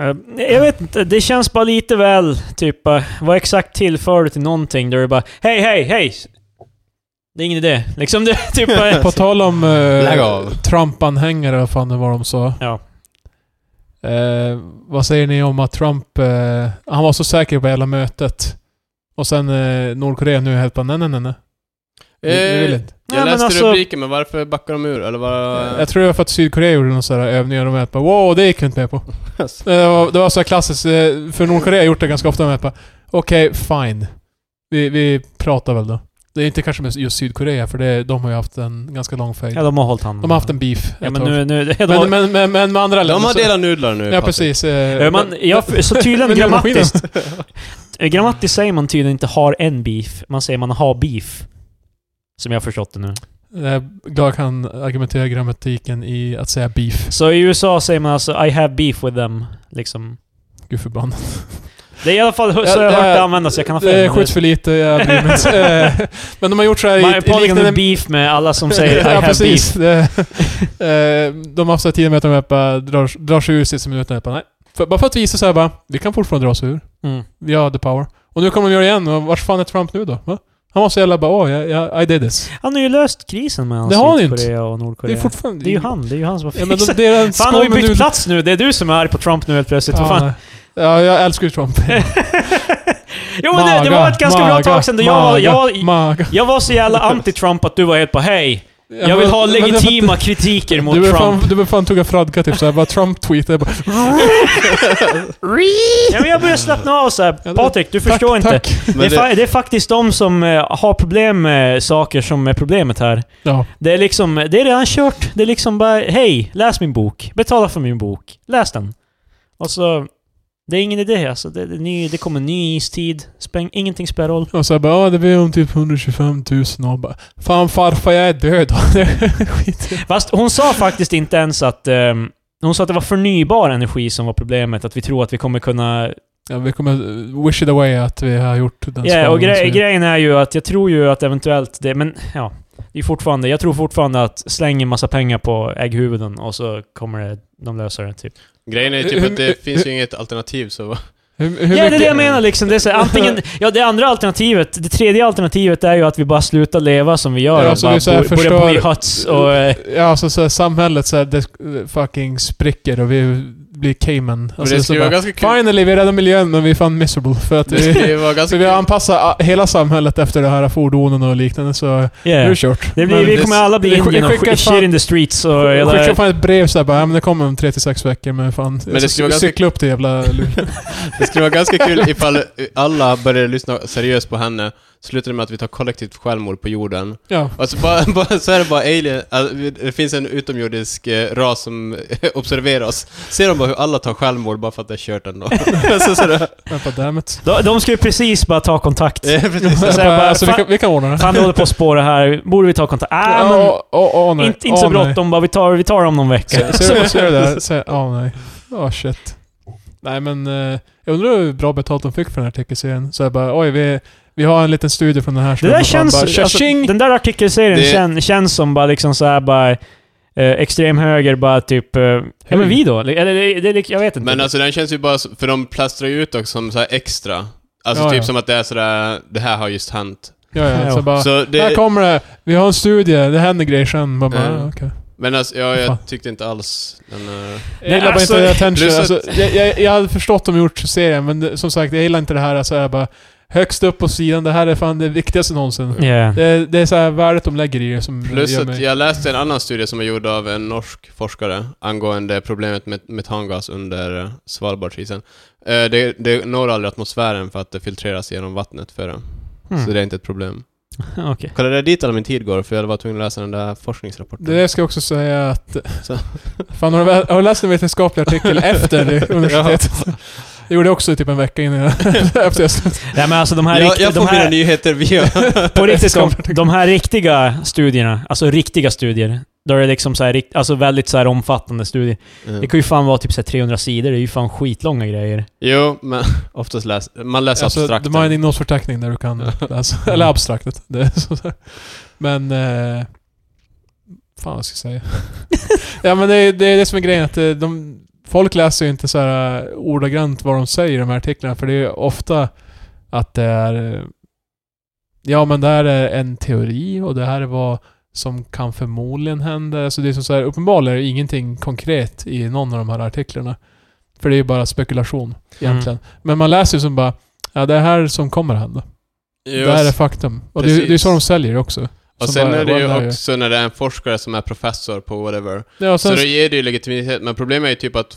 S3: Eh, Jag vet inte, det känns bara lite väl typ... eh, Vad exakt tillför du till någonting? Där det bara Hej, hej, hej! Det är ingen idé. Liksom det typ... eh,
S2: På tal om eh,
S1: Lägg av.
S2: Trump-anhängare, vad fan det var de sa.
S3: Ja.
S2: Eh, vad säger ni om att Trump... Eh, han var så säker på hela mötet. Och sen eh, Nordkorea nu helt bara, nej, nej, nej, nej. Vi, vi vill
S1: eh,
S2: inte.
S3: Nej,
S1: jag
S3: men
S1: läste
S3: alltså-
S1: rubriken, men varför backar de ur? Eller vad...
S2: Jag tror det var för att Sydkorea gjorde någon sån här övning och de var bara, wow, det gick vi inte med på. Eh,
S1: Alltså.
S2: Det var, det var så här klassiskt, eh, för Nordkorea har gjort det ganska ofta. De bara, okej, fine. Vi, vi pratar väl då. Det är inte kanske med just Sydkorea, för det, de har ju haft en ganska lång fejd.
S3: Ja, de har hållit handen.
S2: De har haft en beef
S3: Ja,
S2: ett
S3: men
S2: tag.
S3: nu... nu de har,
S2: men, men, men, men med andra
S1: De
S2: länder
S1: har
S2: så-
S1: delat nudlar nu,
S2: Ja,
S1: Patrik.
S2: precis.
S3: Eh,
S2: Eh,
S3: Man, jag, så tydligen
S2: Men nu är maskinen-
S3: grammatiskt... eh, Grammatiskt säger man tydligen inte har en beef, man säger man har beef. Som jag har förstått det nu.
S2: Jag är glad jag kan argumentera grammatiken i att säga beef.
S3: Så i USA säger man alltså I have beef with them, liksom.
S2: Gud förbannat.
S3: Det är i alla fall hu-
S2: Ja,
S3: så jag
S2: det
S3: har hört
S2: är-
S3: det användas, jag kan ha fel.
S2: Det
S3: men
S2: skjuts Eh, för lite, jag bryr mig inte. Eh, Men de har gjort så här i,
S3: Man
S2: i
S3: är på
S2: liknande...
S3: med beef med alla som säger I
S2: ja,
S3: have
S2: precis. Det- eh, de har haft så här tider med att de bara drar, drar sig ur sista minuten. och Bara, nej. För, bara för att visa så här bara, vi kan fortfarande dra oss ur.
S3: beef. Mm.
S2: Vi har the power. Och nu kommer de göra det igen. Och vars fan är Trump nu då? Va? Han var så jävla bara, åh, jag, jag, I did this.
S3: Han har ju löst krisen mellan
S2: Det har han ju inte.
S3: Sydkorea och
S2: Det
S3: Nordkorea.
S2: är fortfarande...
S3: Det är ju han, det är ju han som har
S2: Ja, men de,
S3: fixat.
S2: det är en
S3: Fan, har vi
S2: skål med
S3: bytt
S2: nudlar.
S3: plats nu? Det är du som är arg på Trump nu helt plötsligt. Vad
S2: Ja,
S3: fan?
S2: nej. ja, jag älskar ju Trump.
S3: Jo men det, det var ett ganska bra tag sedan då jag, var- jag, var-
S2: maga.
S3: jag var så jävla anti-Trump att du var helt på hej, jag vill ha
S2: Men- men det-
S3: legitima kritiker mot
S2: du är
S3: Trump.
S2: Fan, du är fan tog en fradga typ såhär, bara Trump-tweetar. bara,
S3: Ja, men jag börjar slappna av så här.
S2: det-
S3: Patrik, du förstår
S2: tack,
S3: inte.
S2: Tack.
S3: Det, är
S1: Men det-
S3: fa- det är faktiskt de som eh, har problem med saker som är problemet här.
S2: Ja.
S3: Det är liksom, det är redan kört. Det är liksom bara, hej, läs min bok. Betala för min bok. Läs den. Och så, det är ingen idé alltså. Det, det, är ny, det kommer en ny istid. Späng, ingenting spelar roll.
S2: Och så bara, ja det blir om typ 125 000 och bara, Fan farfar jag är död. Skit.
S3: Fast hon sa faktiskt inte ens att... ehm, hon sa att det var förnybar energi som var problemet, att vi tror att vi kommer kunna...
S2: Ja, vi kommer eh, wish it away att vi har gjort den
S3: Ja,
S2: spaningen,
S3: och
S2: så
S3: gre-
S2: vi-
S3: grejen är ju att jag tror ju att eventuellt det... Men ja, det är fortfarande... Jag tror fortfarande att släng en massa pengar på ägghuvuden och så kommer det, de lösa det typ.
S1: Grejen är ju typ
S2: Hur-
S1: att det
S2: hur-
S1: finns ju inget alternativ så...
S2: Hur, hur
S3: Ja, det är
S2: mycket-
S3: det jag menar liksom. Det är så, här, antingen... Ja, det andra alternativet, det tredje alternativet är ju att vi bara slutar leva som vi gör
S2: Ja,
S3: och
S2: så
S3: bara
S2: vi så här
S3: bo- börjar bo i
S2: förstör-
S3: huts och... eh,
S2: Ja, alltså så här, samhället så här, det eh, fucking spricker och vi blir Cayman. Alltså,
S1: det
S2: så
S1: skulle vara
S2: bara,
S1: ganska kul.
S2: Finally, vi räddar miljön men vi är fan miserable. För att
S1: Det skulle
S2: vi,
S1: ju vara
S2: så
S1: ganska
S2: vi har
S1: kul.
S2: anpassat ah, hela samhället efter de här fordonen och liknande så nu är
S3: yeah.
S2: det kört.
S3: Det blir,
S2: Men-
S3: vi kommer alla bli
S2: vi skick-
S3: Indien och
S2: skickar
S3: sk- shit
S2: fan-
S3: in the streets och...
S2: Jag
S3: hela-
S2: skickade fan ett brev såhär bara, ja men det kommer om 3-6 veckor men fan. Men
S1: det
S2: det
S1: skulle vara ganska-
S2: cykla upp till jävla Luleå.
S1: Det skulle vara ganska kul ifall alla började lyssna seriöst på henne, slutade med att vi tar kollektivt självmord på jorden.
S2: Ja.
S1: Alltså bara, bara, så är det bara alien, alltså, det finns en utomjordisk eh, ras som observerar oss. Ser de bara hur alla tar självmord bara för att det är kört ändå? Alltså, så, så det,
S2: Jag bara, damn it.
S3: De, de ska ju precis bara ta kontakt.
S1: eh, precis.
S2: Jag
S3: Så jag bara,
S2: bara, alltså, vi,
S3: fan-
S2: kan, vi kan ordna det.
S3: Fan, det håller på att spåra här. Borde vi ta kontakt? Äh,
S2: Ja,
S3: men
S2: åh, åh, åh, nej.
S3: inte, inte så
S2: Åh, nej.
S3: bråttom bara. Vi tar, vi tar om någon vecka.
S2: Ser du- Ser du det? där? Ser- Åh nej. Åh shit. Nej men, eh, jag undrar hur bra betalt de fick för den här artikelserien. Så jag bara, oj vi, Vi har en liten studio från den här
S3: Det
S2: snubben.
S3: där
S2: Han
S3: känns...
S2: bara,
S3: Alltså,
S2: "Tja-tjing!"
S3: den där artikelserien
S1: Det-
S3: kän, känns som bara liksom så här bara... Eh, extrem höger bara typ... Eh, ja men vi då? Eller det, det, det, jag vet inte.
S1: Men alltså den känns ju bara... så- För de plastrar ju ut också som så här extra. Alltså
S2: Ja,
S1: typ
S2: ja.
S1: som att det är sådär, det här har just hänt.
S2: ja, ja, så bara,
S1: Så
S2: Här
S1: det,
S2: kommer det. Vi har en studie. Det händer grejer sen. Man bara,
S1: Mm.
S2: "Ah, okej.
S1: men alltså, ja,
S2: Fan.
S1: jag tyckte inte alls den... eh,
S2: Jag gillar
S3: alltså,
S2: bara inte attention.
S1: plus
S2: Alltså, jag, jag, jag hade förstått om de gjort serien, men det, som sagt, jag gillar inte det här. Alltså, jag bara, högst upp på sidan, det här är fan det viktigaste någonsin.
S3: Yeah.
S2: Det, det är så här värdet de lägger i det som
S1: Plus
S2: gör
S1: att
S2: mig...
S1: jag läste en annan studie som är gjord av en norsk forskare angående problemet med metangas under eh, Svalbardisen. Eh, Det, det når aldrig atmosfären för att det filtreras genom vattnet för det.
S3: Hmm.
S2: Mm.
S1: Så det är inte ett problem.
S3: Okej.
S1: Kolla, det är dit all min tid går för jag var tvungen att läsa den där forskningsrapporten.
S2: Det ska jag också säga att...
S1: Så.
S2: Fan, har du, väl- har du läst en vetenskaplig artikel efter det- universitetet? Det gjorde jag också typ en vecka innan jag... efter jag slutade.
S3: Nej men alltså de här,
S1: jag,
S3: rikt-
S1: jag
S3: de
S1: får mina
S3: här,
S1: nyheter via...
S3: på riktigt, de,
S2: Vetenskap.
S3: de här riktiga studierna, alltså riktiga studier, då är det liksom så här, rikt- alltså väldigt så här omfattande studier.
S1: Mm.
S3: Det kan ju fan vara typ så här 300 sidor, det är ju fan skitlånga grejer.
S1: Jo, men oftast läser... Man läser
S2: Alltså,
S1: abstrakt.
S2: de har en innehållsförteckning där du kan läsa. Eller abstraktet. Det är så där. Men... Eh, fan vad ska jag säga? ja men det, är- det är det som är grejen. Att eh, de, folk läser ju inte så här eh, ordagrant vad de säger i de här artiklarna. För det är ju ofta att det är... eh, Ja men det här är en teori och det här är vad som kan förmodligen hända. Alltså det är som så här, uppenbarligen är det ingenting konkret i någon av de här artiklarna. För det är ju bara spekulation egentligen.
S1: Mm.
S2: Men man läser ju som bara, ja det är här som kommer hända.
S1: Jo,
S2: Det här är faktum. Och det, är- det är
S1: Precis.
S2: så de säljer också.
S1: och
S2: som
S1: sen
S2: bara,
S1: är det
S2: "Well,
S1: ju
S2: där är
S1: också när det är en forskare som är professor på whatever.
S2: det." Ja, och
S1: Så
S2: sen,
S1: då ger det ju legitimitet, men problemet är ju typ att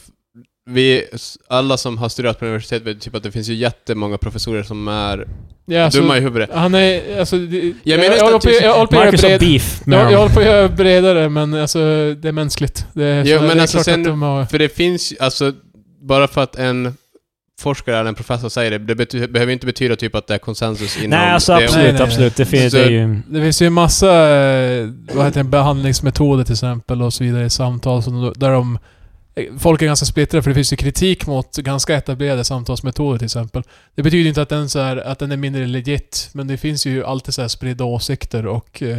S1: vi, alla som har studerat på universitet vet typ att det finns ju jättemånga professorer som är
S2: ja,
S3: Alltså-
S2: så,
S1: dumma i huvudet.
S2: han är, alltså, det,
S1: Jag
S2: jag,
S1: menar
S2: jag,
S1: inte
S2: håller
S1: att
S2: på,
S1: det-
S2: jag håller på att göra
S3: Marcus har
S2: bred,
S3: beef med
S2: jag, jag
S3: dem.
S2: håller på att göra bredare, men alltså det är mänskligt. Det är,
S1: Jo,
S2: så-
S1: men
S2: det är
S1: alltså
S2: klart
S1: sen-
S2: att de har,
S1: För det finns ju- alltså, bara för att en forskare eller en professor säger det, det bety- behöver ju inte betyda typ att det är konsensus inom
S3: Nej alltså
S1: det.
S3: absolut,
S2: Nej, nej, nej.
S3: absolut. Det, fin-
S1: Så-
S3: det är ju...
S2: Det finns ju en massa eh, vad heter det, behandlingsmetoder till exempel och så vidare i samtal som, där de... eh, Folk är ganska splittrade för det finns ju kritik mot ganska etablerade samtalsmetoder till exempel. Det betyder ju inte att den, så här, att den är mindre legit, men det finns ju alltid så här spridda åsikter och... eh,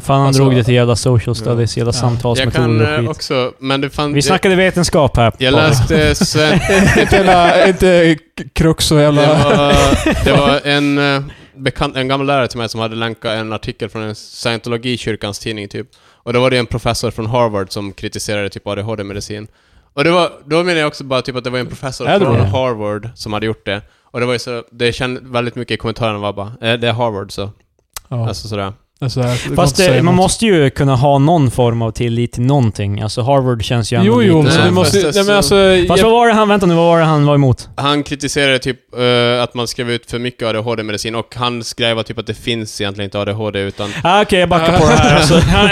S3: Fan han
S2: Alltså-
S3: drog det till jävla social studies, jävla
S2: Ja.
S1: Jag kan
S3: samtalsmetoder
S1: eh,
S3: och skit.
S1: också, men det fanns...
S3: Vi snackade vetenskap här.
S1: jag, jag
S3: Patrik.
S1: läste Sven...
S2: inte jävla, inte k- krux och
S1: Det
S2: jävla...
S1: var, det var en, eh, bekant, en gammal lärare till mig som hade länkat en artikel från en scientologikyrkans tidning typ. Och då var det en professor från Harvard som kritiserade typ ADHD-medicin. Och det var, då menar jag också bara typ att det var en professor
S2: Är det
S1: från
S2: det?
S1: Harvard som hade gjort det. Och det var ju så, det kändes väldigt mycket i kommentarerna var bara eh, det är Harvard så.
S2: Ja,
S1: Alltså sådär.
S2: alltså, det går
S3: Fast
S2: inte att
S3: det,
S2: säga
S3: man
S2: emot.
S3: måste ju kunna ha någon form av tillit till någonting. Alltså Harvard känns ju
S2: Jo,
S3: ändå
S2: jo,
S3: lite
S1: så
S2: men
S1: här.
S2: du
S3: så.
S2: måste...
S1: Fast
S2: Nej, men
S1: alltså-
S2: alltså...
S3: Fast
S2: jag-
S3: vad var det han, vänta nu, vad var det han var emot?
S1: Han kritiserade typ eh, att man skrev ut för mycket ADHD-medicin och han skrev att typ att det finns egentligen inte ADHD utan
S3: Ah, Okej, jag backar på det här alltså. Han,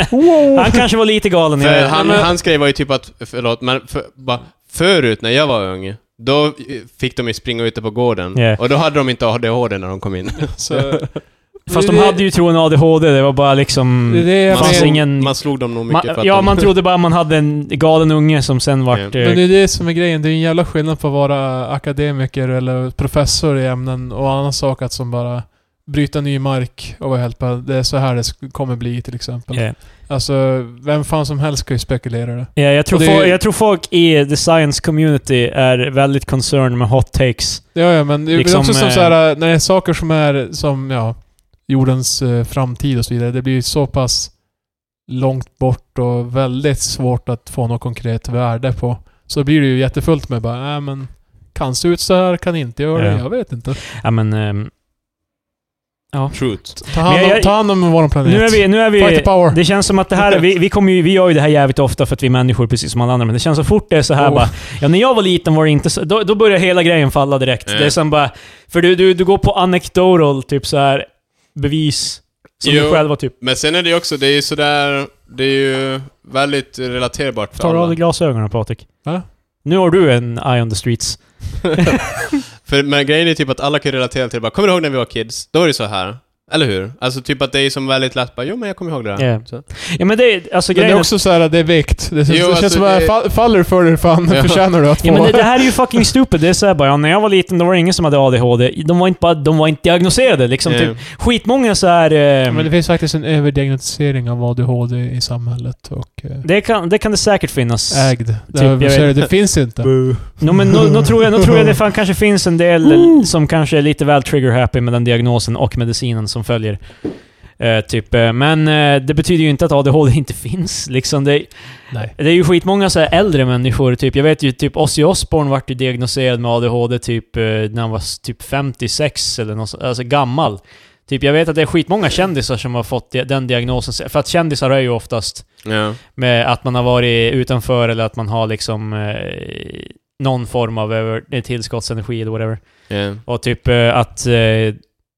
S3: han kanske var lite galen. jag
S1: För
S3: vet.
S1: han,
S2: men-
S1: han skrev var ju typ att, förlåt, men för, bara, förut när jag var ung, då eh, fick de ju springa ute på gården.
S3: Yeah.
S1: Och då hade de inte ADHD när de kom in.
S2: så-
S3: Fast de
S2: det-
S3: hade ju troligen ADHD, det var bara liksom...
S2: Det är det jag
S3: fanns
S2: menar.
S3: ingen...
S1: man slog dem nog
S3: Man,
S1: mycket för att
S3: ja,
S1: de,
S3: man trodde bara man hade en galen unge som sen vart...
S1: Ja.
S3: eh,
S2: Men det är det som är grejen. Det är en jävla skillnad på att vara akademiker eller professor i ämnen och annan sak att som bara bryta ny mark och vara helt bara, det är så här det sk- kommer bli till exempel.
S3: ja.
S2: Alltså, vem fan som helst ska ju spekulera det.
S3: eh, Ja, jag, tror
S2: Och det-
S3: folk, jag tror folk i the science community är väldigt concerned med hot takes.
S2: Ja, ja men det
S3: Liksom,
S2: är också som
S3: eh,
S2: så här, äh, när det är saker som är som, ja, jordens eh, framtid och så vidare. Det blir ju så pass långt bort och väldigt svårt att få något konkret värde på. Så blir det ju jättefullt med bara, nej men kan se ut så här, kan inte göra
S3: Ja.
S2: det, jag vet inte.
S3: Ja, men... ehm, ja.
S1: Truth.
S2: Ta hand,
S3: Men
S2: om,
S3: jag-
S2: ta hand om vår planet.
S3: Nu är vi... Nu är
S2: Fight the
S3: vi
S2: power.
S3: det känns som att det här, vi, vi, kommer ju, vi gör ju det här jävligt ofta för att vi är människor precis som alla andra, men det känns så fort det är så här
S2: Oh.
S3: bara... Ja, när jag var liten var det inte så... Då, då börjar hela grejen falla direkt.
S1: Mm.
S2: Eh.
S3: Det är som bara... För du, du, du går på anecdotal, typ så här bevis som
S1: Jo.
S3: du själv har typ...
S1: Men sen är det ju också, det är ju sådär, det är ju väldigt relaterbart för
S3: Tar du av
S1: alla.
S3: dig glasögonen Patrik?
S2: Va?
S3: Nu har du en eye on the streets.
S1: För, men grejen är typ att alla kan ju relatera till det bara, kommer du ihåg när vi var kids? Då var det så här. Eller hur? Alltså typ att det är som väldigt lätt bara, jo men jag kommer ihåg det där.
S3: Ja.
S1: Så.
S3: Ja men det, är- alltså
S2: Men det
S3: grejen
S2: är
S3: är-
S2: också såhär, det är vikt. Det,
S1: Jo,
S2: det
S1: alltså,
S2: känns som att
S1: det-
S2: fa- faller för dig fan,
S1: Ja.
S2: förtjänar du att få.
S3: Ja, men det, det här är ju fucking stupid. Det är såhär bara, ja, när jag var liten då var det ingen som hade ADHD. De var inte, bara, de var inte diagnoserade liksom.
S1: Yeah.
S3: Typ, skitmånga såhär... Eh,
S2: Men det finns faktiskt en överdiagnostisering av ADHD i samhället och eh,
S3: det, kan, det kan det säkert finnas.
S2: ägd.
S3: Typ, jag
S2: det,
S3: vet
S2: ser du, det finns inte.
S3: No, men nu no, tror, jag- nå tror jag det fan kanske finns en del som kanske är lite väl trigger-happy med den diagnosen och medicinen som följer. Eh, typ. eh, Men eh, det betyder ju inte att ADHD inte finns. Liksom det,
S2: Nej.
S3: det är ju skitmånga så här äldre människor. Typ. Jag vet ju typ Ozzy Osbourne vart ju diagnoserad med ADHD typ eh, när han var s- typ 56 eller något, så- alltså gammal. Typ, jag vet att det är skitmånga kändisar som har fått di- den diagnosen. För att kändisar är ju oftast
S1: Ja.
S3: med att man har varit utanför eller att man har liksom eh, någon form av över, eh, tillskottsenergi eller whatever.
S1: ja.
S3: Och typ eh, att... Eh,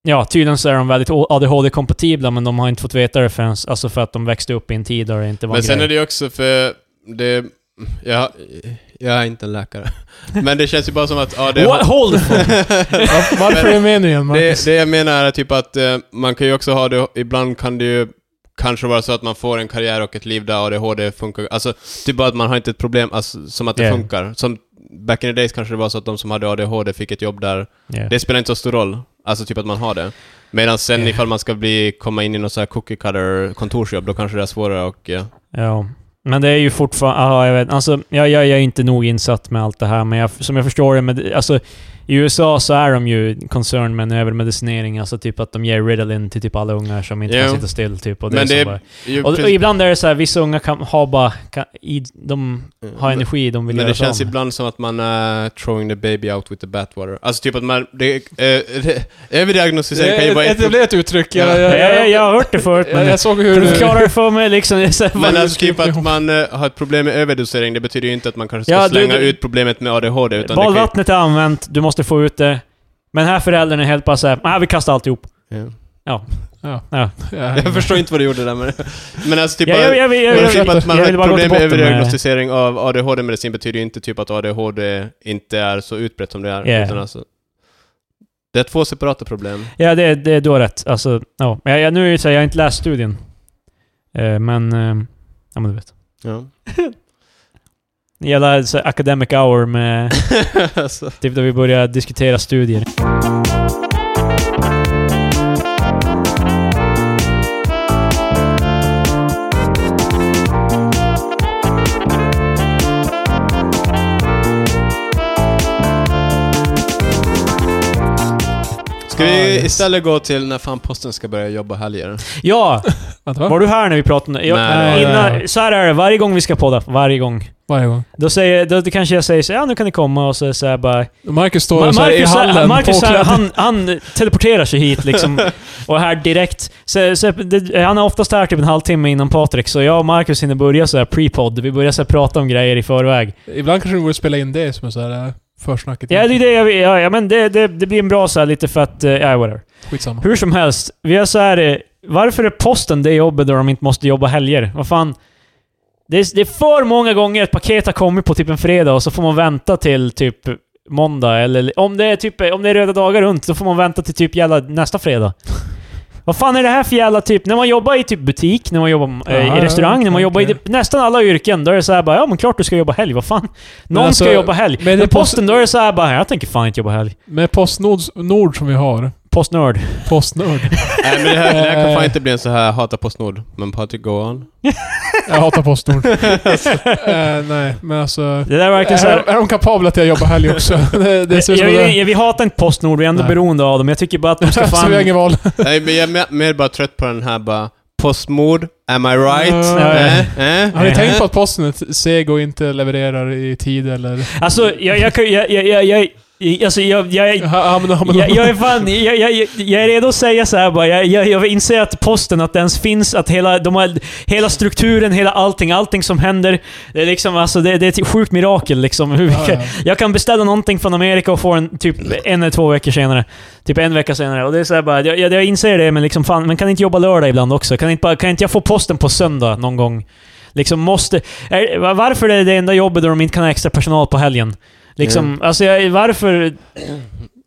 S3: ja, tydligen så är de väldigt å- ADHD-kompatibla men de har inte fått veta det förrän, alltså för att de växte upp i en tid där det inte var
S1: Men
S3: en
S1: sen
S3: grej.
S1: är det ju också för det... Jag, jag är inte en läkare. Men det känns ju bara som att ADHD...
S3: What? Hold the phone.
S2: Var- Varför är du med nu igen Marcus?
S1: Det, det jag menar är typ att eh, man kan ju också ha det, ibland kan det ju kanske vara så att man får en karriär och ett liv där ADHD funkar, alltså typ bara att man har inte ett problem, alltså, som att det
S3: Yeah.
S1: funkar. Som back in the days kanske det var så att de som hade ADHD fick ett jobb där,
S3: Yeah.
S1: det spelar inte så stor roll, alltså typ att man har det. Medan sen
S3: Yeah.
S1: ifall man ska bli, komma in i något så här cookie cutter kontorsjobb, då kanske det är svårare och... eh,
S3: Ja. Men det är ju fortfarande... Aha, jag vet. Alltså, jag, jag, jag är inte nog insatt med allt det här, men jag, som jag förstår det, med, alltså, i USA så är de ju concern med en övermedicinering. Alltså typ att de ger Ritalin till typ alla ungar som inte
S1: Jo.
S3: kan sitta still. Typ, och det är
S1: men
S3: så
S1: det
S3: bara,
S1: är ju...
S3: Och, och
S1: Typ precis-
S3: ibland är det så här, vissa unga kan ha bara... Kan, i, de har energi, de vill
S1: Eh, Mm. Men
S3: göra
S1: det känns
S3: sig av med.
S1: ibland som att man är throwing the baby out with the bathwater. Alltså typ att man... Det, eh, överdiagnostisering kan ju vara...
S2: ett etablerat uttryck. Jag,
S3: Ja,
S2: jag,
S3: jag, jag,
S2: jag,
S3: jag har hört det förut, men...
S2: jag, jag såg hur
S3: du
S2: du...
S3: förklarar det för mig liksom. Jag är så här,
S1: Men
S3: vad-
S1: alltså typ att man eh, har ett problem med överdosering, det betyder ju inte att man kanske ska
S3: Ja, du-
S1: slänga
S3: du-
S1: ut problemet med ADHD, utan det kan
S3: badvattnet är använt, du måste få ut det. Men här föräldrarna är helt bara såhär, nej vi kastar alltihop.
S1: ju...
S2: Ja,
S1: ja. Jag förstår inte vad du gjorde där men... Men alltså typ,
S3: Jag, jag, jag, jag, jag,
S1: bara,
S3: jag,
S1: typ
S3: jag,
S1: att man har
S3: vill
S1: ett
S3: bara gå
S1: problem med
S3: till botten med det.
S1: överdiagnostisering av ADHD-medicin betyder ju inte typ att ADHD inte är så utbrett som det är,
S3: Yeah.
S1: utan alltså... Det är två separata problem.
S3: Ja, det, det, du har rätt. Alltså, ja. Men jag, jag, nu är det ju så här, jag har inte läst studien. Eh, men... Eh, ja, men du vet.
S1: Ja.
S3: Jävla så här academic hour med...
S1: alltså.
S3: Typ där vi börjar diskutera studier.
S1: Ska
S2: Ah,
S1: vi
S2: yes.
S1: istället gå till när fan posten ska börja jobba helger?
S3: Ja!
S2: Vänta, va?
S3: Var du här när vi pratade? om- Jag,
S1: Nej,
S2: det var
S3: innan,
S2: jag inte.
S3: Så här är det, varje gång vi ska podda, varje gång.
S2: Varje gång.
S3: Då, säger, då, då kanske jag säger så här, ja nu kan ni komma och så, är det så här bara...
S2: Marcus står
S3: Ma-
S2: så här i
S3: Marcus, är-
S2: hallen,
S3: Marcus är-
S2: påklädd.
S3: han, han teleporterar sig hit liksom. Och är här direkt. Så, så, det, han är oftast här typ en halvtimme innan Patrik, så jag och Marcus hinner börja så här pre-podd. Vi börjar så här prata om grejer i förväg.
S2: Ibland kanske du borde spela in det som är såhär eh, försnacket.
S3: Ja, det är det jag vill- ja, ja, men det, det, det blir en bra så här lite för att... eh, Ja, whatever.
S2: Skitsamma.
S3: Hur som helst, vi är så här. eh, Varför är posten det jobbet där de inte måste jobba helger? Vad fan? Det är, det är för många gånger ett paket har kommit på typ en fredag och så får man vänta till typ måndag eller om det är typ om det är röda dagar runt då får man vänta till typ jävla nästa fredag. Vad fan är det här för jävla typ? När man jobbar i typ butik, när man jobbar eh,
S2: Ja,
S3: i
S2: ja,
S3: restaurang, när man
S2: okej.
S3: jobbar i typ nästan alla yrken, då är det så här bara ja men klart du ska jobba helg, vad fan? Någon
S2: alltså,
S3: ska jobba helg.
S2: men
S3: Men,
S2: det
S3: men
S2: är post-
S3: posten, då är det så här bara jag tänker fan inte jobba helg.
S2: Med Postnord Nord som vi har.
S3: Postnörd.
S2: Postnord.
S1: Nej men det här, det här kan
S2: Eh.
S1: fan inte bli en så här hata Postnord. Men Patrik, go on.
S2: Jag hatar Postnord. Eh, nej, men alltså...
S3: Det där är verkligen så här,
S2: Är, är de kapabla till att jobba helg också? det, det ser ut
S3: Jag,
S2: som
S3: jag,
S2: det.
S3: jag, vi hatar inte Postnord, vi är ändå
S2: Nej.
S3: beroende av dem. Jag tycker bara att de ska
S2: Så
S3: fan...
S2: vi har inget val.
S1: Nej, men jag är mer- mer bara trött på den här bara Postmord, am I right?
S2: Ja,
S3: ja.
S1: Eh, eh,
S2: Har ni
S1: eh.
S2: tänkt på att posten är seg och inte levererar i tid eller...
S3: Alltså, jag... jag, kan- jag, jag, jag, jag alltså, jag... jag, jag
S2: Ja, men, ja, men,
S3: jag, jag är fan, jag, jag, jag- jag är redo att säga så här bara. Jag, jag, jag inser att posten, att det ens finns, att hela, de har, hela strukturen, hela allting, allting som händer. Det är liksom, alltså det, det är ett sjukt mirakel liksom. Hur vi
S2: Ja,
S3: kan,
S2: ja.
S3: jag kan beställa någonting från Amerika och få den typ en eller två veckor senare. Typ en vecka senare. Och det är så här bara, jag, jag, jag inser det, men liksom fan, men kan inte jobba lördag ibland också? Kan inte, bara, kan inte jag få posten på söndag någon gång? Liksom måste... Är, var- varför
S2: Mm.
S3: är det det enda jobbet där de inte kan ha extra personal på helgen? Liksom, alltså jag, varför...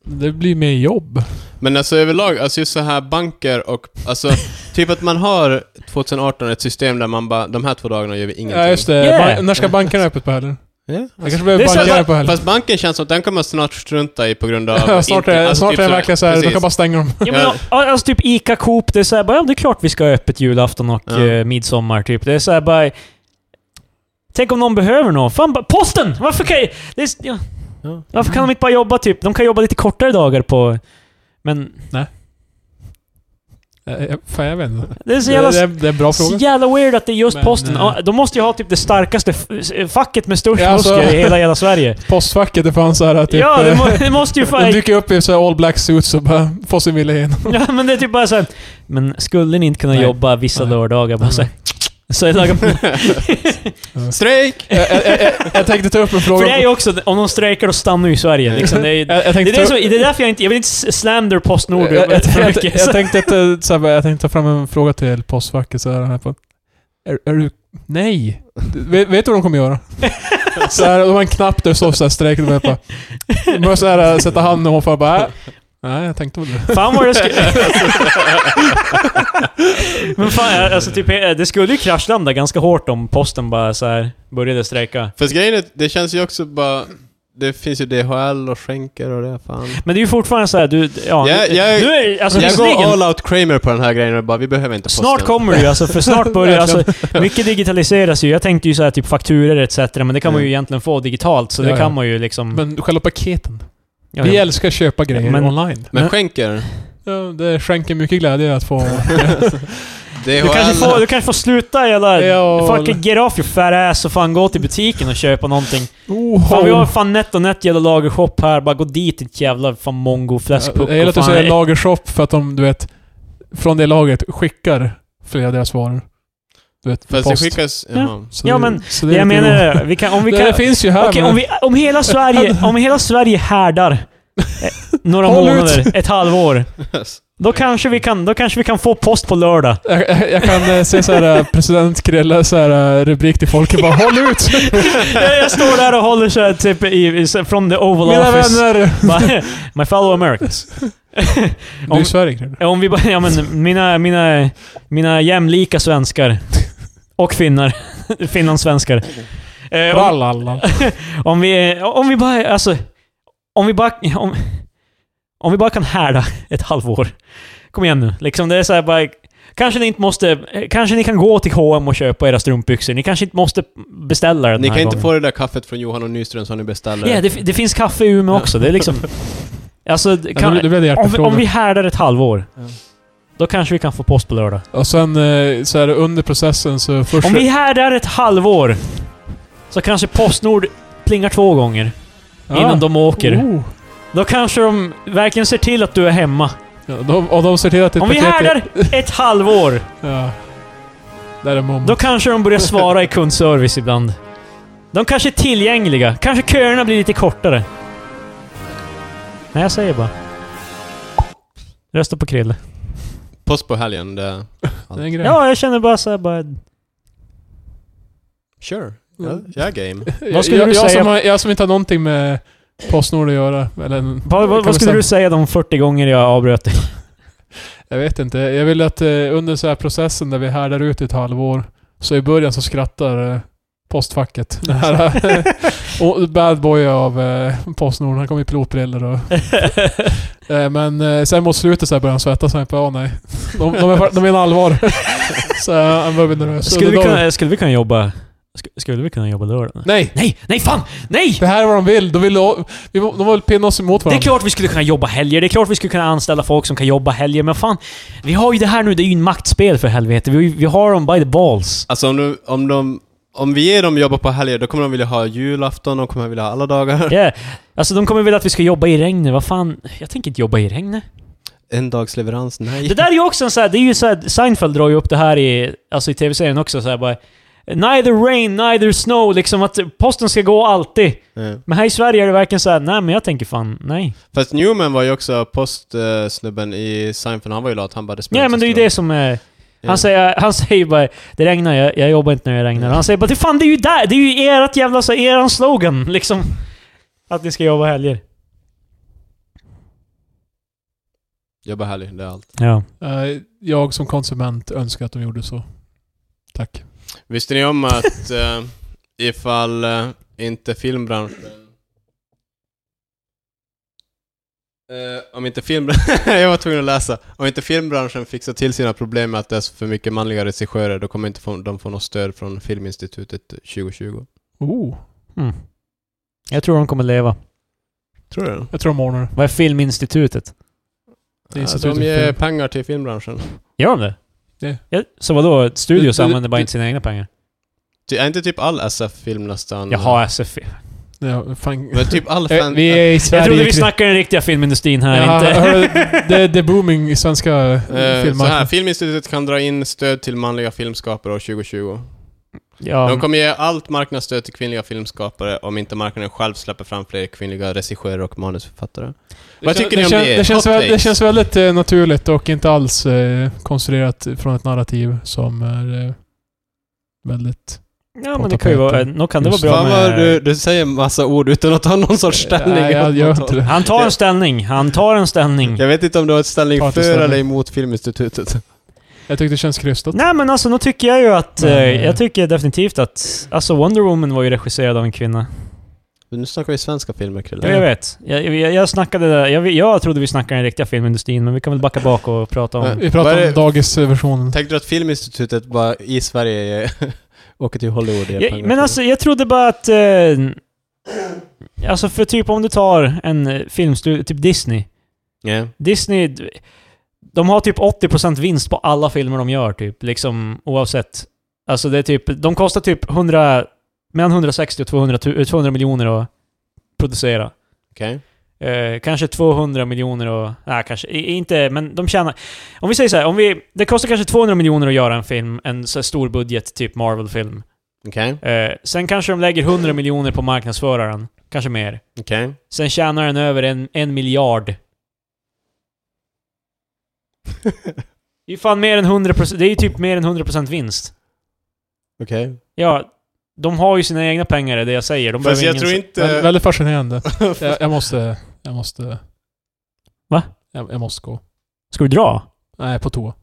S2: Det blir mer jobb.
S1: Men alltså överlag, alltså just så här banker och... Alltså, typ att man har 2018 ett system där man bara, de här två dagarna gör vi ingenting.
S2: Ja, just det.
S3: Yeah.
S2: Ban- när ska bankerna ha öppet på helgen?
S1: Ja.
S2: Jag kanske behöver
S3: Det är så-
S2: bankerna ha öppet på helgen.
S1: Fast banken känns som att den kommer snart strunta i på grund av...
S2: Ja, snart är,
S1: inte- alltså
S2: snart
S1: typ
S2: är det verkligen såhär, de
S1: precis.
S2: kan bara stänga dem.
S3: Ja, men,
S1: Ja.
S3: ja, Alltså typ Ica, Coop, det är såhär bara, ja det är klart vi ska ha öppet julafton och
S1: Ja.
S3: eh, midsommar typ. Det är såhär bara... Tänk om någon behöver något. Fan, bara, posten! Varför kan jag, det är, s- ja.
S1: Ja.
S3: Varför kan de inte bara jobba typ? De kan jobba lite kortare dagar på... Men
S2: Eh, eh, Fan, jag vet inte.
S3: det är så
S2: Det,
S3: jävla,
S2: det, är- det är en bra
S3: Alltså, så
S2: fråga.
S3: jävla weird att det är just
S2: Men,
S3: posten.
S2: eh,
S3: Ja, de måste ju ha typ det starkaste f- facket med störst
S2: Ja, alltså-
S3: muskler i hela jävla Sverige.
S2: Postfacket, det fanns såhär typ...
S3: ja, det,
S2: eh,
S3: må, det måste ju
S2: de
S3: fan...
S2: dyker upp i såhär all black suits och bara får sin vilja igenom.
S3: Ja, men det är typ bara såhär... Men skulle ni inte kunna
S2: Nej.
S3: jobba vissa
S2: Nej.
S3: lördagar? Bara
S2: Nej.
S3: såhär... Så jag lagar
S1: Strejk!
S2: jag, jag, jag, eh, jag tänkte ta upp en fråga. Eh,
S3: För det är ju också, om de strejkar då stannar ju Sverige liksom. Det är, det
S2: jag, jag
S3: är,
S2: tänkte
S3: det
S2: ta-
S3: som, det är därför jag inte, jag vill inte s- slander Postnord
S2: jag, jag, jag,
S3: för
S2: jag,
S3: mycket.
S2: jag, tänkte ta- så här, bara, jag tänkte ta fram en fråga till postfacket så här, här på, är, är du... Nej! Du, vet, vet du vad de kommer göra? så här, de har en knapp där det står såhär strejk, och de bara... De börjar så här, eh, sätta handen ovanför och bara... "Äh, Nej, jag tänkte väl det.
S3: Fan vad det skulle... Men fan, alltså typ, det skulle ju kraschlanda ganska hårt om posten bara så här började strejka.
S1: Fast grejen är, det känns ju också bara... Det finns ju DHL och skänker och det, fan.
S3: Men det är ju fortfarande så här, du... Ja,
S1: Jag- jag-
S3: nu är, alltså,
S1: jag
S3: visserligen-
S1: går all out Kramer på den här grejen och bara, vi behöver inte posten.
S3: Snart kommer det ju, alltså, för snart börjar alltså, Mycket digitaliseras ju. Jag tänkte ju så här, typ fakturer etc. Men det kan man ju
S1: Mm.
S3: egentligen få digitalt, så
S2: Ja,
S3: det
S2: ja.
S3: kan man ju liksom...
S2: Men själva paketen.
S3: ja,
S2: Vi
S3: ja.
S2: älskar att köpa grejer
S3: Men-
S2: online.
S1: Men skänker?
S2: Ja, det skänker mycket glädje att få...
S1: DHL?
S3: Du kanske, får, du kanske får sluta jävla...
S2: Ja,
S3: fucking get off your fat ass och fan gå till butiken och köpa någonting.
S2: Oh,
S3: Fan vi har fan nett och nett jävla lagershop här. Bara gå dit ditt jävla fan mongo fläskpuck
S2: Jag gillar
S3: och
S2: att du
S3: fan...
S2: säger lagershop för att de, du vet, från det lagret skickar flera av deras varor. Du vet,
S1: Fast det
S2: post.
S1: skickas... Jaha.
S2: Så
S3: Ja,
S2: det-
S3: men
S2: så
S3: Det jag
S2: lite
S3: menar
S2: roligt.
S3: är, vi kan, om vi
S2: det,
S3: kan...
S2: det finns ju här
S3: Okej,
S2: men...
S3: om, vi, om, hela Sverige, om hela Sverige härdar eh, några
S2: Håll ut.
S3: månader, ett halvår. Då kanske, vi kan, då kanske vi kan få post på lördag.
S2: jag, jag- jag kan eh, se såhär president Krille såhär eh, rubrik till folket bara Håll ut!
S3: jag, jag står där och håller så här, typ i, i, så- från the Oval
S2: Mina
S3: Office.
S2: vänner!
S3: Bara, My fellow Americans.
S2: Du är
S3: Om-
S2: i Sverige Krille.
S3: Ja, Eh, Om vi bara, ja men mina, mina, mina jämlika svenskar. Och finnar. Finlandssvenskar. Eh, om,
S2: Rallallan.
S3: om vi, om vi bara, alltså. Om vi bara, om, om vi bara kan härda ett halvår. Kom igen nu. Liksom det är så här bara, kanske ni inte måste, kanske ni kan gå till H&M och köpa era strumpbyxor. Ni kanske inte måste beställa den
S1: Ni
S3: här
S1: kan inte
S3: gången.
S1: få det där kaffet från Johan och Nyström som ni beställer.
S3: Ja, det, fi- det finns kaffe i Umeå också. Det är liksom... Alltså, det
S2: Ja,
S3: kan,
S2: nu- nu blev det
S3: om, vi,
S2: hjärtefrågor.
S3: om vi härdar ett halvår, då kanske vi kan få post på lördag.
S2: Och sen eh, så här under processen så först...
S3: Om vi härdar ett halvår, så kanske Postnord plingar två gånger
S2: Ja.
S3: innan de åker.
S2: Oh.
S3: Då kanske de verkligen ser till att du är hemma.
S2: Ja, de, och de ser till att det
S3: Om vi
S2: paket är-
S3: härdar ett halvår,
S2: Ja. Där är momma.
S3: då kanske de börjar svara i kundservice ibland. De kanske är tillgängliga. Kanske köerna blir lite kortare. Nej, jag säger bara. Rösta på Krille.
S1: Post på helgen, det...
S2: Det är en grej.
S3: Ja, jag känner bara såhär bara...
S1: Sure.
S3: Mm.
S1: Ja, jag är game.
S2: Jag-
S3: skulle
S2: jag,
S3: du
S2: jag,
S3: säga-
S2: som har, jag som inte har någonting med Postnord att göra. Eller, en-
S3: Vad,
S2: kan
S3: vad,
S2: vi
S3: vad skulle
S2: säga-
S3: du säga de 40 gånger jag avbröt dig?
S2: Jag vet inte. Jag vill att eh, under så här processen där vi härdar ut i ett halvår, så i början så skrattar eh, postfacket. Det här, eh, och bad boy av eh, Postnord. Han kom i pilotbrillor och... Eh, men eh, sen mot slutet så här började han svettas. Han bara, åh nej. De, de, är, de är en allvar. så eh, han började bli nervös.
S3: Skulle
S2: Och
S3: vi
S2: då-
S3: kunna, skulle vi kunna jobba... sk- Skulle vi kunna jobba lördag?
S2: Nej!
S3: Nej, nej fan! Nej!
S2: Det här är vad de vill. De vill, vi må- de vill pinna oss emot
S3: Det är
S2: varandra.
S3: klart vi skulle kunna jobba helger, det är klart vi skulle kunna anställa folk som kan jobba helger, men fan. Vi har ju det här nu, det är ju en maktspel för helvete. Vi, vi har dem by the balls.
S1: Alltså om, du, om de... Om vi ger dem jobba på helger, då kommer de vilja ha julafton, de kommer vilja ha alla dagar.
S3: Yeah. Alltså de kommer vilja att vi ska jobba i regnet, vad fan. Jag tänker inte jobba i regnet.
S1: En dags leverans, nej.
S3: Det där är ju också en sån här, det är ju så här, Seinfeld drar ju upp det här i, alltså i tv-serien också så här bara... Neither rain, neither snow, liksom att posten ska gå alltid.
S1: Ja.
S3: Men här i Sverige är det verkligen så här, nej men jag tänker fan, nej.
S1: Fast Newman var ju också postsnubben i Seinfeld, han var ju lat, han bara det spelar
S3: Nej
S1: inte
S3: men
S1: så
S3: det är ju
S1: stor
S3: det som är...
S1: Ja.
S3: Han säger, han säger bara det regnar, jag, jag jobbar inte när det regnar. Han säger bara det fan det är ju där, det är ju ert alltså, jävla, så här, eran slogan liksom. Att ni ska jobba helger.
S1: Jobba härligt, det är allt.
S3: Ja.
S2: Eh, Jag som konsument önskar att de gjorde så. Tack.
S1: Visste ni om att eh, ifall eh, inte filmbranschen... Eh, om inte filmbranschen... jag var tvungen att läsa. Om inte filmbranschen fixar till sina problem med att det är så för mycket manliga regissörer, då kommer inte få, de få något stöd från Filminstitutet 2020.
S2: Oh.
S3: Mm. Jag tror de kommer leva.
S1: Tror du det?
S2: Jag tror de ordnar det.
S3: Vad är Filminstitutet?
S2: Det
S1: Ja,
S2: är institutet
S1: de
S2: för
S1: ger
S2: film.
S1: pengar till filmbranschen.
S3: Gör de det?
S2: Ja.
S3: Så vadå? Studios
S2: Det- det-
S3: använder bara
S2: det-
S3: inte sina egna pengar?
S1: Ty, är inte typ all SF-film nästan... eh,
S3: Jaha, SF.
S2: Ja, fan.
S1: Men typ all
S2: Eh,
S1: fan...
S2: Vi är i Sverige.
S3: Jag trodde vi snackade den riktiga filmindustrin här,
S2: Ja,
S3: inte...
S2: hörru, det, det är booming i svenska
S1: Eh, så här,
S2: filmer.
S1: Filminstitutet kan dra in stöd till manliga filmskapare år 2020.
S3: ja.
S1: De kommer ge allt marknadsstöd till kvinnliga filmskapare om inte marknaden själv släpper fram fler kvinnliga regissörer och manusförfattare. Vad tycker ni om
S2: kän-
S1: det?
S2: Det känns,
S1: Hot
S2: väl, det
S1: takes.
S2: känns väldigt eh, naturligt och inte alls eh, konstruerat från ett narrativ som är eh, väldigt...
S3: ja, men det kan ju vara... Nog kan det vara
S2: Just
S3: bra
S1: Fan vad
S3: med...
S1: du, du säger massa ord utan att ha någon sorts ställning.
S2: Eh, Nej, jag gör inte det.
S3: Han tar en ställning. Han tar en ställning.
S1: Jag vet inte om du har ett ställning
S2: Ta
S1: för
S2: inte ställning.
S1: eller emot Filminstitutet.
S2: Jag tyckte det känns krystat.
S3: Nej men alltså, nu tycker jag ju att... Eh,
S2: Nej.
S3: jag tycker definitivt att... Alltså Wonder Woman var ju regisserad av en kvinna.
S1: Men Nu snackar vi svenska filmer
S3: Ja,
S1: Chrille.
S3: jag vet. Jag, jag, jag snackade där. Jag, jag trodde vi snackade den riktiga filmindustrin, men vi kan väl backa bak och prata om...
S1: Nej.
S2: Vi
S1: Vad är
S2: pratar
S1: det-
S2: om dagisversionen.
S1: Tänkte du att Filminstitutet bara i Sverige eh, åker till Hollywood? i
S3: Ja,
S1: pengar
S3: men
S1: till?
S3: alltså, jag trodde bara att... Eh, alltså för typ om du tar en eh, filmstudio, typ Disney.
S1: Ja.
S3: Disney... d- De har typ 80% vinst på alla filmer de gör, typ. Liksom oavsett. Alltså det är typ... De kostar typ 100... Mellan 160 och 200, tu- eh, 200 miljoner att producera.
S1: Okej.
S3: Eh, kanske 200 miljoner och... Nej, kanske i- inte, men de tjänar... Om vi säger så här, om vi... Det kostar kanske 200 miljoner att göra en film, en så här stor budget, typ Marvel-film.
S1: Okej.
S3: Eh, sen kanske de lägger 100 miljoner på marknadsföraren. Kanske mer.
S1: Okej.
S3: Sen tjänar den över en, en miljard. Det är ju fan mer än 100%, det är ju typ mer än 100% vinst.
S1: Okej.
S3: Ja, de har ju sina egna pengar, det är det jag säger. De
S1: Fast
S3: behöver
S1: jag
S3: ingen...
S1: tror
S2: Vä-
S1: inte...
S2: Väldigt fascinerande. jag, jag måste... Jag måste...
S3: Va?
S2: Jag, jag måste gå.
S3: Ska du dra?
S2: Nej, på toa.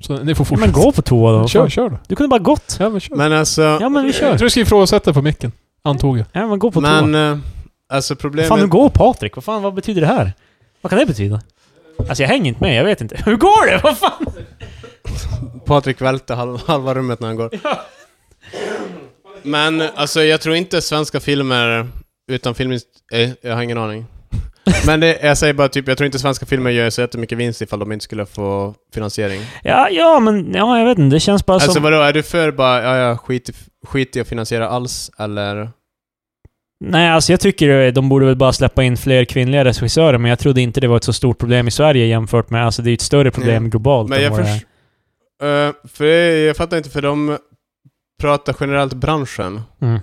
S2: Så ni får
S3: Ja,
S2: fortsätta.
S3: men gå på toa då.
S2: Kör,
S3: Fan.
S2: kör då.
S3: Du kunde bara gått.
S2: Ja, men kör.
S1: Men alltså...
S3: Ja men vi
S2: Jag
S3: kör.
S2: tror du ska ifrågasätta på micken. Antog jag.
S3: Ja men gå på
S1: Men...
S3: toa.
S1: eh, Alltså
S3: Vad
S1: problemet...
S3: fan, nu går Patrik. Vad fan, vad betyder det här? Vad kan det betyda? Alltså jag hänger inte med, jag vet inte. Hur går det? Vad fan?
S1: Patrik välte halva, halva rummet när han går. Men alltså jag tror inte svenska filmer utan film... Eh, jag har ingen aning. Men det, jag säger bara typ, jag tror inte svenska filmer gör så jättemycket vinst ifall de inte skulle få finansiering.
S3: Ja, ja men, ja jag vet inte. Det känns bara
S1: Alltså
S3: som...
S1: vadå, är du för bara, ja ja, skit, i- skit i att finansiera alls, eller?
S3: Nej, alltså jag tycker de borde väl bara släppa in fler kvinnliga regissörer, men jag trodde inte det var ett så stort problem i Sverige jämfört med... Alltså det är ju ett större problem
S1: Nej.
S3: globalt.
S1: Men
S3: än
S1: jag
S3: vad det är.
S1: förstår... för det- jag fattar inte, för de pratar generellt branschen.
S3: Mm.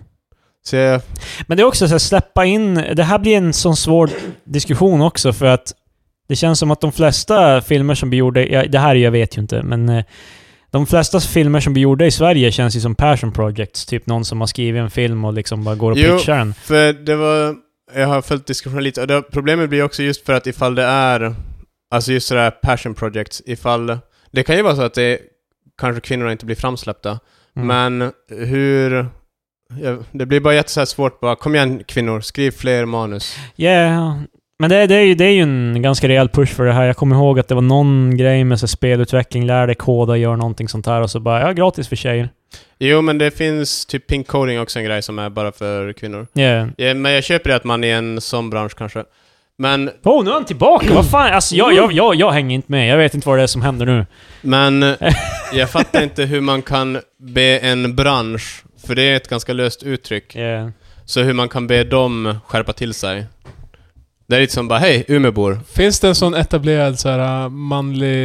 S1: Så jag,
S3: Men det är också så här, släppa in... Det här blir en sån svår diskussion också, för att det känns som att de flesta filmer som blir gjorda... Ja, det här jag vet ju inte, men... eh, De flesta filmer som blir gjorda i Sverige känns ju som passion projects. Typ någon som har skrivit en film och liksom bara går och
S1: Jo.
S3: pitchar den.
S1: För det var, jag har följt diskussionen lite, och det, problemet blir också just för att ifall det är, alltså just sådär passion projects, ifall, det kan ju vara så att det kanske kvinnorna inte blir framsläppta,
S3: Mm.
S1: men hur, ja, det blir bara jättesvårt svårt bara, kom igen kvinnor, skriv fler manus.
S3: Ja, yeah. men det, det, är ju, det är ju en ganska rejäl push för det här. Jag kommer ihåg att det var någon grej med så här spelutveckling, lär dig koda, gör någonting sånt här och så bara, ja, gratis för tjejer.
S1: Jo men det finns typ pink coding också en grej som är bara för kvinnor.
S3: Yeah.
S1: Ja, men jag köper det att man är en sån bransch kanske. Men,
S3: Oh, nu är han tillbaka! Vad fan, alltså jag, jag, jag, jag hänger inte med. Jag vet inte vad det är som händer nu.
S1: men jag fattar inte hur man kan be en bransch, för det är ett ganska löst uttryck,
S3: Yeah.
S1: Så hur man kan be dem skärpa till sig. Det är lite som bara, hej Umeåbor.
S2: Finns det en sån etablerad så här äh, manlig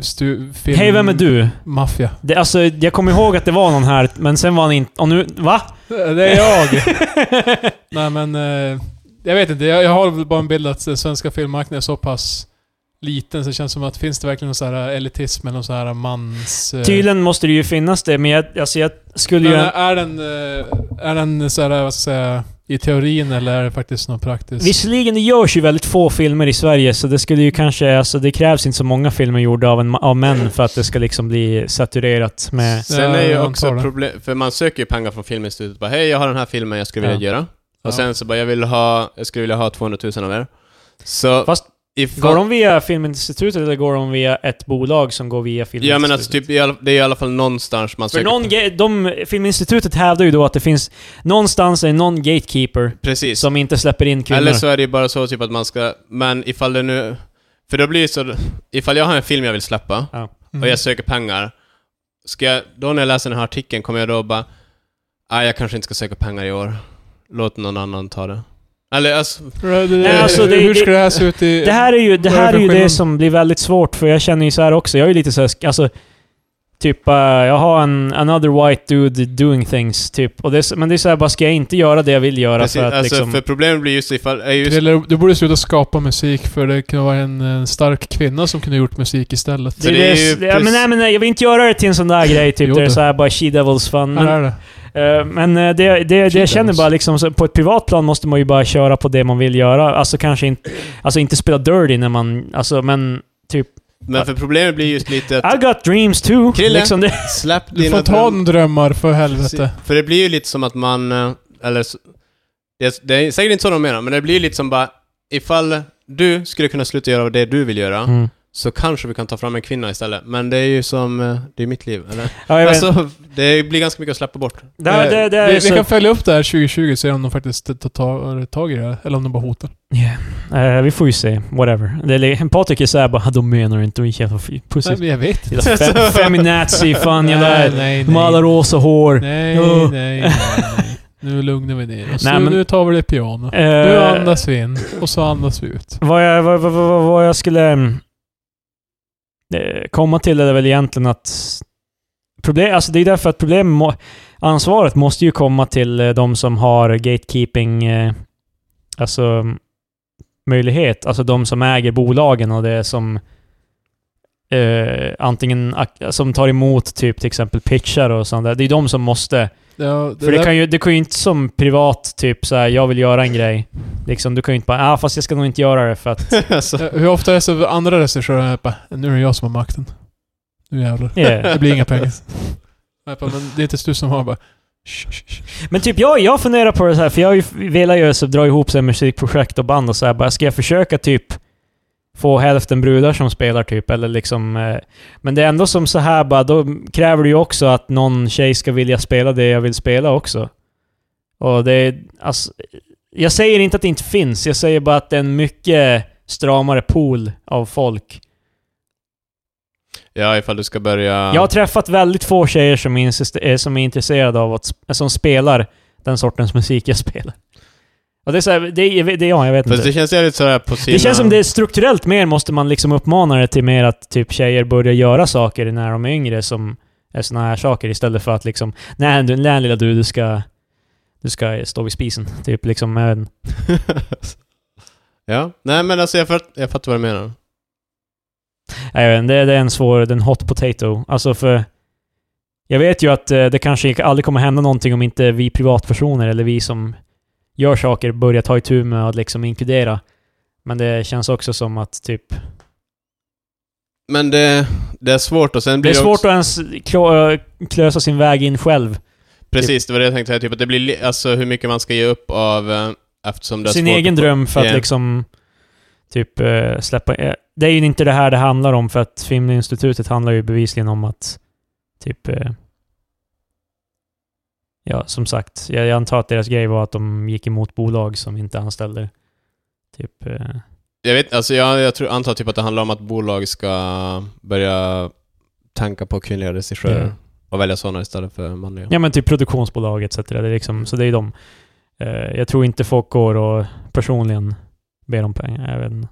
S2: stu- film...
S3: Hej, vem är du?
S2: Maffia.
S3: Det, alltså, jag kommer ihåg att det var någon här, men sen var han inte... Och nu... Va?
S2: Det är jag! äh, Nej men... eh, Jag vet inte, jag, jag har väl bara en bild att den svenska filmmarknaden är så pass liten så det känns som att finns det verkligen någon så här äh, elitism eller någon så här mans... eh,
S3: Tydligen måste det ju finnas det, men jag, alltså jag skulle
S2: Men äh,
S3: ju...
S2: är den, eh, är den så här, vad ska jag säga, i teorin eller är det faktiskt något
S1: alltså-
S2: praktiskt?
S3: Visserligen, det görs ju väldigt få filmer i Sverige, så det skulle ju kanske... Alltså det krävs inte så många filmer gjorda av, en, ma- av män för att det ska liksom bli saturerat med...
S1: Sen
S2: Ja,
S1: är ju
S2: jag antar
S1: också
S2: det.
S1: problem, för man söker ju pengar från Filminstitutet bara hej jag har den här filmen jag skulle vilja göra.
S2: Ja.
S1: Och sen så bara jag vill ha, jag skulle vilja ha 200 000 av er. Så...
S3: Fast,
S1: ifall,
S3: Går de via Filminstitutet eller går de via ett bolag som går via Filminstitutet?
S1: Ja men alltså typ, i alla- det är i alla fall någonstans man
S3: För
S1: söker...
S3: någon ge- de, Filminstitutet hävdar ju då att det finns... Någonstans är någon gatekeeper
S1: Precis.
S3: som inte släpper in kvinnor.
S1: Eller så är det ju bara så typ att man ska, men ifall det nu... För då blir det så, ifall jag har en film jag vill släppa
S3: Ja.
S2: Mm.
S1: och jag söker pengar, ska jag, då när jag läser den här artikeln kommer jag då bara, nej jag kanske inte ska söka pengar i år. Låt någon annan ta det. Eller alltså,
S2: Nej,
S1: alltså,
S3: det-
S2: Hur ska
S3: det-
S2: det här se ut i...
S3: Det här är ju det,
S2: Vad är det
S3: här är
S2: för
S3: ju det
S2: skillnad?
S3: som blir väldigt svårt, för jag känner ju så här också. Jag är ju lite så här, sk- alltså... Typ, eh, jag har en another white dude doing things, typ. Och det, är så- men det är så här, bara ska jag inte göra det jag vill göra
S1: precis,
S3: för att
S1: alltså
S3: liksom...
S1: för problemet blir just ifall, är just,
S2: Krille, du borde sluta skapa musik för det kunde vara en, en stark kvinna som kunde gjort musik istället.
S1: Så
S3: det,
S1: det är
S3: är
S1: ju
S3: det, ja,
S1: precis-
S3: men nej, men nej, jag vill inte göra det till en sån där grej, typ.
S2: Jo
S3: där det är
S2: då.
S3: så här bara she devils fun. Men,
S2: Här är det.
S3: Eh, Men eh, det, det, det jag
S2: Shit,
S3: känner
S2: alltså.
S3: bara liksom, så på ett privat plan måste man ju bara köra på det man vill göra. Alltså kanske inte, alltså inte spela dirty när man, alltså men typ
S1: men för problemet blir just lite att,
S3: I got dreams too.
S1: Krille.
S3: Liksom det.
S1: släpp
S2: Du får
S1: dina
S2: ta dina drömmar för helvete.
S1: För det blir ju lite som att man, eh, eller s- det är, det är säkert inte så de menar, men det blir lite som bara, ifall du skulle kunna sluta göra det du vill göra,
S3: Mm.
S1: så kanske vi kan ta fram en kvinna istället. Men det är ju som, eh, det är mitt liv, eller?
S3: Ja, jag vet.
S1: Alltså, eh, det blir ganska mycket att släppa bort.
S3: det, här- det, det är
S2: vi,
S3: så,
S2: vi kan följa upp det här 2020 och se om de faktiskt tar tag, tag i det här, eller om de bara hotar.
S3: Eh, vi får ju se, whatever. Det, är li- Patrik är såhär bara, de menar inte, de är jävla f- pussy.
S2: Nej, men jag vet
S3: Jävla fe- Feminazi, fan
S2: nej,
S3: jävla...
S2: nej,
S3: De har alla
S2: nej.
S3: rosa hår.
S2: Nej,
S3: Ja.
S2: nej, nej, nej. Nu lugnar vi ner oss.
S3: Nej,
S2: Nu-
S3: men-
S2: Nu tar vi det piano. Nu
S3: Eh,
S2: andas vi in och så andas vi ut.
S3: Vad jag, vad, vad, vad, vad jag skulle mm, eh, komma till är väl egentligen att... Problem, alltså det är därför att problem, må, ansvaret måste ju komma till eh, de som har gatekeeping... eh, Alltså mm, möjlighet. Alltså de som äger bolagen och det som... Eh, antingen ak- som tar emot typ till exempel pitchar och sånt där. Det är de som måste...
S2: Ja, det
S3: För det
S2: där-
S3: kan, ju, det kan ju inte som privat, typ så här, jag vill göra en grej. Liksom, du kan ju inte bara, ah, fast jag ska nog inte göra det för att...
S1: alltså,
S2: Ja, Eh, Hur ofta är det så andra regissörer är bara, nu är det jag som har makten. Nu jävlar.
S3: Yeah.
S2: Det blir inga pengar. Jag bara, men det är inte du som har bara... "Shh, shh, shh."
S3: Men typ jag, jag funderar på det så här, för jag har ju velat ju så dra ihop så här musikprojekt och band och så här, bara, ska jag försöka typ få hälften brudar som spelar typ, eller liksom... Eh, men det är ändå som så här bara, då kräver du ju också att någon tjej ska vilja spela det jag vill spela också. Och det är, alltså, Jag säger inte att det inte finns, jag säger bara att det är en mycket stramare pool av folk
S1: ja, ifall du ska börja...
S3: Jag har träffat väldigt få tjejer som är, insist- eh, som är intresserade av att sp- eh, som spelar den sortens musik jag spelar. Och det är så här, det, är- det, är- ja, jag vet
S1: Fast
S3: inte.
S1: det
S3: Det,
S1: känns ju lite sådär på sina...
S3: känns som det är strukturellt mer måste man liksom uppmana det till mer att typ tjejer börjar göra saker när de är yngre som är såna här saker istället för att liksom Nej, du, nej lilla du, du ska, du ska stå vid spisen. Typ liksom, jag vet inte.
S1: ja, nej men alltså jag, fatt, jag fattar vad du menar.
S3: Nej, Jag vet inte, det, det är en svår, det är en hot potato. Alltså för... Jag vet ju att eh, det kanske aldrig kommer hända någonting om inte vi privatpersoner eller vi som gör saker börjar ta itu med att liksom inkludera. Men det känns också som att typ...
S1: Men det, det är svårt och sen
S3: Det
S1: blir
S3: är
S1: det
S3: svårt att ens klö, klösa sin väg in själv.
S1: Precis, det var det jag tänkte säga. Typ att det blir li- alltså hur mycket man ska ge upp av eh, eftersom det är
S3: Sin
S1: svårt
S3: egen
S1: att få-
S3: dröm för att
S1: Ja.
S3: liksom typ eh, släppa... eh, Det är ju inte det här det handlar om för att Filminstitutet handlar ju bevisligen om att typ... eh, Ja, som sagt. Jag, jag antar att deras grej var att de gick emot bolag som inte anställde. Typ... eh,
S1: Jag vet alltså jag, jag tror, antar typ att det handlar om att bolag ska börja tänka på kvinnliga regissörer
S3: Ja.
S1: och välja sådana istället för manliga.
S3: Ja men typ produktionsbolag etc. Det är liksom, så det är ju de. Eh, jag tror inte folk går och personligen ber om pengar. Jag vet inte.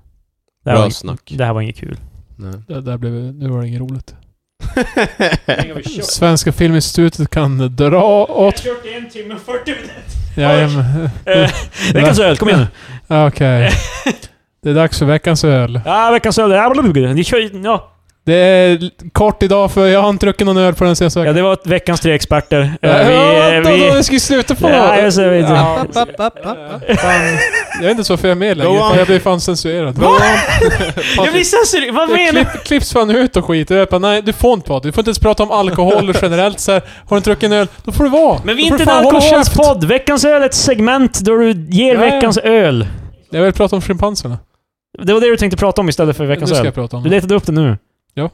S3: Det här,
S1: Bra
S3: var, ing-
S1: snack.
S3: det här var inget kul.
S1: Nej.
S2: Det där blev... Nu var det inget roligt. Svenska Filminstitutet kan dra åt...
S3: kört i en timme och 40 minuter. Mm. Eh,
S2: Jajamän.
S3: Veckans öl, kom igen nu.
S2: Okej. Det är dags för veckans öl.
S3: Ja, veckans öl. Ja, blablabla. Ni kör ju- Ja.
S2: Det är kort idag för jag har inte druckit någon öl på den senaste
S3: ja,
S2: veckan.
S3: det var veckans tre experter.
S2: Ja,
S3: Eh,
S2: vänta,
S3: vi,
S2: vänta,
S3: vi,
S2: vi ska ju sluta på
S3: Ja, jag ser-
S2: Ja, fan. Jag vet inte så varför jag är med längre.
S1: Go on.
S2: fan, Jag blir fan censurerad.
S3: jag blir censurerad. Vad
S2: Det
S3: menar du?
S2: klipp, klipps fan ut och skit. Jag bara, nej du får inte prata. Du får inte ens prata om alkohol generellt så här. Har du inte druckit en öl, då får du vara.
S3: Men vi
S2: Då
S3: är
S2: får
S3: inte
S2: du fan
S3: en
S2: hålla käft.
S3: alkoholspodd. Veckans öl är ett segment där du ger
S2: Ja, ja.
S3: veckans öl.
S2: Jag vill prata om schimpanserna.
S3: Det var det du tänkte prata om istället för
S2: Nu
S3: veckans
S2: ska jag
S3: öl.
S2: prata om
S3: Du
S2: det.
S3: letade upp det nu?
S2: Ja.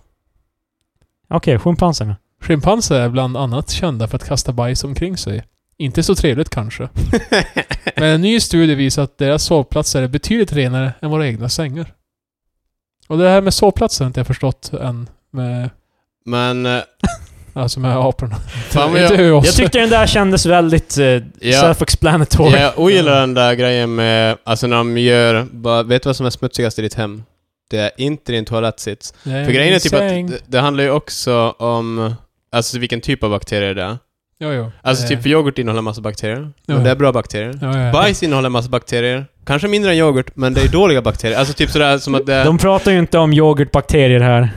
S3: Okej, schimpanserna.
S2: Schimpanser är bland annat kända för att kasta bajs omkring sig. Inte så trevligt kanske. Men en ny studie visar att deras sovplatser är betydligt renare än våra egna sängar. Och det här med sovplatser har inte jag förstått än. Med,
S1: Men... eh,
S2: alltså med aporna.
S1: Fan vad
S2: inte
S1: jag...
S2: hur oss.
S3: Jag tyckte den där kändes väldigt eh,
S1: Ja.
S3: self-explanatory.
S1: Jag ogillar den där grejen med... Alltså när de gör... Bara, vet du vad som är smutsigast i ditt hem? Det är inte din toalettsits.
S2: Nej,
S1: För grejen är typ att
S2: säng.
S1: det, det handlar ju också om alltså vilken typ av bakterier det är.
S2: Jo, jo.
S1: Alltså
S2: Eh,
S1: typ yoghurt innehåller massa bakterier.
S2: Ja.
S1: Och det är bra bakterier.
S2: ja, ja.
S1: Bajs innehåller massa bakterier. Kanske mindre än yoghurt, men det är dåliga bakterier. Alltså typ sådär som att det är...
S3: De pratar ju inte om yoghurtbakterier här.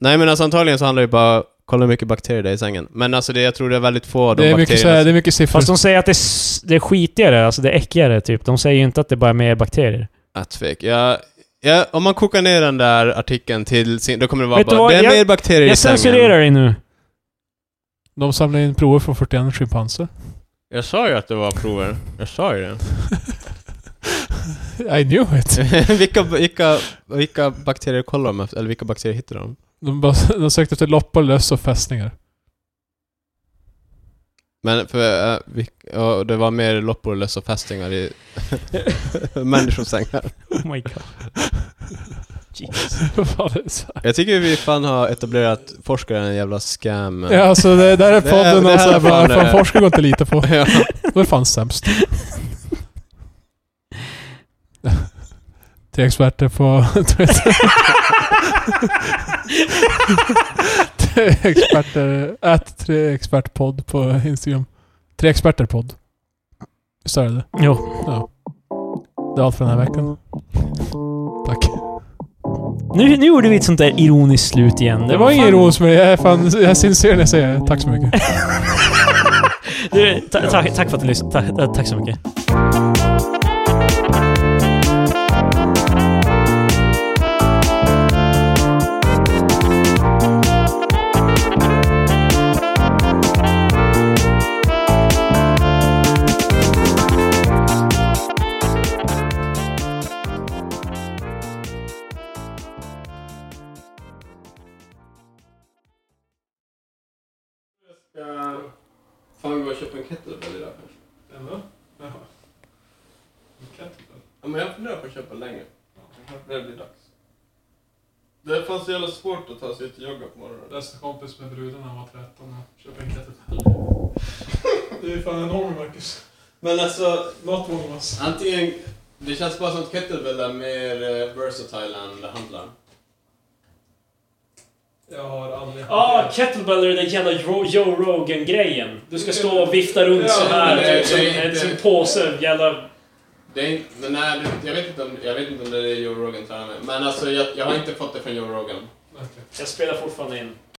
S1: Nej men alltså antagligen så handlar det bara om kolla hur mycket bakterier det är i sängen. Men alltså det, jag tror det är väldigt få av de
S2: Det är, mycket, så
S1: bakterierna.
S2: här, det är mycket siffror.
S3: Fast de säger att det är, s- det är skitigare, alltså det är äckligare typ. De säger ju inte att det bara är mer bakterier.
S1: Att tvek. Jag, jag, om man kokar ner den där artikeln till sin... Då kommer det vara
S3: Vet du
S1: bara...
S3: vad?
S1: Det är
S3: Jag-
S1: mer bakterier i
S3: Jag
S1: sängen.
S3: censurerar dig nu.
S2: De samlar in prover från 41 schimpanser.
S1: Jag sa ju att det var prover. Jag sa ju det.
S2: I knew it!
S1: vilka, vilka, vilka bakterier kollar de efter? Eller vilka bakterier hittar de?
S2: De, bara, de sökte efter loppor, löss och fästningar.
S1: Men för, eh, vilk- ja, det var mer loppor, löss och fästingar i människosängar.
S3: Oh my god. Jesus.
S2: Vad är det så här?
S1: Jag tycker vi fan har etablerat forskare är en jävla scam.
S2: ja, alltså det där är
S1: Det är-
S2: podden
S1: det här
S2: och så
S1: är
S2: här
S1: fan,
S2: bara, fan
S1: eh,
S2: forskare går inte att lita på.
S1: Ja.
S2: Då är det fan sämst. Tre experter på Twitter. tre experter, att tre expertpodd på Instagram. Tre experterpodd. Visst är det det?
S3: Jo.
S2: Det är allt för den här veckan. Tack.
S3: Nu, nu gjorde vi ett sånt där ironiskt slut igen.
S2: Det var
S3: fan-
S2: ingen ros men jag är fan, jag är sincer när jag säger det. Tack så mycket.
S3: Du, ta, ta, tack för att du lyssnade. Ta, ta, tack så mycket.
S1: Fan, vi har köpt en kettlebell idag kanske. Ja, men jag funderar på att köpa längre. Det blir dags. Det fanns så jävla svårt att ta sig ut och jogga på morgonen.
S2: Bästa kompis med brudarna var 13 och köpte en kettlebell. Du är fan enorm Marcus.
S1: Men alltså,
S2: Not one of us.
S1: Antingen, det känns bara som att kettlebell är mer eh, versatile än handlaren.
S2: Jag har aldrig...
S3: kettlebell är den där jävla Joe Rogan-grejen. Du
S2: ska stå och
S3: vifta runt
S1: så här, typ som en- som en
S3: påse jävla...
S1: Det är inte, men nej, det- jag vet inte om, jag vet inte om det är Joe Rogan tränar med. Men alltså jag, jag har inte fått det från Joe Rogan.
S3: Jag spelar fortfarande in.